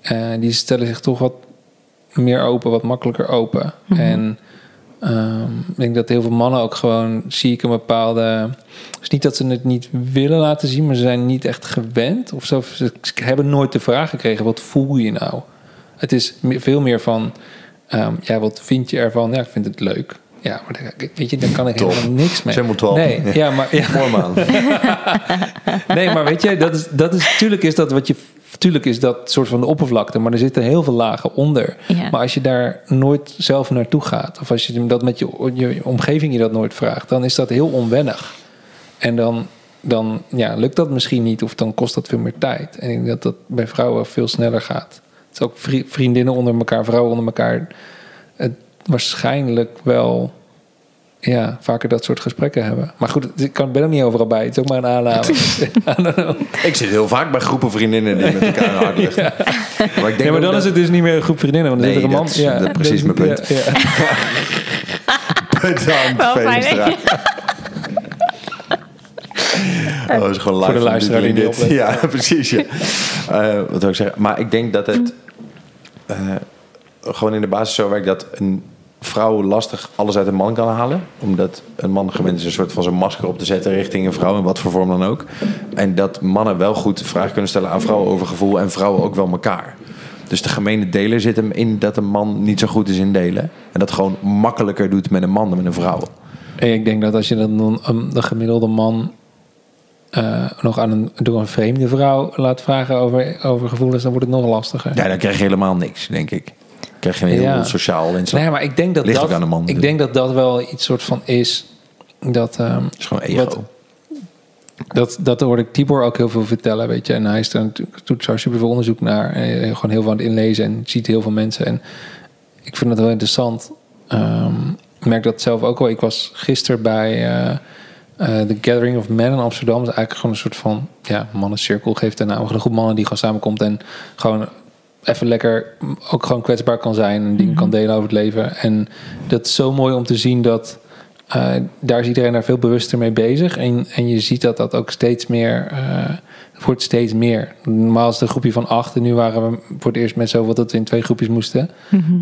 Speaker 3: Eh, die stellen zich toch wat meer open, wat makkelijker open. En ehm, ik denk dat heel veel mannen ook gewoon, zie ik een bepaalde. Dus niet dat ze het niet willen laten zien, maar ze zijn niet echt gewend. Of zo, ze ze hebben nooit de vraag gekregen: wat voel je nou? Het is me- veel meer van: ehm, ja, wat vind je ervan? Ja, ik vind het leuk. Ja, maar daar- weet je, daar kan ik
Speaker 2: Top.
Speaker 3: helemaal niks mee.
Speaker 2: Ze moet wel.
Speaker 3: Nee, ja, maar, ja,
Speaker 2: Mooi man.
Speaker 3: Nee, maar weet je, dat is, dat is, tuurlijk is dat wat je. Tuurlijk is dat soort van de oppervlakte, maar er zitten heel veel lagen onder.
Speaker 1: Ja.
Speaker 3: Maar als je daar nooit zelf naartoe gaat, of als je dat met je, je omgeving je dat nooit vraagt, dan is dat heel onwennig. En dan, dan ja, lukt dat misschien niet, of dan kost dat veel meer tijd. En ik denk dat dat bij vrouwen veel sneller gaat. Het is ook vri- vriendinnen onder elkaar, vrouwen onder elkaar, het waarschijnlijk wel ja, vaker dat soort gesprekken hebben. Maar goed, ik kan, ben ook niet overal bij. Het is ook maar een aanname.
Speaker 2: ik zit heel vaak bij groepen vriendinnen die met elkaar hard luchten. Maar ik denk
Speaker 3: Ja, maar
Speaker 2: ook
Speaker 3: dan
Speaker 2: dat-
Speaker 3: is het dus niet meer een groep vriendinnen. Want dan
Speaker 2: Nee,
Speaker 3: zit er een man.
Speaker 2: dat is- dat is precies
Speaker 3: dat-
Speaker 2: mijn punt.
Speaker 3: ja, ja.
Speaker 2: Bedankt,
Speaker 1: Wel fijn, hè?
Speaker 2: Veenstra. Oh, dat is gewoon live
Speaker 3: Voor de
Speaker 2: van
Speaker 3: luisteraar die
Speaker 2: Dieteling
Speaker 3: niet
Speaker 2: dit. Ja, precies. ja. Eh, wat wil ik zeggen? Maar ik denk dat het eh, gewoon in de basis zo werkt dat een vrouw lastig alles uit een man kan halen. Omdat een man gewend is een soort van zijn masker op te zetten richting een vrouw, in wat voor vorm dan ook. En dat mannen wel goed vragen kunnen stellen aan vrouwen over gevoel en vrouwen ook wel elkaar. Dus de gemene deler zit hem in dat een man niet zo goed is in delen. En dat gewoon makkelijker doet met een man dan met een vrouw.
Speaker 3: En ik denk dat als je dan een, een- de gemiddelde man eh, nog aan een, door een vreemde vrouw laat vragen over, over gevoelens, dan wordt het nog lastiger.
Speaker 2: Ja, dan krijg je helemaal niks, denk ik. Dan krijg je een heel
Speaker 3: Ja.
Speaker 2: sociaal en zo.
Speaker 3: Nee, maar ik denk dat
Speaker 2: Ligt
Speaker 3: dat,
Speaker 2: ook aan de man
Speaker 3: ik
Speaker 2: natuurlijk.
Speaker 3: denk dat dat wel iets soort van is dat. ehm,
Speaker 2: Het is gewoon ego.
Speaker 3: Wat- dat, dat hoorde ik Tibor ook heel veel vertellen, weet je. En hij is er natuurlijk- doet zo superveel onderzoek naar. En eh, gewoon heel veel aan het inlezen en ziet heel veel mensen. En ik vind dat wel interessant. Ehm, ik merk dat zelf ook wel. Ik was gisteren bij eh, eh, The Gathering of Men in Amsterdam. Dat is eigenlijk gewoon een soort van ja, mannencirkel geeft een naam. Gewoon een groep mannen die gewoon samenkomt en gewoon even lekker mm, ook gewoon kwetsbaar kan zijn. En dingen kan delen over het leven. En dat is zo mooi om te zien dat... eh, daar is iedereen daar veel bewuster mee bezig. En, en je ziet dat dat ook steeds meer... eh, het wordt steeds meer. Normaal is het een groepje van acht. En nu waren we voor het eerst met zoveel dat we in twee groepjes moesten.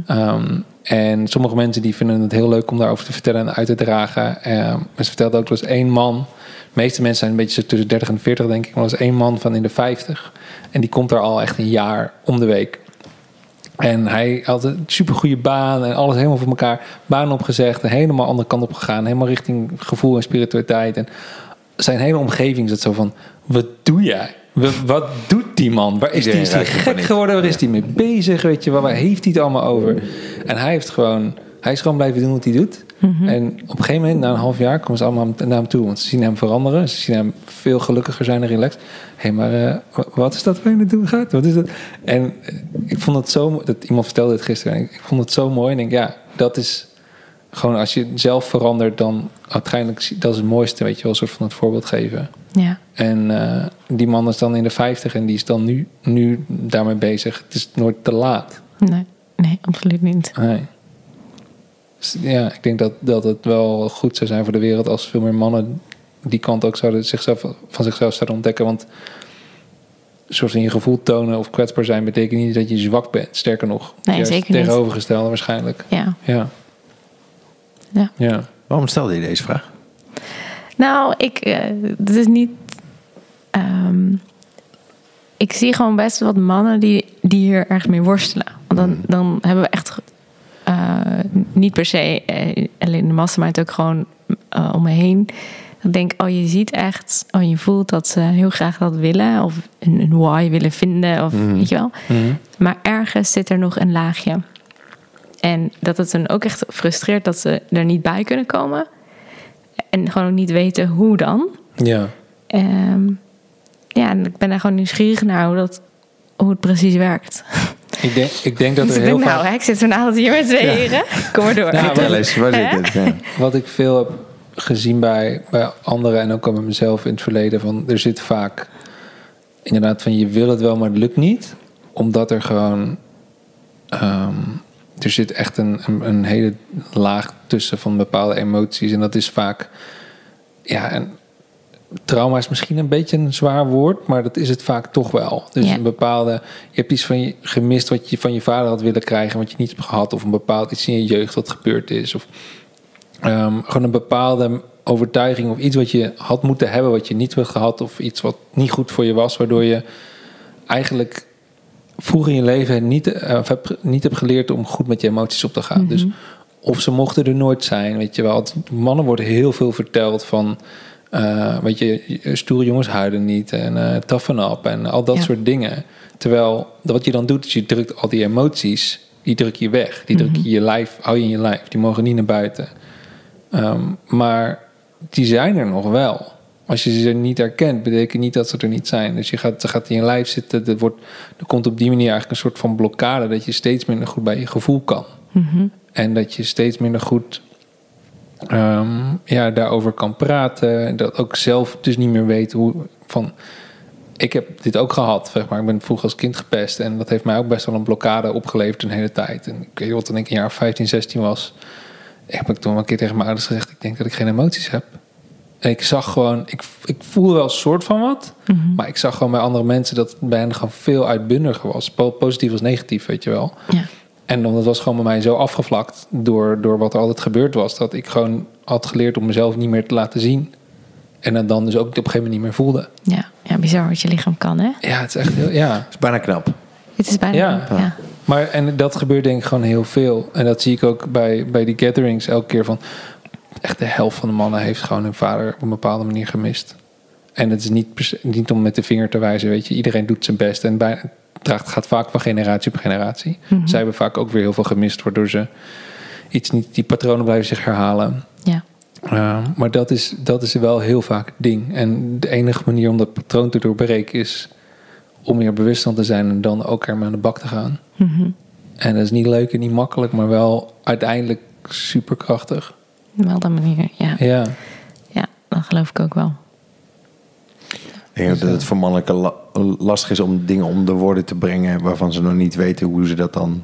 Speaker 3: Ehm, en sommige mensen die vinden het heel leuk om daarover te vertellen en uit te dragen. Ehm, maar ze vertelde ook, er was één man. De meeste mensen zijn een beetje zo tussen 30 en 40, denk ik. Maar er was één man van in de 50. En die komt daar al echt een jaar om de week. En hij had een supergoeie baan en alles helemaal voor elkaar. Baan opgezegd, en helemaal andere kant op gegaan. Helemaal richting gevoel en spiritualiteit. En zijn hele omgeving zat zo van, wat doe jij? Wat- Wat doet die man? Waar is die,
Speaker 2: Iedereen
Speaker 3: is die
Speaker 2: raakt in
Speaker 3: gek
Speaker 2: paniek.
Speaker 3: geworden? Waar is die mee bezig? Weet je, wel? waar heeft hij het allemaal over? En hij heeft gewoon, hij is gewoon blijven doen wat hij doet. En op een gegeven moment, na een half jaar, komen ze allemaal naar hem toe. Want ze zien hem veranderen. Ze zien hem veel gelukkiger zijn en relaxed. Hé, maar eh, wa- wat is dat waar je naartoe gaat? Wat is dat? En eh, ik vond het zo... mo- Dat, iemand vertelde het gisteren. En ik, ik vond het zo mooi. En ik denk, ja, dat is gewoon... Als je zelf verandert, dan uiteindelijk... zie- Dat is het mooiste, weet je wel. Een soort van het voorbeeld geven.
Speaker 1: Ja.
Speaker 3: En eh, die man is dan in de 50 en die is dan nu, nu daarmee bezig. Het is nooit te laat.
Speaker 1: Nee, nee, absoluut niet.
Speaker 3: Nee. Dus ja, ik denk dat, dat het wel goed zou zijn voor de wereld als veel meer mannen die kant ook zouden zichzelf, van zichzelf zouden ontdekken. Want een soort van je gevoel tonen of kwetsbaar zijn betekent niet dat je zwak bent. Sterker nog,
Speaker 1: Nee,
Speaker 3: juist
Speaker 1: zeker niet.
Speaker 3: tegenovergestelde waarschijnlijk.
Speaker 1: Ja.
Speaker 3: Ja.
Speaker 1: Ja.
Speaker 3: ja.
Speaker 2: Waarom stelde je deze vraag?
Speaker 1: Nou, ik, eh, het is niet. ehm, ik zie gewoon best wat mannen die, die hier erg mee worstelen. Want dan, dan hebben we echt eh, niet per se eh, alleen de mastermind, ook gewoon eh, om me heen. Dan denk ik, oh, je ziet echt, oh, je voelt dat ze heel graag dat willen. Of een, een why willen vinden, of weet je wel. Maar ergens zit er nog een laagje. En dat het hen ook echt frustreert dat ze er niet bij kunnen komen. En gewoon ook niet weten hoe dan.
Speaker 3: ja.
Speaker 1: Ehm, ja, en ik ben daar gewoon nieuwsgierig naar hoe, dat, hoe het precies werkt.
Speaker 3: Ik, denk, ik denk dat
Speaker 1: Dus
Speaker 3: er
Speaker 1: ik
Speaker 3: heel
Speaker 1: denk,
Speaker 3: vaak...
Speaker 1: nou, hè, ik zit vanavond hier met twee heren. Kom maar door.
Speaker 3: Ja,
Speaker 2: Vertel
Speaker 3: maar-
Speaker 2: eens, waar zit
Speaker 1: Hè?
Speaker 2: dit? Ja.
Speaker 3: wat ik veel heb gezien bij, bij anderen en ook al bij mezelf in het verleden, van er zit vaak inderdaad van je wil het wel, maar het lukt niet. Omdat er gewoon. ehm, er zit echt een, een, een hele laag tussen van bepaalde emoties. En dat is vaak. Ja, en trauma is misschien een beetje een zwaar woord, maar dat is het vaak toch wel. Dus
Speaker 1: Ja.
Speaker 3: een bepaalde. Je hebt iets van je gemist wat je van je vader had willen krijgen, wat je niet hebt gehad. Of een bepaald iets in je jeugd wat gebeurd is. Of Ehm, gewoon een bepaalde overtuiging of iets wat je had moeten hebben, wat je niet hebt gehad, of iets wat niet goed voor je was, waardoor je eigenlijk vroeg in je leven niet, eh, of heb, niet hebt geleerd om goed met je emoties op te gaan. Dus of ze mochten er nooit zijn, weet je wel. Het- Mannen worden heel veel verteld van, eh, weet je, stoere jongens huilen niet en eh toughen up en al dat
Speaker 1: Ja.
Speaker 3: soort dingen. Terwijl wat je dan doet, is je drukt al die emoties, die druk je weg. Die druk je in je lijf, hou je in je lijf. Die mogen niet naar buiten. Ehm, maar die zijn er nog wel. Als je ze niet herkent, betekent niet dat ze er niet zijn. Dus je gaat, ze gaat in je lijf zitten. Er, wordt, er komt op die manier eigenlijk een soort van blokkade dat je steeds minder goed bij je gevoel kan. Mhm. En dat je steeds minder goed ehm, ja, daarover kan praten. Dat ook zelf dus niet meer weet hoe van. Ik heb dit ook gehad, zeg maar. Ik ben vroeg als kind gepest. En dat heeft mij ook best wel een blokkade opgeleverd een hele tijd. En ik weet wat, toen ik een jaar of 15, 16 was heb ik toen wel een keer tegen mijn ouders gezegd: Ik denk dat ik geen emoties heb. En ik zag gewoon, ik, ik voel wel een soort van wat. Maar ik zag gewoon bij andere mensen dat het bij hen gewoon veel uitbundiger was. Po- Positief als negatief, weet je wel.
Speaker 1: Ja.
Speaker 3: En dat was gewoon bij mij zo afgevlakt door, door wat er altijd gebeurd was. Dat ik gewoon had geleerd om mezelf niet meer te laten zien. En dat dan dus ook op een gegeven moment niet meer voelde.
Speaker 1: Ja. ja, bizar wat je lichaam kan, hè?
Speaker 3: Ja, het is echt heel, ja.
Speaker 2: is bijna knap.
Speaker 1: Het is bijna...
Speaker 3: Ja.
Speaker 1: ja.
Speaker 3: Maar en dat gebeurt denk ik gewoon heel veel. En dat zie ik ook bij, bij die gatherings elke keer van... Echt de helft van de mannen heeft gewoon hun vader op een bepaalde manier gemist. En het is niet, per se- niet om met de vinger te wijzen, weet je. Iedereen doet zijn best en bij, draagt, gaat vaak van generatie op generatie. Zij hebben vaak ook weer heel veel gemist, waardoor ze iets niet... Die patronen blijven zich herhalen.
Speaker 1: ja.
Speaker 2: Ehm,
Speaker 3: Uh, maar dat is, dat is wel heel vaak het ding. En de enige manier om dat patroon te doorbreken is om er bewust van te zijn en dan ook ermee aan de bak te gaan. En dat is niet leuk en niet makkelijk, maar wel uiteindelijk superkrachtig.
Speaker 1: Wel dat manier, ja. ja.
Speaker 3: Ja,
Speaker 1: dat geloof ik ook wel.
Speaker 2: Ik denk ook dat het voor mannelijke la- lastig is om dingen onder woorden te brengen waarvan ze nog niet weten hoe ze dat dan.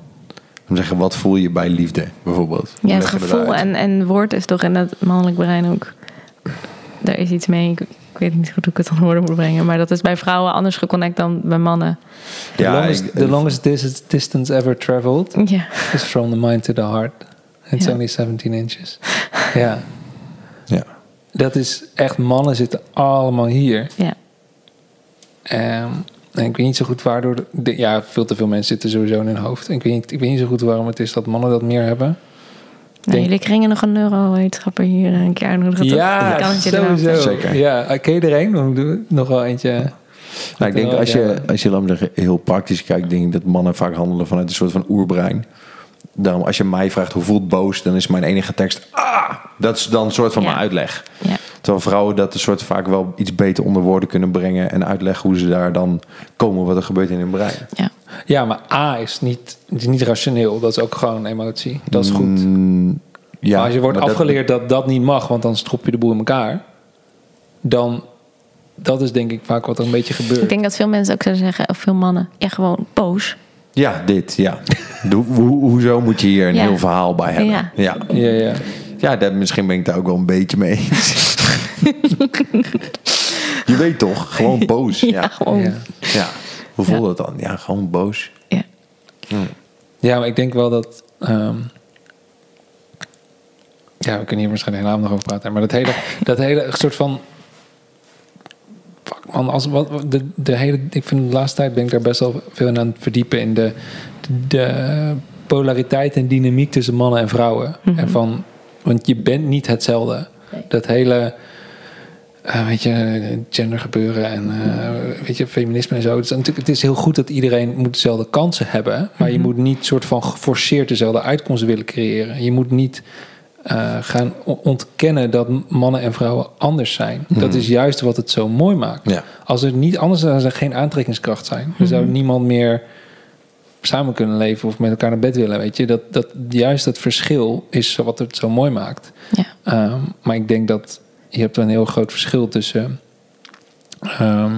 Speaker 2: Om te zeggen, wat voel je bij liefde bijvoorbeeld? Hoe
Speaker 1: Ja, het
Speaker 2: leg je dat
Speaker 1: gevoel
Speaker 2: uit?
Speaker 1: en, en woord is toch in dat mannelijk brein ook... Daar is iets mee. Ik, ik weet niet goed hoe ik het aan woorden moet brengen. Maar dat is bij vrouwen anders geconnect dan bij mannen.
Speaker 3: the
Speaker 2: Ja,
Speaker 3: longest,
Speaker 2: ik-
Speaker 3: the longest dis- distance ever traveled
Speaker 1: Ja.
Speaker 3: is from the mind to the heart. It's
Speaker 1: Ja.
Speaker 3: only 17 inches. ja,
Speaker 2: Ja.
Speaker 3: dat is echt, mannen zitten allemaal hier.
Speaker 1: Ja.
Speaker 3: Ehm, en ik weet niet zo goed waardoor. de- ja, veel te veel mensen zitten sowieso in hun hoofd. En ik, weet niet, ik weet niet zo goed waarom het is dat mannen dat meer hebben.
Speaker 1: Nou,
Speaker 3: Denk-
Speaker 1: jullie kringen nog een neurowetenschapper hier eh, een keer uitnodigen. toch? Die kan het je eraan
Speaker 3: sowieso.
Speaker 1: vertellen.
Speaker 2: Zeker.
Speaker 3: Ja, eh, ken je er een? Dan doen we nog wel eentje.
Speaker 2: Nou, ik denk als je, als je laat me zeggen, heel praktisch kijkt, denk ik dat mannen vaak handelen vanuit een soort van oerbrein. Daarom, als je mij vraagt hoe voelt boos, dan is mijn enige tekst. Ah! Dat is dan een soort van
Speaker 1: Ja.
Speaker 2: mijn uitleg.
Speaker 1: Ja.
Speaker 2: Terwijl vrouwen dat een soort vaak wel iets beter onder woorden kunnen brengen en uitleggen hoe ze daar dan komen wat er gebeurt in hun brein.
Speaker 1: dus- Ja.
Speaker 3: Ja, maar A is niet, is niet rationeel. Dat is ook gewoon emotie. Dat is goed.
Speaker 2: Mm, Ja,
Speaker 3: maar als je wordt
Speaker 2: maar dat-
Speaker 3: afgeleerd dat, dat niet mag, want dan strop je de boel in elkaar. Dan, dat is denk ik vaak wat er een beetje gebeurt.
Speaker 1: Ik denk dat veel mensen ook zouden zeggen, of veel mannen, ja, gewoon boos.
Speaker 2: Ja, dit, ja. Doe- ho- hoezo moet je hier een
Speaker 1: Ja.
Speaker 2: heel verhaal bij hebben?
Speaker 1: Ja.
Speaker 2: Ja, ja.
Speaker 3: ja, ja.
Speaker 2: dat, misschien ben ik daar ook wel een beetje mee eens. je weet toch, gewoon boos.
Speaker 1: Ja,
Speaker 2: Ja,
Speaker 1: gewoon. Ja.
Speaker 3: ja.
Speaker 2: ja. Hoe voelt dat dan? Ja, gewoon boos.
Speaker 1: Ja.
Speaker 3: Ja, maar ik denk wel dat. ehm, ja, we kunnen hier waarschijnlijk helemaal nog over praten. Maar dat hele, dat hele soort van. Fuck man, als, wat, wat- de, de hele, ik vind de laatste tijd ben ik daar best wel veel in aan het verdiepen. In de, de polariteit en dynamiek tussen mannen en vrouwen. en van, want je bent niet hetzelfde.
Speaker 1: Nee.
Speaker 3: Dat hele eh, weet je, gendergebeuren en eh, weet je, feminisme en zo. Het is, natuurlijk, het is heel goed dat iedereen moet dezelfde kansen hebben. Maar je moet niet soort van geforceerd dezelfde uitkomsten willen creëren. Je moet niet eh, gaan on- ontkennen dat m- mannen en vrouwen anders zijn. Dat is juist wat het zo mooi maakt.
Speaker 2: Ja.
Speaker 3: Als er niet anders zou er geen aantrekkingskracht zijn. Er zou niemand meer samen kunnen leven of met elkaar naar bed willen. Weet je? Dat, dat, juist dat verschil is wat het zo mooi maakt.
Speaker 1: Ja.
Speaker 3: Ehm, maar ik denk dat je hebt een heel groot verschil tussen ehm,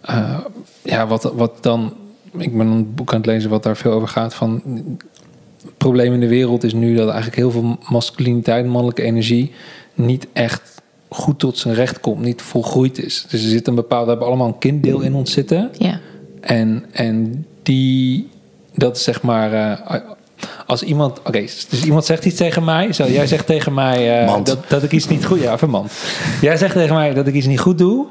Speaker 3: eh, ja, wat, wat dan. Ik ben een boek aan het lezen wat daar veel over gaat. Van het probleem in de wereld is nu dat eigenlijk heel veel masculiniteit, mannelijke energie, niet echt goed tot zijn recht komt, niet volgroeid is. Dus er zit een bepaald, we hebben allemaal een kinddeel in ons zitten.
Speaker 1: Ja.
Speaker 3: En, en die, dat is zeg maar. eh, als iemand, oké, dus iemand zegt iets tegen mij. Zo, jij zegt tegen mij eh,
Speaker 2: Mand.
Speaker 3: dat, dat ik iets niet goed, ja, even man. Jij zegt tegen mij dat ik iets niet goed doe.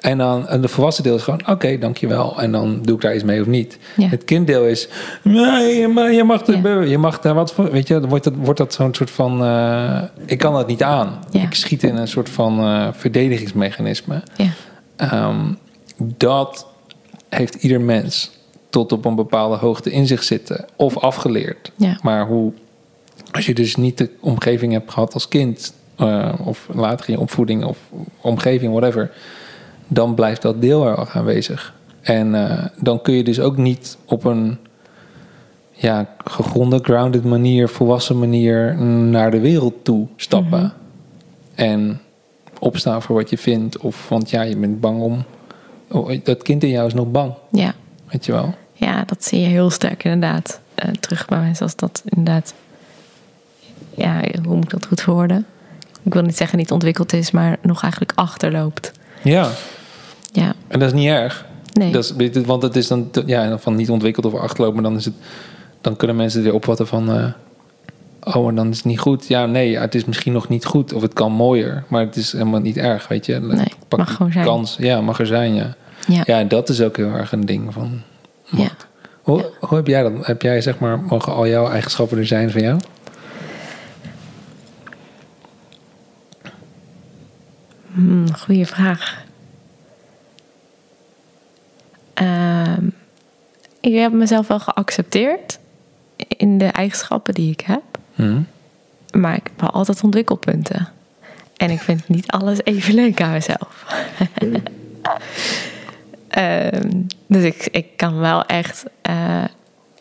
Speaker 3: En dan en de volwassen deel is gewoon, oké, dankjewel. En dan doe ik daar iets mee of niet.
Speaker 1: Ja.
Speaker 3: Het kinddeel is, nee, maar je mag,
Speaker 1: Ja.
Speaker 3: je mag daar wat voor, weet je, dan wordt dat, wordt dat zo'n soort van, eh, ik kan dat niet aan.
Speaker 1: Ja.
Speaker 3: Ik schiet in een soort van eh, verdedigingsmechanisme.
Speaker 1: Ja.
Speaker 3: Ehm, dat heeft ieder mens tot op een bepaalde hoogte in zich zitten of afgeleerd.
Speaker 1: Ja.
Speaker 3: Maar hoe, als je dus niet de omgeving hebt gehad als kind, eh, of later in je opvoeding of omgeving, whatever, dan blijft dat deel er erg aanwezig. En eh, dan kun je dus ook niet op een ja, gegronde, grounded manier, volwassen manier naar de wereld toe stappen. En opstaan voor wat je vindt. Of want ja, je bent bang om. oh, dat kind in jou is nog bang,
Speaker 1: Ja.
Speaker 3: weet je wel.
Speaker 1: Ja, dat zie je heel sterk inderdaad. eh, terug bij mensen als dat inderdaad... Ja, hoe moet ik dat goed verwoorden? ik wil niet zeggen niet ontwikkeld is, maar nog eigenlijk achterloopt.
Speaker 3: Ja,
Speaker 1: Ja,
Speaker 3: en dat is niet erg.
Speaker 1: nee.
Speaker 3: Dat is, want het is dan ja, van niet ontwikkeld of achterlopen, maar dan, is het, dan kunnen mensen er opvatten van. eh, oh, maar dan is het niet goed. Ja, nee, ja, het is misschien nog niet goed of het kan mooier, maar het is helemaal niet erg, weet je.
Speaker 1: Nee,
Speaker 3: Pak
Speaker 1: mag
Speaker 3: die
Speaker 1: gewoon zijn.
Speaker 3: Kans. Ja, mag er zijn, ja.
Speaker 1: ja.
Speaker 3: Ja, en dat is ook heel erg een ding van.
Speaker 1: ja.
Speaker 3: Hoe, hoe heb jij dat? Heb jij zeg maar, mogen al jouw eigenschappen er zijn van jou?
Speaker 1: Hmm, goeie vraag. Ehm, ik heb mezelf wel geaccepteerd in de eigenschappen die ik heb.
Speaker 3: Hm?
Speaker 1: Maar ik heb wel altijd ontwikkelpunten. En ik vind niet alles even leuk aan mezelf. Ehm, dus ik, ik kan wel echt eh,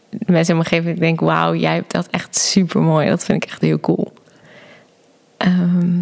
Speaker 1: de mensen in mijn omgeving ik denk, wauw, jij hebt dat echt super mooi. Dat vind ik echt heel cool. Ehm,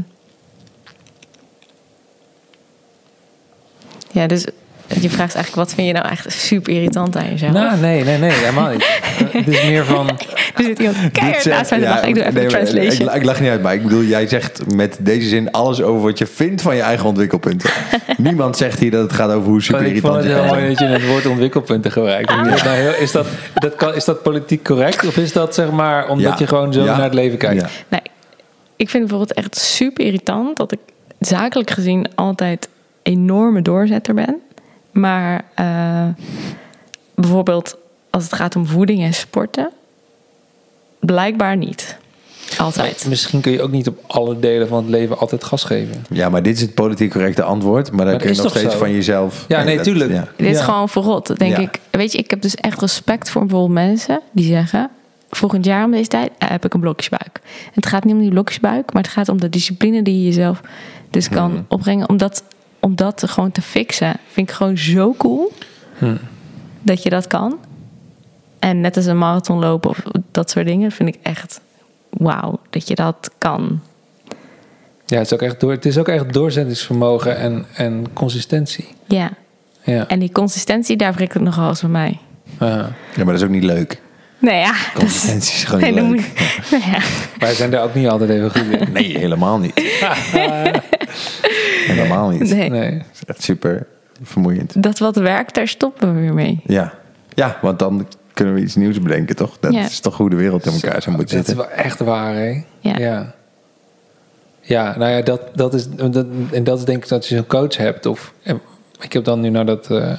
Speaker 1: ja, dus je vraagt eigenlijk, wat vind je nou echt super irritant aan jezelf?
Speaker 3: Nou, nee, nee, nee, helemaal niet. het is meer van.
Speaker 1: er zit iemand keihard
Speaker 2: zegt-
Speaker 1: naast mij te
Speaker 2: ja,
Speaker 1: lachen. Ik doe even
Speaker 2: nee,
Speaker 1: een
Speaker 2: maar eh,
Speaker 1: translation.
Speaker 2: Ik, ik lach niet uit, maar ik bedoel, jij zegt met deze zin alles over wat je vindt van je eigen ontwikkelpunten. Niemand zegt hier dat het gaat over hoe super
Speaker 3: ik vond
Speaker 2: irritant
Speaker 3: het
Speaker 2: je
Speaker 3: heel
Speaker 2: kan zijn.
Speaker 3: mooi dat je het woord ontwikkelpunten gebruikt.
Speaker 1: Ah.
Speaker 3: Ik dacht, nou, heel- Is dat, dat kan, is dat politiek correct? Of is dat zeg maar omdat
Speaker 2: Ja.
Speaker 3: je gewoon zo
Speaker 2: Ja.
Speaker 3: naar het leven kijkt?
Speaker 2: Ja.
Speaker 1: Nee, ik vind het bijvoorbeeld echt super irritant dat ik zakelijk gezien altijd enorme doorzetter ben. Maar eh, bijvoorbeeld als het gaat om voeding en sporten, blijkbaar niet. Altijd.
Speaker 3: Misschien kun je ook niet op alle delen van het leven altijd gas geven.
Speaker 2: Ja, maar dit is het politiek correcte antwoord. Maar dan
Speaker 3: dat
Speaker 2: kun je
Speaker 3: is
Speaker 2: nog
Speaker 3: toch
Speaker 2: steeds
Speaker 3: zo?
Speaker 2: van jezelf.
Speaker 3: Ja, nee,
Speaker 2: dat-
Speaker 3: tuurlijk.
Speaker 2: ja.
Speaker 1: Dit is
Speaker 3: Ja.
Speaker 1: gewoon verrot, denk
Speaker 2: Ja.
Speaker 1: ik. Weet je, ik heb dus echt respect voor bijvoorbeeld mensen die zeggen... volgend jaar om deze tijd eh, heb ik een blokjesbuik. En het gaat niet om die blokjesbuik, maar het gaat om de discipline die je jezelf dus kan
Speaker 2: Hmm.
Speaker 1: opbrengen. Om dat, om dat te- gewoon te fixen vind ik gewoon zo cool
Speaker 2: Hmm.
Speaker 1: dat je dat kan. En net als een marathon lopen of dat soort dingen vind ik echt wauw dat je dat kan.
Speaker 3: Ja, het is ook echt, door, het is ook echt doorzettingsvermogen en, en consistentie.
Speaker 1: Ja,
Speaker 3: Ja.
Speaker 1: en die consistentie, daar breekt het nogal eens bij mij.
Speaker 3: Ja.
Speaker 2: Ja, maar dat is ook niet leuk.
Speaker 1: Nou ja, dat is-
Speaker 2: Consistentie is gewoon
Speaker 1: Nee,
Speaker 2: niet
Speaker 1: dan
Speaker 2: leuk.
Speaker 1: moet je- nou ja.
Speaker 3: Wij zijn daar ook niet altijd even goed in.
Speaker 2: Nee, helemaal niet. helemaal niet.
Speaker 1: Nee.
Speaker 3: Nee.
Speaker 2: Dat is echt super vermoeiend.
Speaker 1: dat wat werkt, daar stoppen we weer mee.
Speaker 2: Ja. ja, want dan kunnen we iets nieuws bedenken, toch? Dat
Speaker 1: Ja.
Speaker 2: is toch hoe de wereld in elkaar zou moeten
Speaker 3: Dat is
Speaker 2: zitten.
Speaker 3: wel echt waar, hè?
Speaker 1: Ja.
Speaker 3: ja. Ja, nou ja, dat, dat is, dat, en dat is denk ik dat je zo'n coach hebt. Of, en ik heb dan nu naar dat, eh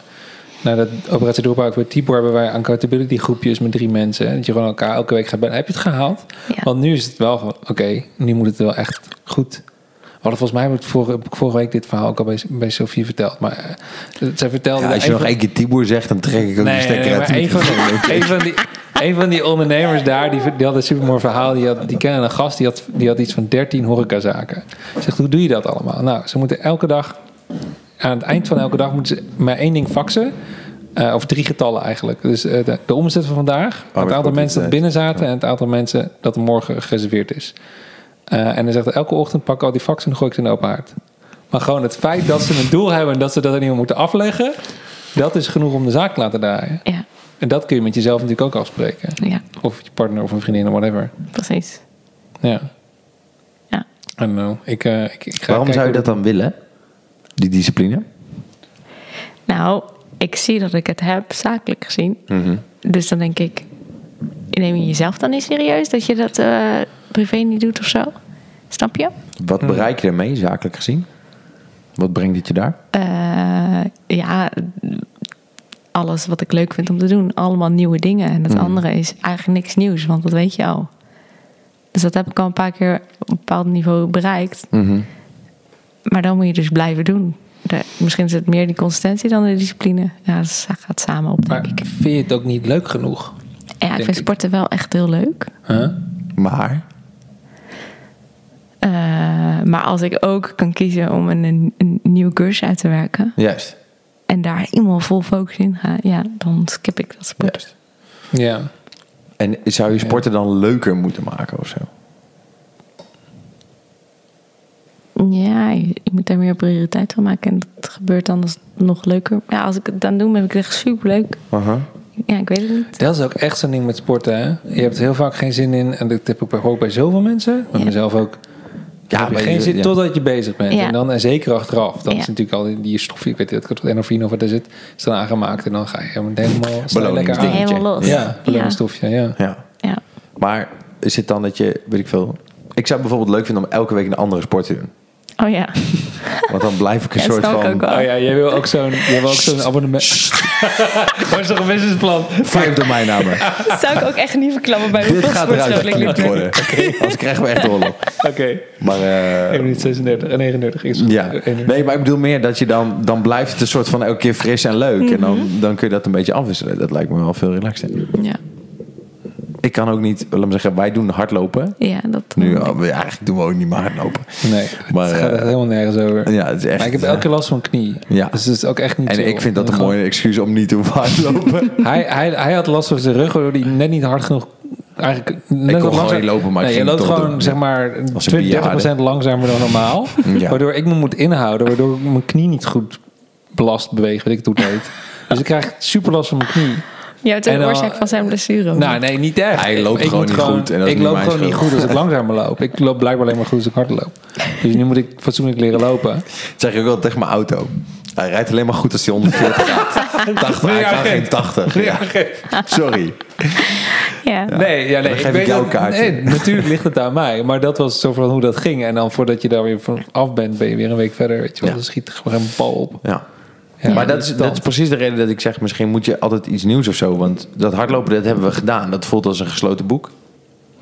Speaker 3: naar dat operatie doorbraak bij Tibor... hebben wij accountability groepjes met drie mensen. hè, Dat je gewoon elkaar elke week gaat bellen. Heb je het gehaald?
Speaker 1: Ja.
Speaker 3: Want nu is het wel gewoon, oké, nu moet het wel echt goed. We hadden volgens mij heb ik vorige, heb ik vorige week dit verhaal ook al bij, bij Sophie verteld. Maar eh, zij vertelde...
Speaker 2: Ja,
Speaker 3: dat
Speaker 2: als je
Speaker 3: een
Speaker 2: nog
Speaker 3: van-
Speaker 2: één keer Tibor zegt, dan trek ik ook de stekker uit. de
Speaker 3: maar een van,
Speaker 2: microfoon.
Speaker 3: die, een, van die, een van die ondernemers daar, die, die had een supermooi verhaal. Die, had, die kende een gast, die had, die had iets van 13 horecazaken. Zegt, hoe doe je dat allemaal? Nou, ze moeten elke dag, aan het eind van elke dag, moeten ze maar één ding faxen. Eh, of drie getallen eigenlijk. Dus eh, de, de omzet van vandaag, het aantal mensen dat binnen zaten... en het aantal mensen dat er morgen gereserveerd is. Eh, en dan zegt hij, elke ochtend pak ik al die faxen en dan gooi ik ze in de open haard. Maar gewoon het feit dat ze een doel hebben en dat ze dat aan iemand moeten afleggen... dat is genoeg om de zaak te laten draaien.
Speaker 1: Ja,
Speaker 3: En dat kun je met jezelf natuurlijk ook afspreken.
Speaker 1: ja
Speaker 3: Of je partner of een vriendin of whatever.
Speaker 1: precies.
Speaker 3: Ja.
Speaker 1: Ja.
Speaker 3: I don't know. Ik, eh, ik, ik ga
Speaker 2: Waarom
Speaker 3: kijken
Speaker 2: zou je
Speaker 3: hoe-
Speaker 2: dat dan willen? Die discipline?
Speaker 1: Nou, ik zie dat ik het heb, zakelijk gezien. Dus dan denk ik, neem je jezelf dan niet serieus dat je dat eh, privé niet doet of zo? Snap je?
Speaker 2: Wat
Speaker 3: Hmm.
Speaker 2: bereik je daarmee, zakelijk gezien? Wat brengt het je daar?
Speaker 1: Eh, ja, alles wat ik leuk vind om te doen. Allemaal nieuwe dingen. En het
Speaker 3: Hmm.
Speaker 1: andere is eigenlijk niks nieuws, want dat weet je al. Dus dat heb ik al een paar keer op een bepaald niveau bereikt.
Speaker 3: Mhm.
Speaker 1: Maar dan moet je dus blijven doen. De- misschien is het meer die consistentie dan de discipline. Ja, dat is- dat gaat samen op, denk
Speaker 3: Maar
Speaker 1: ik.
Speaker 3: vind je het ook niet leuk genoeg?
Speaker 1: Ja, ik
Speaker 3: ik.
Speaker 1: vind sporten wel echt heel leuk.
Speaker 3: Huh?
Speaker 2: Maar,
Speaker 1: Eh, maar als ik ook kan kiezen om een, een, een nieuw cursus uit te werken...
Speaker 2: juist.
Speaker 1: en daar helemaal vol focus in ga... ja, dan skip ik dat sport.
Speaker 2: juist.
Speaker 3: Ja.
Speaker 2: En zou je sporten dan leuker moeten maken of zo?
Speaker 1: Ja, je, je moet daar meer prioriteit van maken. En dat gebeurt dan als het nog leuker. Ja, als ik het dan doe, ben ik het echt superleuk.
Speaker 3: Uh-huh.
Speaker 1: Ja, ik weet het niet.
Speaker 3: Dat is ook echt zo'n ding met sporten. Hè? Je hebt er heel vaak geen zin in. En dat heb ik bij, ook bij zoveel mensen. Bij
Speaker 1: Ja.
Speaker 3: mezelf ook. Ja,
Speaker 2: maar
Speaker 3: geen
Speaker 2: je-
Speaker 3: zin
Speaker 2: ja.
Speaker 3: totdat je bezig bent.
Speaker 1: Ja.
Speaker 3: En dan en zeker achteraf. Dan
Speaker 1: Ja.
Speaker 3: is natuurlijk al die- die stof, ik weet niet, dat endorfine of wat is het, is dan aangemaakt. En dan ga je helemaal, helemaal sta je lekker aan.
Speaker 2: Beloningsdingetje.
Speaker 1: Helemaal los.
Speaker 3: Ja, beloningsstofje, ja.
Speaker 2: Ja.
Speaker 1: Ja.
Speaker 2: Maar is het dan dat je, weet ik veel... Ik zou het bijvoorbeeld leuk vinden om elke week een andere sport te doen.
Speaker 1: Oh ja,
Speaker 2: Want dan blijf ik een
Speaker 1: Ja, dat
Speaker 2: soort
Speaker 1: snap ik
Speaker 2: van...
Speaker 1: ook wel.
Speaker 3: Oh ja, jij wil ook zo'n jij wil ook zo'n abonnement. Gewoon zo'n businessplan.
Speaker 2: Vijf domeinnamen.
Speaker 1: dat zou ik ook echt niet verklappen bij
Speaker 2: Dit
Speaker 1: hoeveel
Speaker 2: gaat eruit
Speaker 1: sportschool ik nu
Speaker 2: geknipt
Speaker 1: doe.
Speaker 2: worden. Anders krijgen we echt oorlog.
Speaker 3: Oké.
Speaker 2: Maar... eh,
Speaker 3: 1 minuut 36 en 39 is het. Eh,
Speaker 2: Ja,
Speaker 3: Eén uur.
Speaker 2: nee, maar ik bedoel meer dat je dan, dan blijft het een soort van elke keer fris en leuk.
Speaker 3: Mhm.
Speaker 2: En dan, dan kun je dat een beetje afwisselen. Dat lijkt me wel veel relaxer.
Speaker 1: Ja,
Speaker 2: Ik kan ook niet, laat me zeggen, wij doen hardlopen.
Speaker 1: ja dat
Speaker 2: Nu, oh, ja, we- eigenlijk doen we ook niet meer hardlopen.
Speaker 3: Mhm. Nee, het
Speaker 2: Maar,
Speaker 3: gaat
Speaker 2: eh,
Speaker 3: echt helemaal nergens over.
Speaker 2: Ja, het is echt. eh,
Speaker 3: maar ik heb elke keer last van knie.
Speaker 2: Ja.
Speaker 3: Dus het is ook echt niet
Speaker 2: en
Speaker 3: chill.
Speaker 2: ik vind dat
Speaker 3: En
Speaker 2: een
Speaker 3: gewoon-
Speaker 2: mooie excuus om niet te hoeven hardlopen.
Speaker 3: Hij, hij, hij had last van zijn rug, waardoor hij net niet hard genoeg... Eigenlijk net wat
Speaker 2: gewoon
Speaker 3: langzaam-
Speaker 2: niet lopen, maar ik
Speaker 3: nee, je
Speaker 2: ging
Speaker 3: loopt
Speaker 2: toch
Speaker 3: gewoon
Speaker 2: doen.
Speaker 3: zeg maar
Speaker 2: Als
Speaker 3: 20,
Speaker 2: een
Speaker 3: 30
Speaker 2: bejaarde.
Speaker 3: langzamer dan normaal.
Speaker 2: Ja.
Speaker 3: Waardoor ik me moet inhouden, waardoor ik mijn knie niet goed belast beweeg, weet ik het hoe het heet. Dus ik krijg super last van mijn knie.
Speaker 1: Jouw
Speaker 3: En
Speaker 1: ten
Speaker 3: dan-
Speaker 1: oorzaak van zijn blessure. ook.
Speaker 3: Nou, nee, niet echt.
Speaker 2: Hij loopt
Speaker 3: Ik
Speaker 2: gewoon
Speaker 3: moet
Speaker 2: niet goed en dat is
Speaker 3: ik
Speaker 2: niet
Speaker 3: loop
Speaker 2: mijn
Speaker 3: gewoon niet
Speaker 2: schuld.
Speaker 3: goed als ik langzamer loop. Ik loop blijkbaar alleen maar goed als ik hard loop. Dus nu moet ik fatsoenlijk leren lopen.
Speaker 2: Dat zeg ik ook wel tegen mijn auto. Hij rijdt alleen maar goed als hij 140 gaat. 80, hij kan geen 80. Ja. Sorry.
Speaker 1: ja.
Speaker 3: Nee, ja, nee.
Speaker 2: Dan geef ik
Speaker 3: weet
Speaker 2: jou
Speaker 3: dat-
Speaker 2: een kaartje.
Speaker 3: nee, natuurlijk ligt het aan mij. Maar dat was zo van hoe dat ging. En dan voordat je daar weer van af bent, ben je weer een week verder. Weet je wel.
Speaker 2: Ja.
Speaker 3: Dan schiet er gewoon een bal op.
Speaker 2: Ja.
Speaker 3: Ja,
Speaker 2: maar dat is, dat is precies de reden dat ik zeg, misschien moet je altijd iets nieuws of zo. Want dat hardlopen, dat hebben we gedaan. Dat voelt als een gesloten boek.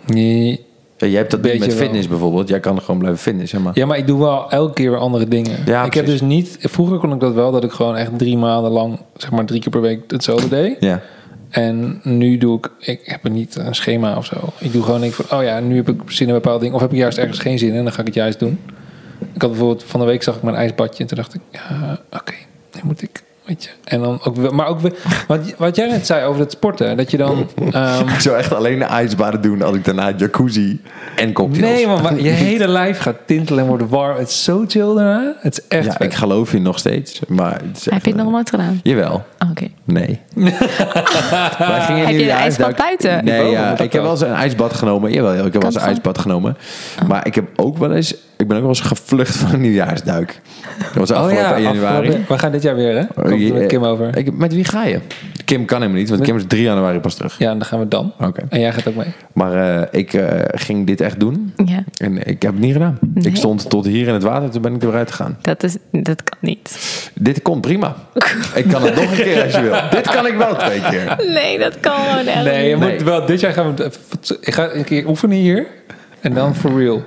Speaker 3: Nee.
Speaker 2: Ja, jij hebt dat
Speaker 3: Beetje
Speaker 2: met
Speaker 3: wel.
Speaker 2: fitness bijvoorbeeld. Jij kan gewoon blijven fitnessen. Maar...
Speaker 3: Ja, maar ik doe wel elke keer weer andere dingen.
Speaker 2: Ja,
Speaker 3: ik heb
Speaker 2: precies.
Speaker 3: dus niet... Vroeger kon ik dat wel, dat ik gewoon echt drie maanden lang... zeg maar drie keer per week hetzelfde deed.
Speaker 2: Ja.
Speaker 3: En nu doe ik, ik heb er niet een schema of zo. Ik doe gewoon, denk van, oh ja, nu heb ik zin in een bepaald ding. Of heb ik juist ergens geen zin in, dan ga ik het juist doen. Ik had bijvoorbeeld, van de week zag ik mijn ijsbadje. En toen dacht ik, ja, oké, nu moet ik, weet je. En dan ook, wel- maar ook, wel- wat, wat jij net zei over het sporten. Dat je dan, ehm,
Speaker 2: Ik zou echt alleen de ijsbaden doen als ik daarna jacuzzi en cocktails.
Speaker 3: nee man, maar je hele lijf gaat tintelen en wordt warm. Het is zo chill daarna. Het is echt
Speaker 2: ja,
Speaker 3: vet.
Speaker 2: ik geloof je nog steeds. Maar het is
Speaker 1: Heb
Speaker 2: echt,
Speaker 1: je het nog
Speaker 2: eh,
Speaker 1: nooit gedaan?
Speaker 2: Jawel.
Speaker 1: Oh, Oké.
Speaker 2: Nee. Wij gingen
Speaker 1: Heb
Speaker 2: nu
Speaker 1: je
Speaker 2: de
Speaker 1: een ijsbad
Speaker 2: ijsduik-
Speaker 1: buiten?
Speaker 2: Nee,
Speaker 3: Boven
Speaker 2: ja,
Speaker 3: moet
Speaker 2: ik heb
Speaker 3: dat Oh, wel.
Speaker 2: wel eens een ijsbad genomen. Jawel, ik heb wel eens een
Speaker 1: Kan Ah. het
Speaker 2: ijsbad genomen. Maar ik heb ook wel eens... Ik ben ook wel eens gevlucht van een nieuwjaarsduik. Dat was
Speaker 3: Oh
Speaker 2: afgelopen
Speaker 3: ja,
Speaker 2: januari.
Speaker 3: afgelopen- we gaan dit jaar weer, hè? Komt er
Speaker 2: Oh, je-
Speaker 3: met Kim over.
Speaker 2: Ik, met wie ga je? Kim kan helemaal niet, want Kim is 3 januari pas terug.
Speaker 3: Ja, en dan gaan we dan.
Speaker 2: Oké.
Speaker 3: En jij gaat ook mee.
Speaker 2: Maar eh, ik eh, ging dit echt doen.
Speaker 1: Ja,
Speaker 2: En ik heb het niet gedaan.
Speaker 1: Nee.
Speaker 2: Ik stond tot hier in het water, toen ben ik eruit gegaan.
Speaker 1: dat, is, dat kan niet.
Speaker 2: Dit komt prima. Ik kan het nog een keer als je wil. Dit kan ik wel twee keer.
Speaker 1: Nee, dat kan gewoon echt
Speaker 3: Nee, je
Speaker 1: niet.
Speaker 3: moet wel. Dit jaar gaan we. Ik ga een keer oefenen hier. En dan for real.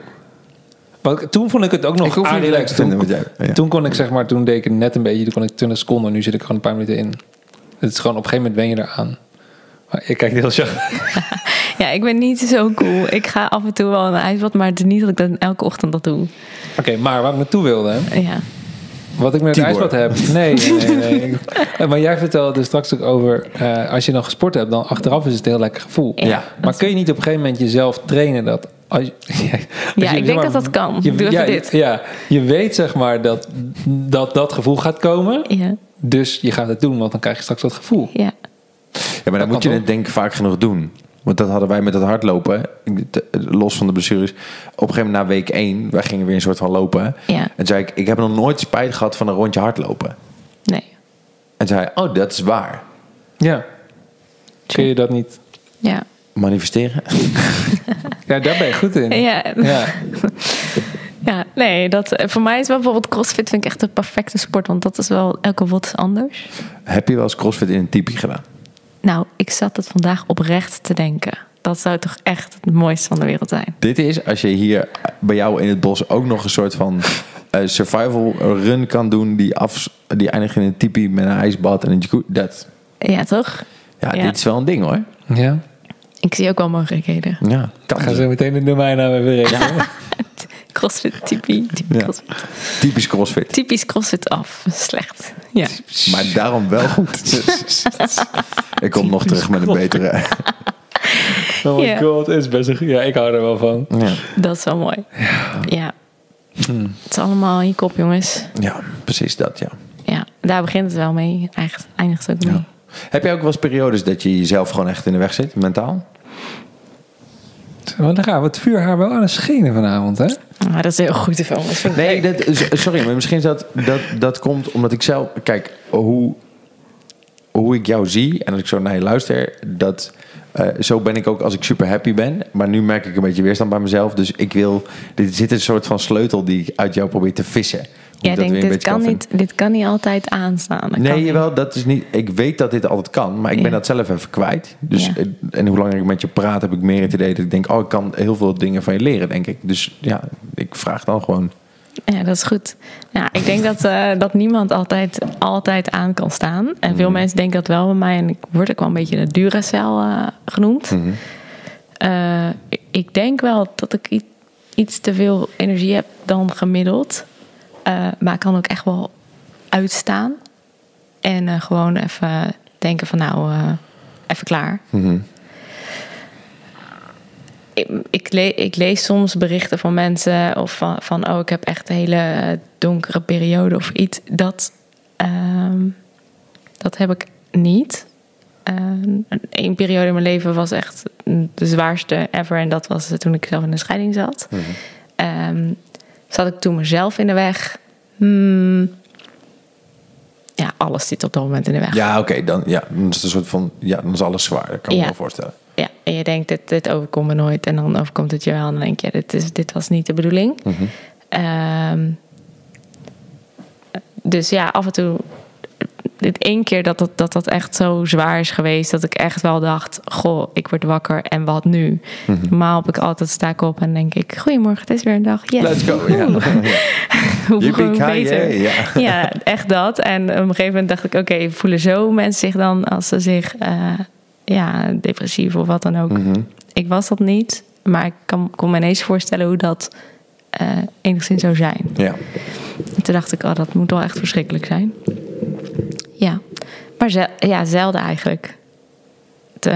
Speaker 3: Want toen vond ik het ook nog
Speaker 2: Ah, Ik hoef het niet leuk
Speaker 3: relaxed.
Speaker 2: te vinden
Speaker 3: Toen,
Speaker 2: met jou. Ja.
Speaker 3: toen kon ik zeg maar, toen deed ik het net een beetje. Toen kon ik 20 seconden. Nu zit ik gewoon een paar minuten in. Het is gewoon op een gegeven moment wen je eraan. Maar ik kijk heel zacht.
Speaker 1: Ja, ik ben niet zo cool. Ik ga af en toe wel een ijsbad, maar het is niet dat ik dat elke ochtend dat doe.
Speaker 3: Oké, maar waar ik naartoe wilde. hè.
Speaker 1: Ja.
Speaker 3: Wat ik met het
Speaker 2: Tibor.
Speaker 3: ijsbad heb. Nee, nee, nee. nee. maar jij vertelde dus straks ook over. eh, als je dan gesport hebt, dan achteraf is het een heel lekker gevoel.
Speaker 1: Ja. Ja.
Speaker 3: Maar kun je niet op een gegeven moment jezelf trainen dat. Als, je- als je,
Speaker 1: Ja,
Speaker 3: zeg
Speaker 1: ik denk
Speaker 3: maar-
Speaker 1: dat dat kan.
Speaker 3: Je,
Speaker 1: Ik Doe
Speaker 3: ja,
Speaker 1: even dit.
Speaker 3: je- ja, je weet zeg maar dat, dat dat gevoel gaat komen.
Speaker 1: Ja,
Speaker 3: Dus je gaat het doen, want dan krijg je straks dat gevoel.
Speaker 1: ja.
Speaker 2: Ja, maar dan
Speaker 3: kan
Speaker 2: moet je
Speaker 3: toch?
Speaker 2: het denk ik vaak genoeg doen. Want dat hadden wij met het hardlopen, ik- te- los van de blessures. Op een gegeven moment na week 1, wij gingen weer een soort van lopen.
Speaker 1: Ja.
Speaker 2: En toen zei ik, ik heb nog nooit spijt gehad van een rondje hardlopen.
Speaker 1: Nee.
Speaker 2: En toen zei hij, oh, dat is waar.
Speaker 3: Ja. Kun je dat niet?
Speaker 1: Ja.
Speaker 2: Manifesteren?
Speaker 3: Ja, daar ben je goed in.
Speaker 1: Ja.
Speaker 3: Ja.
Speaker 1: ja, nee, dat, eh, voor mij is wel bijvoorbeeld crossfit vind ik echt de perfecte sport, want dat is wel elke wat is anders.
Speaker 2: Heb je wel eens crossfit in een tipi gedaan?
Speaker 1: Nou, ik zat het vandaag oprecht te denken. Dat zou toch echt het mooiste van de wereld zijn.
Speaker 2: Dit is als je hier bij jou in het bos ook nog een soort van eh, survival run kan doen. Die, af, die eindigt in een tipi met een ijsbad en een jacuzzi. Dat,
Speaker 1: Ja, toch?
Speaker 2: ja,
Speaker 1: Ja.
Speaker 2: dit is wel een ding hoor.
Speaker 3: ja.
Speaker 1: Ik zie ook wel mogelijkheden.
Speaker 2: Ja,
Speaker 3: Ik
Speaker 2: kan dus.
Speaker 3: ga zo meteen de domeinnaam even rekenen.
Speaker 1: Crossfit, typie, typie
Speaker 2: Ja.
Speaker 1: crossfit.
Speaker 2: Typisch crossfit.
Speaker 1: typisch crossfit af. Slecht. Ja.
Speaker 2: Maar daarom wel goed. Ik kom nog terug met een betere.
Speaker 3: Oh my
Speaker 1: Ja.
Speaker 3: god, het is best een... Ja, ik hou er wel van.
Speaker 2: Ja,
Speaker 1: Dat is wel mooi. Ja.
Speaker 2: Hmm.
Speaker 1: Het is allemaal in je kop, jongens.
Speaker 2: ja precies dat, ja.
Speaker 1: Ja, daar begint het wel mee. Echt, eindigt het ook mee.
Speaker 2: Heb jij ook wel eens periodes dat je jezelf gewoon echt in de weg zit, mentaal?
Speaker 3: Maar dan gaan we het vuurhaar wel aan de schenen vanavond, hè?
Speaker 1: Ah, dat is heel goed ervan. Dat vind ik
Speaker 2: Nee,
Speaker 1: leuk.
Speaker 2: dat, is- sorry, maar misschien is dat, dat, dat komt omdat ik zelf... Kijk, hoe, hoe ik jou zie en als ik zo naar je luister... Dat, eh, zo ben ik ook als ik super happy ben. Maar nu merk ik een beetje weerstand bij mezelf. Dus ik wil... Er zit een soort van sleutel die ik uit jou probeer te vissen. Hoe
Speaker 1: Jij
Speaker 2: ik dat
Speaker 1: denkt,
Speaker 2: weer
Speaker 1: dit
Speaker 2: een beetje
Speaker 1: kan,
Speaker 2: vinden.
Speaker 1: niet, dit kan niet altijd aanstaan. Dat kan
Speaker 2: Nee,
Speaker 1: niet.
Speaker 2: jawel, dat is niet. Ik weet dat dit altijd kan, maar ik ben
Speaker 1: Ja.
Speaker 2: dat zelf even kwijt. Dus,
Speaker 1: Ja.
Speaker 2: eh, En hoe langer ik met je praat, heb ik meer het idee dat ik denk: oh, ik kan heel veel dingen van je leren, denk ik. Dus ja, ik vraag dan gewoon.
Speaker 1: Ja, dat is goed. Ja, ik denk dat, eh, dat niemand altijd, altijd aan kan staan. En veel mensen denken dat wel bij mij. En ik word ook wel een beetje de Duracell eh, genoemd. Eh, ik- ik denk wel dat ik i- iets te veel energie heb dan gemiddeld. Eh, maar ik kan ook echt wel uitstaan. En eh, gewoon even denken van nou, eh, even klaar. Ik, ik, le- ik lees soms berichten van mensen of van, van oh, ik heb echt een hele eh, donkere periode of iets. Dat, ehm, dat heb ik niet. Eén periode in mijn leven was echt de zwaarste ever. En dat was toen ik zelf in de scheiding zat. Ehm, zat ik toen mezelf in de weg. Hmm. Ja, alles zit op dat moment in de weg.
Speaker 2: Ja, oké, dan, ja, dan is het een soort van. Ja, dan is alles zwaar. Dat kan ik
Speaker 1: Ja.
Speaker 2: me wel voorstellen.
Speaker 1: Ja, en je denkt, dit, dit overkomt me nooit. En dan overkomt het je wel. En dan denk je, dit, is, dit was niet de bedoeling. Ehm, dus ja, af en toe... Dit één keer dat dat, dat dat echt zo zwaar is geweest... dat ik echt wel dacht, goh, ik word wakker en wat nu? Normaal heb ik altijd, sta ik op en denk ik... goedemorgen, het is weer een dag. Yes.
Speaker 2: Let's go. Ja.
Speaker 1: Hoe
Speaker 2: Yippie,
Speaker 1: gewoon
Speaker 2: ki-yay,
Speaker 1: beter.
Speaker 2: ja.
Speaker 1: Ja. echt dat. En op een gegeven moment dacht ik, oké, voelen zo mensen zich dan als ze zich eh, ja, depressief of wat dan ook. Ik was dat niet, maar ik kan, kon me ineens voorstellen hoe dat eh, enigszins zou zijn.
Speaker 2: ja.
Speaker 1: En toen dacht ik, oh, dat moet wel echt verschrikkelijk zijn. Ja, maar ze, ja, zelden eigenlijk. Het, eh,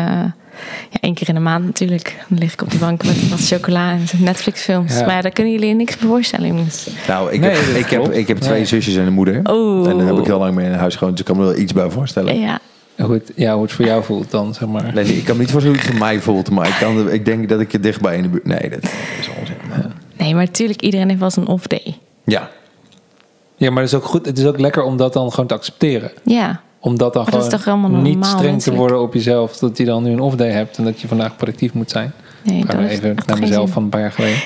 Speaker 1: ja, één keer in de maand natuurlijk. Dan lig ik op de bank met wat chocola en Netflix-films.
Speaker 3: Ja.
Speaker 1: Maar daar kunnen jullie niks voor voorstellen, jongens.
Speaker 2: Nou, ik,
Speaker 3: Nee,
Speaker 2: heb,
Speaker 3: dat
Speaker 2: ik, heb,
Speaker 3: klopt.
Speaker 2: ik heb twee
Speaker 3: Nee.
Speaker 2: zusjes en een moeder.
Speaker 1: Oh.
Speaker 2: En daar heb ik heel lang mee in huis gewoond, dus ik kan me er wel iets bij voorstellen.
Speaker 1: Ja,
Speaker 3: Hoe het, ja, hoe het voor jou voelt dan, zeg maar.
Speaker 2: Nee, nee, ik kan me niet voorstellen hoe het voor mij voelt, maar ik, kan, ik denk dat ik je dichtbij in de buurt. Nee, dat is onzin. maar-
Speaker 1: Nee, maar natuurlijk, iedereen heeft wel eens een off-day.
Speaker 2: Ja,
Speaker 3: Ja, maar het is ook goed. Het is ook lekker om dat dan gewoon te accepteren.
Speaker 1: Ja.
Speaker 3: Om dat dan
Speaker 1: Maar dat
Speaker 3: gewoon
Speaker 1: is toch helemaal
Speaker 3: niet
Speaker 1: normaal
Speaker 3: streng te
Speaker 1: menselijk?
Speaker 3: worden op jezelf. Dat je dan nu een off-day hebt en dat je vandaag productief moet zijn.
Speaker 1: Nee,
Speaker 3: ik ga
Speaker 1: dat
Speaker 3: maar
Speaker 1: heeft
Speaker 3: even
Speaker 1: echt
Speaker 3: naar
Speaker 1: geen
Speaker 3: mezelf
Speaker 1: zin.
Speaker 3: van een paar jaar geleden.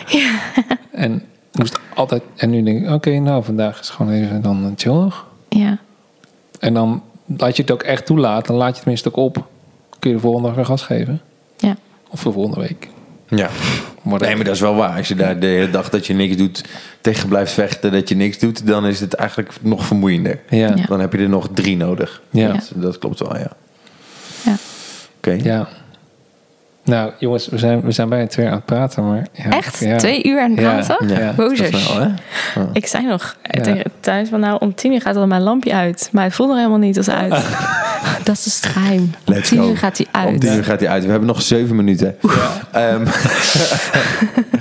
Speaker 3: En moest altijd. En nu denk ik, oké, nou vandaag is gewoon even dan eh, chill nog.
Speaker 1: Ja.
Speaker 3: En dan laat je het ook echt toelaat. Dan laat je het tenminste ook op. Kun je de volgende dag weer gas geven.
Speaker 1: Ja.
Speaker 3: Of de volgende week.
Speaker 2: ja.
Speaker 3: Whatever.
Speaker 2: Nee, maar dat is wel waar. Als je daar de hele dag dat je niks doet tegen blijft vechten, dat je niks doet, dan is het eigenlijk nog vermoeiender.
Speaker 3: Ja.
Speaker 1: Ja.
Speaker 2: Dan heb je er nog drie nodig.
Speaker 3: Ja.
Speaker 2: Dat, dat klopt wel, ja.
Speaker 1: Ja.
Speaker 2: Oké.
Speaker 3: Ja. Nou, jongens, we zijn, we zijn bijna twee uur aan het praten, maar... ja,
Speaker 1: Echt?
Speaker 3: ja.
Speaker 1: Twee uur aan het
Speaker 3: Ja.
Speaker 1: praten?
Speaker 3: Ja.
Speaker 1: Wozers.
Speaker 2: Dat is wel, hè?
Speaker 1: Ik zei nog
Speaker 3: Ja.
Speaker 1: tegen thuis van nou, om tien uur gaat al mijn lampje uit. Maar het voelde er helemaal niet als uit. dat is dus het geheim. Om
Speaker 2: Let's
Speaker 1: tien
Speaker 2: go.
Speaker 1: uur gaat hij
Speaker 2: Om tien uur
Speaker 1: uit.
Speaker 2: gaat hij uit. We hebben nog zeven minuten. Ehm,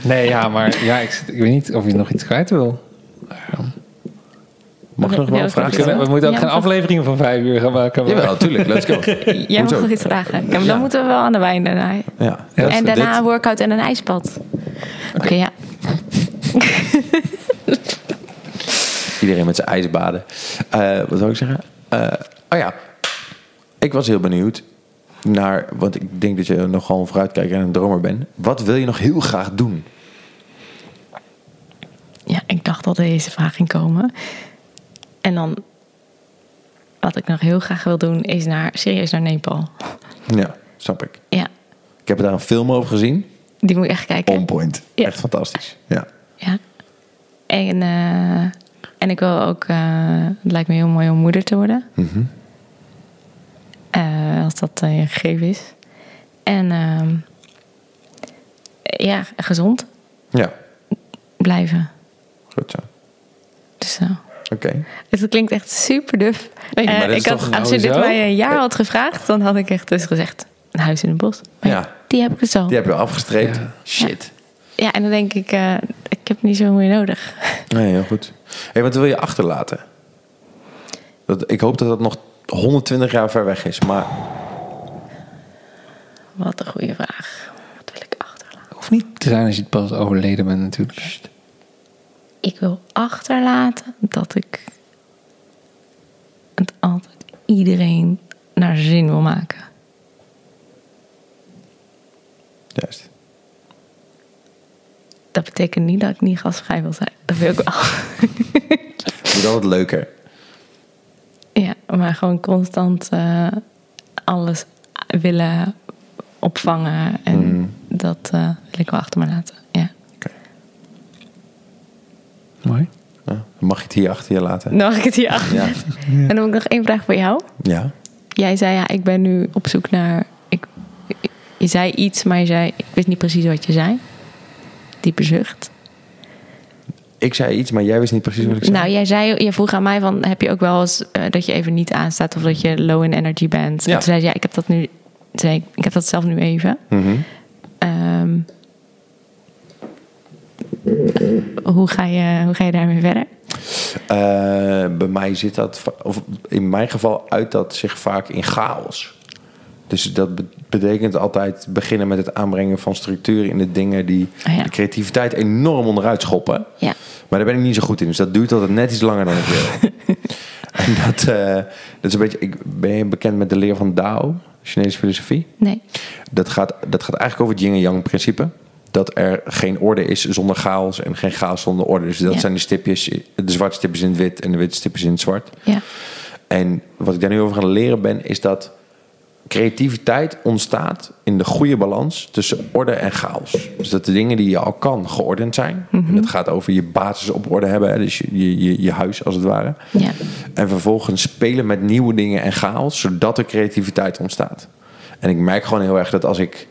Speaker 3: Nee, ja, maar ja, ik, zit- ik weet niet of je nog iets kwijt wil.
Speaker 2: mag ik nog wel
Speaker 1: Nee,
Speaker 2: een
Speaker 1: dat
Speaker 2: vraag
Speaker 1: is
Speaker 3: We,
Speaker 1: wel.
Speaker 2: stellen?
Speaker 3: kunnen- we moeten ook
Speaker 1: Ja,
Speaker 3: geen
Speaker 1: maar-
Speaker 3: afleveringen van vijf uur gaan maken. maar-
Speaker 2: Jawel, natuurlijk. Let's go.
Speaker 1: Jij mag
Speaker 2: Hoezo?
Speaker 1: nog iets vragen. Ja, maar dan moeten we wel aan de wijn daarna.
Speaker 2: Ja.
Speaker 1: en
Speaker 2: Dat-
Speaker 1: daarna
Speaker 2: dit-
Speaker 1: een workout en een ijspad. Oké, ja.
Speaker 2: Iedereen met zijn ijsbaden. Eh, wat zou ik zeggen? Eh, oh ja, ik was heel benieuwd naar, want ik denk dat je nogal een vooruitkijker en een dromer bent. Wat wil je nog heel graag doen?
Speaker 1: Ja, ik dacht dat deze vraag ging komen. En dan, wat ik nog heel graag wil doen, is naar, serieus naar Nepal.
Speaker 2: Ja, snap ik.
Speaker 1: Ja,
Speaker 2: Ik heb daar een film over gezien.
Speaker 1: die moet je echt kijken.
Speaker 2: On point.
Speaker 1: Ja.
Speaker 2: Echt fantastisch. Ja.
Speaker 1: Ja. En, eh, en ik wil ook, eh, het lijkt me heel mooi om moeder te worden. Eh, als dat eh, een gegeven is. En ehm, ja, gezond
Speaker 2: Ja.
Speaker 1: blijven.
Speaker 2: Goed zo.
Speaker 1: Dus zo.
Speaker 2: Oké.
Speaker 1: Dus Het klinkt echt super duf.
Speaker 2: Nee, maar
Speaker 1: Eh,
Speaker 2: dat is
Speaker 1: ik had,
Speaker 2: toch
Speaker 1: als je
Speaker 3: nou
Speaker 1: dit
Speaker 3: zo?
Speaker 1: mij een jaar had gevraagd, dan had ik echt dus gezegd: een huis in het bos. Maar
Speaker 2: Ja.
Speaker 1: Die heb ik dus al.
Speaker 2: Die hebben we afgestreept.
Speaker 3: Ja.
Speaker 2: Shit.
Speaker 1: Ja, en dan denk ik: eh, ik heb niet zo meer nodig.
Speaker 2: Nee, heel goed. Hey, wat wil je achterlaten? Dat, ik hoop dat dat nog 120 jaar ver weg is. Maar
Speaker 1: Wat een goede vraag. Wat wil ik achterlaten?
Speaker 3: Hoeft niet te zijn als je pas overleden bent natuurlijk.
Speaker 1: ik wil achterlaten dat ik het altijd iedereen naar zijn zin wil maken.
Speaker 2: Juist.
Speaker 1: Dat betekent niet dat ik niet gastvrij wil zijn. Dat wil ik wel.
Speaker 2: Doe dat wat leuker.
Speaker 1: Ja, maar gewoon constant eh, alles willen opvangen. En dat eh, wil ik wel achter me laten. Ja.
Speaker 3: Mooi.
Speaker 2: Ja, dan mag je het hier achter je laten.
Speaker 1: Dan mag ik het hier achter.
Speaker 2: Ja.
Speaker 1: En dan heb ik nog één vraag voor jou.
Speaker 2: Ja.
Speaker 1: Jij zei ja, ik ben nu op zoek naar. Ik, ik- je zei iets, maar je zei, ik wist niet precies wat je zei. Diepe zucht.
Speaker 2: Ik zei iets, maar jij wist niet precies wat ik zei.
Speaker 1: Nou, jij zei, je vroeg aan mij van, heb je ook wel eens eh, dat je even niet aanstaat of dat je low in energy bent? En
Speaker 2: Ja.
Speaker 1: toen zei je, ja, ik heb dat nu, toen zei ik, ik heb dat zelf nu even.
Speaker 2: Mhm.
Speaker 1: Ehm, hoe, ga je, hoe ga je daarmee verder?
Speaker 2: Eh, bij mij zit dat, va- of in mijn geval, uit dat zich vaak in chaos. Dus dat be- betekent altijd beginnen met het aanbrengen van structuur in de dingen die
Speaker 1: Ah, ja.
Speaker 2: de creativiteit enorm onderuit schoppen.
Speaker 1: Ja.
Speaker 2: Maar daar ben ik niet zo goed in. Dus dat duurt altijd net iets langer dan ik wil. en dat, eh, dat is een beetje. Ik ben je bekend met de leer van Dao, Chinese filosofie.
Speaker 1: Nee.
Speaker 2: Dat gaat, dat gaat eigenlijk over het yin en yang principe. Dat er geen orde is zonder chaos en geen chaos zonder orde. Dus dat
Speaker 1: Ja.
Speaker 2: zijn de stipjes, de zwarte stipjes in het wit en de witte stipjes in het zwart.
Speaker 1: Ja.
Speaker 2: En wat ik daar nu over gaan leren ben, is dat creativiteit ontstaat in de goede balans tussen orde en chaos. Dus dat de dingen die je al kan geordend zijn. En dat gaat over je basis op orde hebben, hè, dus je, je, je, je huis als het ware.
Speaker 1: Ja.
Speaker 2: En vervolgens spelen met nieuwe dingen en chaos, zodat er creativiteit ontstaat. En ik merk gewoon heel erg dat als ik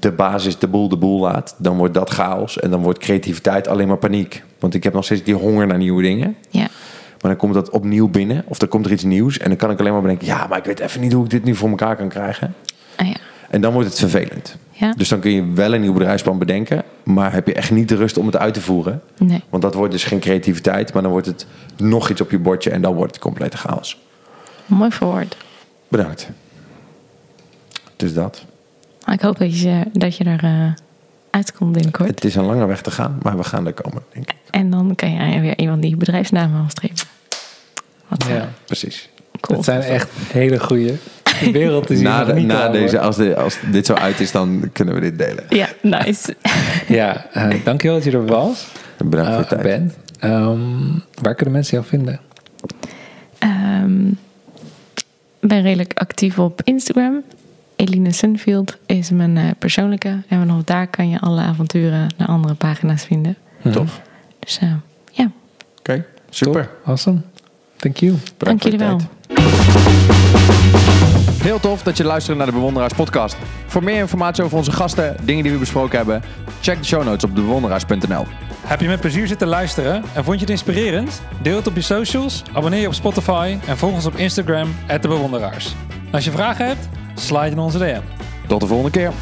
Speaker 2: de basis de boel de boel laat, dan wordt dat chaos en dan wordt creativiteit alleen maar paniek. Want ik heb nog steeds die honger naar nieuwe dingen.
Speaker 1: Ja.
Speaker 2: Maar dan komt dat opnieuw binnen of dan komt er iets nieuws en dan kan ik alleen maar bedenken, ja, maar ik weet even niet hoe ik dit nu voor elkaar kan krijgen.
Speaker 1: Ah, ja.
Speaker 2: En dan wordt het vervelend.
Speaker 1: Ja.
Speaker 2: Dus dan kun je wel een nieuw bedrijfsplan bedenken, maar heb je echt niet de rust om het uit te voeren.
Speaker 1: Nee.
Speaker 2: Want dat wordt dus geen creativiteit, maar dan wordt het nog iets op je bordje en dan wordt het complete chaos.
Speaker 1: Mooi verwoord.
Speaker 2: Bedankt. Dus dat.
Speaker 1: Maar Ah, ik hoop dat je, dat je er eh, uitkomt binnenkort.
Speaker 2: Het is een lange weg te gaan, maar we gaan er komen, denk ik.
Speaker 1: En dan kan je weer iemand die bedrijfsnamen aanstreven. Wat eh,
Speaker 3: Ja.
Speaker 2: Precies.
Speaker 1: cool.
Speaker 3: Het zijn echt hele goede. De wereld is hier
Speaker 2: Na,
Speaker 3: nog
Speaker 2: de-
Speaker 3: niet
Speaker 2: na
Speaker 3: aan,
Speaker 2: deze,
Speaker 3: hoor.
Speaker 2: als, de, als dit zo uit is, dan kunnen we dit delen.
Speaker 1: Ja, nice.
Speaker 3: Ja, eh, dankjewel dat je er was.
Speaker 2: Bedankt voor je
Speaker 3: eh,
Speaker 2: tijd.
Speaker 3: bent. Ehm, waar kunnen mensen jou vinden?
Speaker 1: Ehm, Ik ben redelijk actief op Instagram. Eline Sunfield is mijn eh, persoonlijke. En vanaf daar kan je alle avonturen naar andere pagina's vinden.
Speaker 3: Mhm.
Speaker 2: Tof. Oké,
Speaker 1: Dus eh, ja,
Speaker 2: super.
Speaker 3: Top. Awesome. Thank you.
Speaker 1: dank
Speaker 2: Bedankt voor je
Speaker 1: jullie wel.
Speaker 2: tijd.
Speaker 4: Heel tof dat je luistert naar de Bewonderaars podcast. Voor meer informatie over onze gasten, dingen die we besproken hebben, check de show notes op debewonderaars.nl.
Speaker 5: Heb je met plezier zitten luisteren en vond je het inspirerend? Deel het op je socials, abonneer je op Spotify en volg ons op Instagram, @debewonderaars. Als je vragen hebt, slide in onze DM.
Speaker 4: Tot de volgende keer.